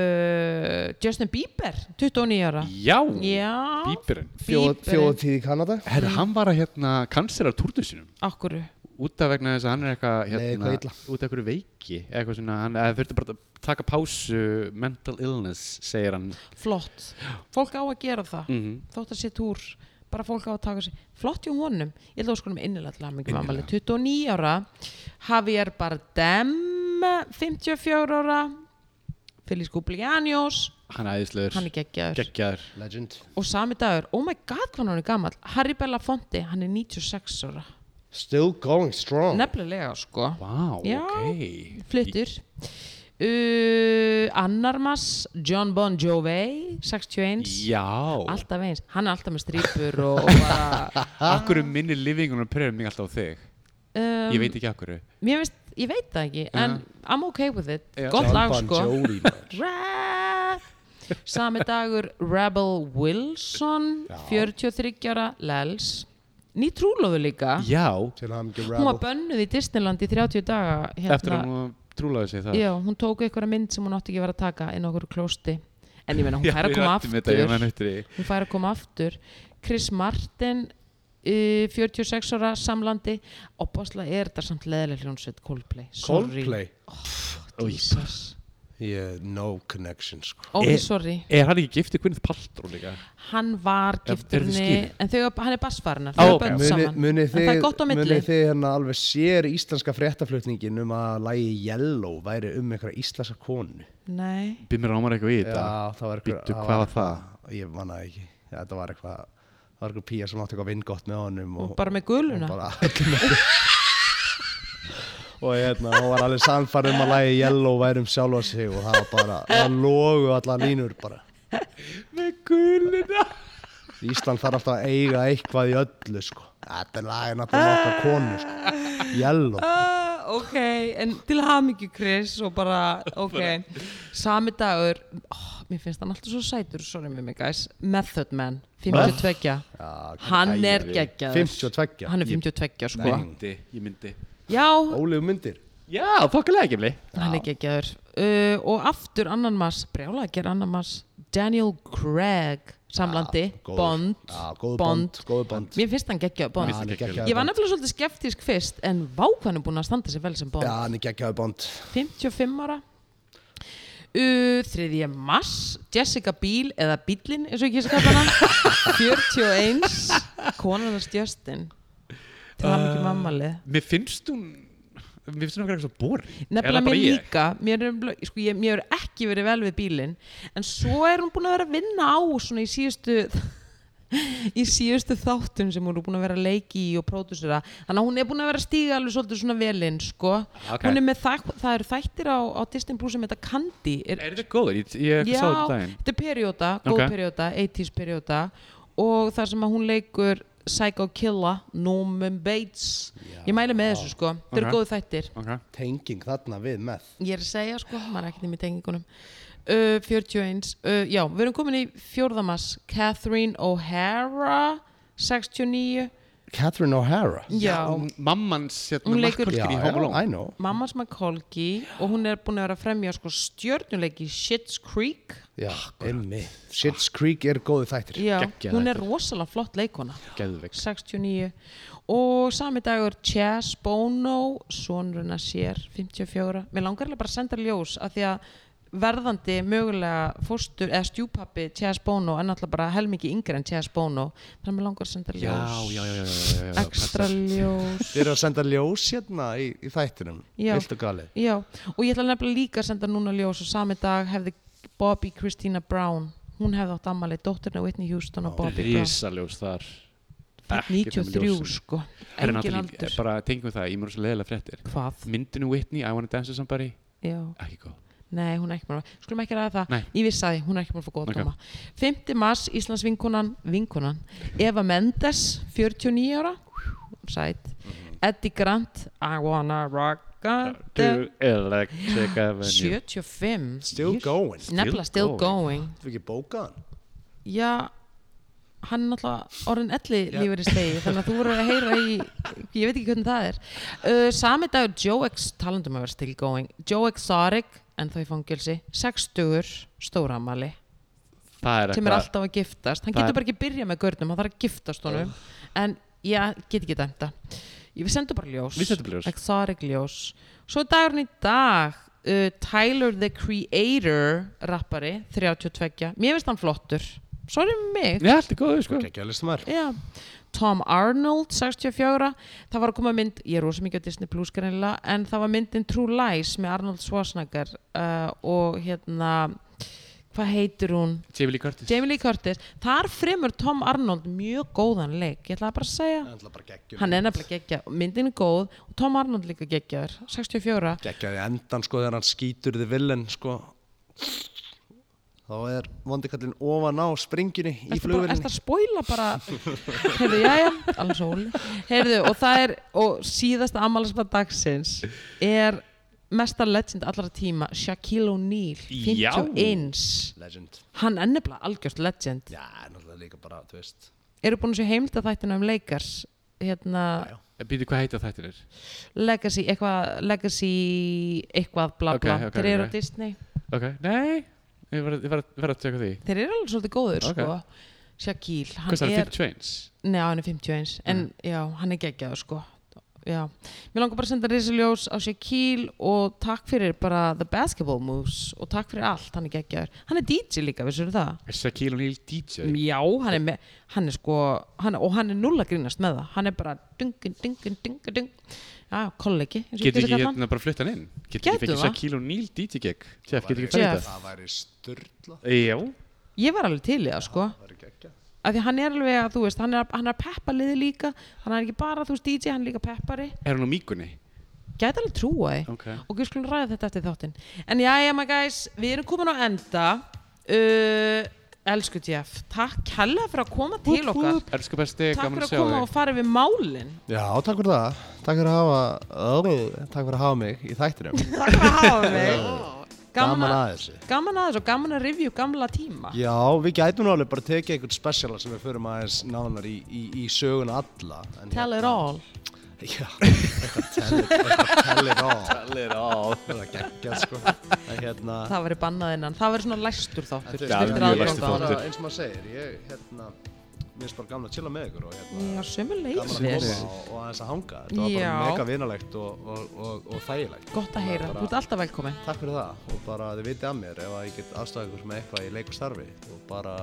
[SPEAKER 1] uh, Justin Bieber 29 ára.
[SPEAKER 2] já,
[SPEAKER 1] Já.
[SPEAKER 2] bíberinn
[SPEAKER 3] Þjóð-
[SPEAKER 1] Bieberinn.
[SPEAKER 3] þjóðtíð í Kanada
[SPEAKER 2] Herra, hann var að hérna kansera túrnum sínum
[SPEAKER 1] Akkuru.
[SPEAKER 2] út af vegna þess að hann er eitthvað
[SPEAKER 3] Leið
[SPEAKER 2] hérna,
[SPEAKER 3] eitthvað illa.
[SPEAKER 2] út af einhverju veiki eitthvað svona, hann eða þurfti bara að taka pásu mental illness, segir hann
[SPEAKER 1] Flott. Fólk á að gera það.
[SPEAKER 2] Mhm.
[SPEAKER 1] Þótt að sé túr. Bara fólk á að taka sér. Flott hjá honum. Ég ætla að óskunum innilega til hamingjum ammali. 29 ára. Javier Bardem 54 ára. Félix Gublianios.
[SPEAKER 2] hann æðislegur,
[SPEAKER 1] Hann er geggjaður.
[SPEAKER 2] geggjaður
[SPEAKER 3] Legend
[SPEAKER 1] og sami dagur, oh my god hvað hann er gammal Harry Belafonte, hann er 96 ára
[SPEAKER 3] Still going
[SPEAKER 2] Oh.
[SPEAKER 3] strong
[SPEAKER 1] nefnilega sko
[SPEAKER 2] Vá,
[SPEAKER 1] Já.
[SPEAKER 2] ok
[SPEAKER 1] fluttur uh, Annarmas John Bon Jovi 61,
[SPEAKER 2] Já,
[SPEAKER 1] alltaf eins hann er alltaf með strýpur og, og bara,
[SPEAKER 2] akkur minni livingunum pröfum mig alltaf á þig
[SPEAKER 1] um,
[SPEAKER 2] Ég veit ekki akkur
[SPEAKER 1] mér veist, ég veit það ekki en I'm okay with it,
[SPEAKER 2] Já.
[SPEAKER 1] gott
[SPEAKER 3] John
[SPEAKER 1] lag
[SPEAKER 3] Bon
[SPEAKER 1] sko
[SPEAKER 3] Jovi, maður.
[SPEAKER 1] Ra- Sami dagur Rebel Wilson 43 ára Lels ný trúlóðu líka
[SPEAKER 2] Já,
[SPEAKER 3] Til hann ekki
[SPEAKER 1] hún var
[SPEAKER 3] rebel
[SPEAKER 1] bönnuð í Disneyland í 30 daga hérna.
[SPEAKER 2] eftir að hún trúlaði sig það
[SPEAKER 1] já, hún tók einhverja mynd sem hún átti ekki að vera að taka inn á okkur klósti en ég meina hún
[SPEAKER 2] Já,
[SPEAKER 1] fær að
[SPEAKER 2] við
[SPEAKER 1] koma
[SPEAKER 2] ræddum þetta, ég man
[SPEAKER 1] aftur
[SPEAKER 2] eftir því.
[SPEAKER 1] hún fær að koma aftur Chris Martin uh, 46 ára samlandi og bóðslega er þetta samt leðileg hljónsveit Coldplay Sorry.
[SPEAKER 3] Coldplay
[SPEAKER 1] Jesus.
[SPEAKER 3] yeah, No connection sko
[SPEAKER 1] Ó,
[SPEAKER 2] Eh.
[SPEAKER 1] sorry,
[SPEAKER 2] Er hann ekki giftið Gwyneth Paltrow líka?
[SPEAKER 1] hann var
[SPEAKER 2] Er- eru þið
[SPEAKER 1] gifturni
[SPEAKER 2] skilin?
[SPEAKER 1] en þau, hann er bassfarinar
[SPEAKER 2] Ó,
[SPEAKER 1] þau
[SPEAKER 2] ok.
[SPEAKER 1] okay. bönn
[SPEAKER 3] Munið
[SPEAKER 1] saman
[SPEAKER 3] muni
[SPEAKER 1] en það
[SPEAKER 3] þið,
[SPEAKER 1] er gott á milli
[SPEAKER 3] muni þið hérna alveg sér íslenska fréttaflutningin um að lagi Yellow væri um einhverja íslenska konu
[SPEAKER 1] nei,
[SPEAKER 2] Býð mér ámar eitthvað í þetta
[SPEAKER 3] Já, það var einhver
[SPEAKER 2] Býttu, hvað var það?
[SPEAKER 3] Ég manna ekki Já, Þetta var eitthvað Það var einhver pía sem átti eitthvað vingott með honum og,
[SPEAKER 1] bara með guluna
[SPEAKER 3] og bara öllum ekki og hérna, hún var alveg samfærð um að lagi Yellow væri um sjálfa sig og það var bara, það logu allar línur bara
[SPEAKER 2] Með gulina
[SPEAKER 3] Ísland þarf alltaf að eiga eitthvað í öllu sko. Þetta er lagin alltaf nokkar konu sko. Yellow
[SPEAKER 1] Ah, ok, en til hamingju Chris og bara, ok sami dagur, oh, mér finnst hann alltaf svo sætur, sorry með mig guys Method Man, 52
[SPEAKER 3] Já,
[SPEAKER 1] hann er
[SPEAKER 2] ægir.
[SPEAKER 1] geggjaður
[SPEAKER 3] 52
[SPEAKER 1] hann er 52 sko
[SPEAKER 2] Myndi, ég myndi
[SPEAKER 1] já,
[SPEAKER 4] Ólegu myndir
[SPEAKER 2] Já, þokkalega ekki mli
[SPEAKER 1] hann er geggjaður uh, og aftur annan mass, brjála að gera annan mass Daniel Craig samlandi,
[SPEAKER 4] góður.
[SPEAKER 1] Bond,
[SPEAKER 4] Já, góður Bond, góður Bond.
[SPEAKER 1] mér finnst hann geggjaður Bond
[SPEAKER 4] hann er
[SPEAKER 2] geggjaður.
[SPEAKER 4] geggjaður
[SPEAKER 1] ég var
[SPEAKER 4] Bond.
[SPEAKER 1] nefnilega svolítið skeptísk fyrst en vá hvað hann er búin að standa sér vel sem Bond
[SPEAKER 4] Já, hann er geggjaður Bond
[SPEAKER 1] 55 ára uh, 3. mars Jessica Biel eða Bíllinn eins og ég kýrst kalla hana 41 konan hans Justin til hann
[SPEAKER 4] Uh,
[SPEAKER 1] ekki mammalið
[SPEAKER 2] Uh, Mér finnst hún Mér finnst hún eitthvað svo boring Er
[SPEAKER 1] nefnilega
[SPEAKER 2] það bara
[SPEAKER 1] mér
[SPEAKER 2] ég?
[SPEAKER 1] líka mér er, nefnilega- sko, ég, mér er ekki verið vel við bílinn en svo er hún búin að vera að vinna á svona í síðustu í síðustu þáttum sem hún er búin að vera að leiki í og pródusera þannig að hún er búin að vera að stíga alveg svolítið svona velinn sko.
[SPEAKER 2] Ah, Ok.
[SPEAKER 1] hún er með það, það eru þættir á, á Disney Plus sem þetta Kandi er,
[SPEAKER 2] Er þetta góður? Ég, ég sá þetta um daginn
[SPEAKER 1] þetta er perióda, góð
[SPEAKER 2] Ok.
[SPEAKER 1] perióda 80s perióda og þar sem að hún leikur Psycho Killa Norman Bates ég mæli með þessu sko, þetta eru
[SPEAKER 2] Ok.
[SPEAKER 1] góðu þættir
[SPEAKER 2] okay.
[SPEAKER 4] Tenging þarna við með
[SPEAKER 1] Ég er að segja sko, maður er ekkert um í tengingunum uh, 41 uh, Já, við erum komin í fjórðamass Catherine O'Hara 69
[SPEAKER 4] Catherine O'Hara
[SPEAKER 1] Já,
[SPEAKER 2] hún- Mamman hérna
[SPEAKER 1] Hún leikur-
[SPEAKER 2] Markolkin í Home Alone
[SPEAKER 4] I know
[SPEAKER 1] mammas McColkey og hún er búin að vera að fremja sko stjörnuleik í Shit's Creek
[SPEAKER 4] Já, emmi Shit's Creek er góðu þættir
[SPEAKER 1] Já,
[SPEAKER 2] Geggjað
[SPEAKER 1] hún er rosalega flott leikona
[SPEAKER 2] Geðveik
[SPEAKER 1] 69 og sami dagur Chess Bono sonurinn að sér 54 mér langar alveg bara að senda ljós af því að verðandi mögulega fóstur eða stjúpappi Chess Bono en alltaf bara helmingi yngri en Chess Bono þannig að mér langar að senda
[SPEAKER 2] Já,
[SPEAKER 1] ljós
[SPEAKER 2] já, já, já, já, já, já.
[SPEAKER 1] ekstra ljós
[SPEAKER 4] Þeir eru að senda ljós hérna í, í þættinum
[SPEAKER 1] Já.
[SPEAKER 4] Vilt og galið
[SPEAKER 1] já og ég ætla nefnilega líka að senda núna ljós og sami dag hefði Bobby Christina Brown hún hefði átt ammali dótturna Whitney Houston og Bobby Brown
[SPEAKER 2] Rísaljós þar
[SPEAKER 1] Fædd
[SPEAKER 2] Ekkert um
[SPEAKER 1] 93
[SPEAKER 2] ljósin.
[SPEAKER 1] sko
[SPEAKER 2] Herra,
[SPEAKER 1] engin
[SPEAKER 2] Natalie,
[SPEAKER 1] aldur
[SPEAKER 2] Bara tengjum við það, ég mér svo leiðilega fréttir
[SPEAKER 1] hvað
[SPEAKER 2] Myndinu Whitney, I Wanna Dance with Somebody
[SPEAKER 1] já
[SPEAKER 2] Ekki góð
[SPEAKER 1] Nei, hún er ekki búin að Skulum ekki ræða það
[SPEAKER 2] Nei.
[SPEAKER 1] Ég vissi að því, hún er ekki búin að fá góða
[SPEAKER 2] Ok.
[SPEAKER 1] dóma 5. mars, Íslands vinkonan Vinkonan Eva Mendes, 49 ára Sæt Eddie Grant I wanna rock on the-
[SPEAKER 2] To Electric
[SPEAKER 1] Ah,
[SPEAKER 2] Avenue
[SPEAKER 1] 75
[SPEAKER 4] Still going Þú
[SPEAKER 1] Nefnilega still going
[SPEAKER 4] ekki bókað hann
[SPEAKER 1] Já hann er náttúrulega orðin elli lífur í stegi þannig að þú voru að heyra í ég veit ekki hvernig það er uh, sami dagur Joe Ex talandum að vera still going Joe Exotic, en þá í fangilsi 60 stóramali
[SPEAKER 2] Það
[SPEAKER 1] sem
[SPEAKER 2] er
[SPEAKER 1] er
[SPEAKER 2] eitthvað
[SPEAKER 1] alltaf að giftast hann
[SPEAKER 2] það
[SPEAKER 1] getur
[SPEAKER 2] er-
[SPEAKER 1] bara ekki byrjað með gaurnum, hann þarf að giftast honum en ég get ekki dæmt það ég við sendum bara ljós
[SPEAKER 2] Við sendum bara ljós.
[SPEAKER 1] exotic ljós svo er dagurinn í dag uh, Tyler the Creator rappari, 32 mér finnst hann flottur, sorry með mig
[SPEAKER 2] Já, allt er góð, sko
[SPEAKER 4] Geggjaður listamæður
[SPEAKER 1] Já. Tom Arnold, 64 það var að koma mynd, ég er rosa mikið á Disney Plus greinilega, en það var myndin True Lies með Arnold Schwarzenegger uh, og hérna hvað heitir hún?
[SPEAKER 2] Jamie Lee Curtis
[SPEAKER 1] Jamie Lee Curtis, þar fremur Tom Arnold mjög góðan leik, ég ætla bara að segja hann er nefnilega geggja, myndin er góð og Tom Arnold líka geggjaður, 64
[SPEAKER 4] Geggjaði endan sko þegar hann skýtur þið villen sko Þá er vondikallin ofan á springinni í
[SPEAKER 1] Ertu bara- ertu
[SPEAKER 4] flugvillinni
[SPEAKER 1] að spoila bara heyrðu, jæja, alveg sól heyrðu, og það er, og síðasta ammælisbað dagsins er mesta legend allra tíma Shaquille O'Neal,
[SPEAKER 2] Já.
[SPEAKER 1] 51
[SPEAKER 4] Legend
[SPEAKER 1] hann er nefnilega algjörst legend
[SPEAKER 4] Já, náttúrulega líka bara, þú veist
[SPEAKER 1] eru búin að sé heimilda þættina um leikars hérna,
[SPEAKER 2] Býtu, Eh, hvað heita þættir er?
[SPEAKER 1] legacy, eitthvað legacy, eitthvað bla
[SPEAKER 2] Ok,
[SPEAKER 1] bla
[SPEAKER 2] ok,
[SPEAKER 1] þeir eru
[SPEAKER 2] ok.
[SPEAKER 1] á Disney
[SPEAKER 2] Ok, nei Ég var, ég var, ég var að tjekka því
[SPEAKER 1] þeir eru alveg svolítið góður
[SPEAKER 2] Ok.
[SPEAKER 1] sko Shaquille, hann
[SPEAKER 2] Hvað það er
[SPEAKER 1] er
[SPEAKER 2] 51?
[SPEAKER 1] Nei, hann er 51, en já, hann er geggjaður sko Já, mér langar bara að senda Riziljós á Shaquille og takk fyrir bara The Basketball Moves og takk fyrir allt, hann er geggjaður Hann er DJ líka, vissur það?
[SPEAKER 2] Er Shaquille O'Neal DJ?
[SPEAKER 1] Já, hann er, með, hann er sko hann, og hann er null að grínast með það hann er bara dungun, dungun, dungun, dung Já, kollegi eins og ég
[SPEAKER 2] Getur
[SPEAKER 1] kýs að
[SPEAKER 2] ekki
[SPEAKER 1] kalla hann.
[SPEAKER 2] hérna bara flutt hann inn? Getur
[SPEAKER 1] Gætum
[SPEAKER 2] ekki fengið
[SPEAKER 1] það.
[SPEAKER 2] Shaquille O'Neal DJ gig? Jeff, getur
[SPEAKER 1] Jeff.
[SPEAKER 2] ekki fengið
[SPEAKER 1] Jeff.
[SPEAKER 4] Það væri störla
[SPEAKER 2] það? Já hérna-
[SPEAKER 1] Ég var alveg til í það sko
[SPEAKER 4] Það væri geggjað
[SPEAKER 1] af því hann er alveg að, þú veist, hann er, hann er að peppa liði líka, hann er ekki bara, þú veist, DJ hann er líka peppari,
[SPEAKER 2] Er hann á míkunni?
[SPEAKER 1] gæti alveg trúa því
[SPEAKER 2] Ok
[SPEAKER 1] og við skulum ræða þetta eftir þáttinn en jæja maður guys, við erum komin á enda uh, elsku Jeff, takk hella fyrir að koma til okkar
[SPEAKER 2] Elsku besti,
[SPEAKER 1] takk
[SPEAKER 2] gaman
[SPEAKER 1] fyrir að
[SPEAKER 2] að sjá
[SPEAKER 1] koma og
[SPEAKER 2] þig
[SPEAKER 1] fara við málin
[SPEAKER 4] Já, takk fyrir það Takk fyrir að hafa Órið, Takk fyrir að hafa mig í þættinum
[SPEAKER 1] takk fyrir að hafa mig
[SPEAKER 4] Gaman að þessu
[SPEAKER 1] gaman aðeins og gaman að review gamla tíma
[SPEAKER 4] Já, við gætum nú alveg bara að tekið einhvern spesiala sem við förum aðeins nánar í, í, í söguna alla en
[SPEAKER 1] tell
[SPEAKER 4] hérna-
[SPEAKER 1] it all
[SPEAKER 3] Já, eitthvað tell it- eitthvað tell it all
[SPEAKER 2] Allir á
[SPEAKER 3] Það var geggjað sko En hérna
[SPEAKER 1] það væri bannað innan, það væri svona læstur þáttur
[SPEAKER 2] Já,
[SPEAKER 1] stuttur
[SPEAKER 2] mjög
[SPEAKER 1] aðgang
[SPEAKER 2] læstur
[SPEAKER 1] á
[SPEAKER 2] þáttur.
[SPEAKER 1] hann.
[SPEAKER 3] Bara eins og maður segir, ég hérna Mér finnst bara gaman að chilla með ykkur og hérna
[SPEAKER 1] Já, sömu
[SPEAKER 3] Gaman að koma
[SPEAKER 1] leiðis
[SPEAKER 3] og, og aðeins að hanga Þetta var
[SPEAKER 1] Já.
[SPEAKER 3] bara mega vinalegt og, og, og, og þægilegt
[SPEAKER 1] gott að heyra, þú ert alltaf velkomin
[SPEAKER 3] Takk fyrir það og bara þið vitið að mér ef að ég get aðstæða ykkur með eitthvað í leik og starfi og bara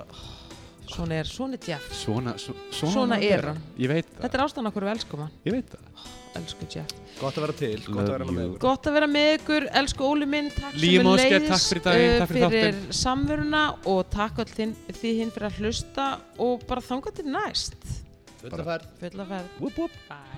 [SPEAKER 1] svona er, svona er Jeff
[SPEAKER 2] Svona, svona,
[SPEAKER 1] Svona er hann.
[SPEAKER 2] Ég veit það,
[SPEAKER 1] þetta er ástæðan okkur við elskum hann,
[SPEAKER 2] ég veit það
[SPEAKER 1] elsku Jeff
[SPEAKER 3] gott að vera til, gott að vera
[SPEAKER 2] Love
[SPEAKER 3] með
[SPEAKER 2] you.
[SPEAKER 3] ykkur
[SPEAKER 1] gott að vera með ykkur, elsku Óli minn takk
[SPEAKER 2] Líum
[SPEAKER 1] sömu
[SPEAKER 2] Ásgeir,
[SPEAKER 1] leiðis,
[SPEAKER 2] takk fyrir daginn,
[SPEAKER 1] uh,
[SPEAKER 2] takk fyrir
[SPEAKER 1] fyrir samveruna og takk all þinn, þið hinn fyrir að hlusta og bara þangað til næst
[SPEAKER 3] Fulla ferð
[SPEAKER 1] fulla ferð,
[SPEAKER 2] Whoop whoop
[SPEAKER 1] bye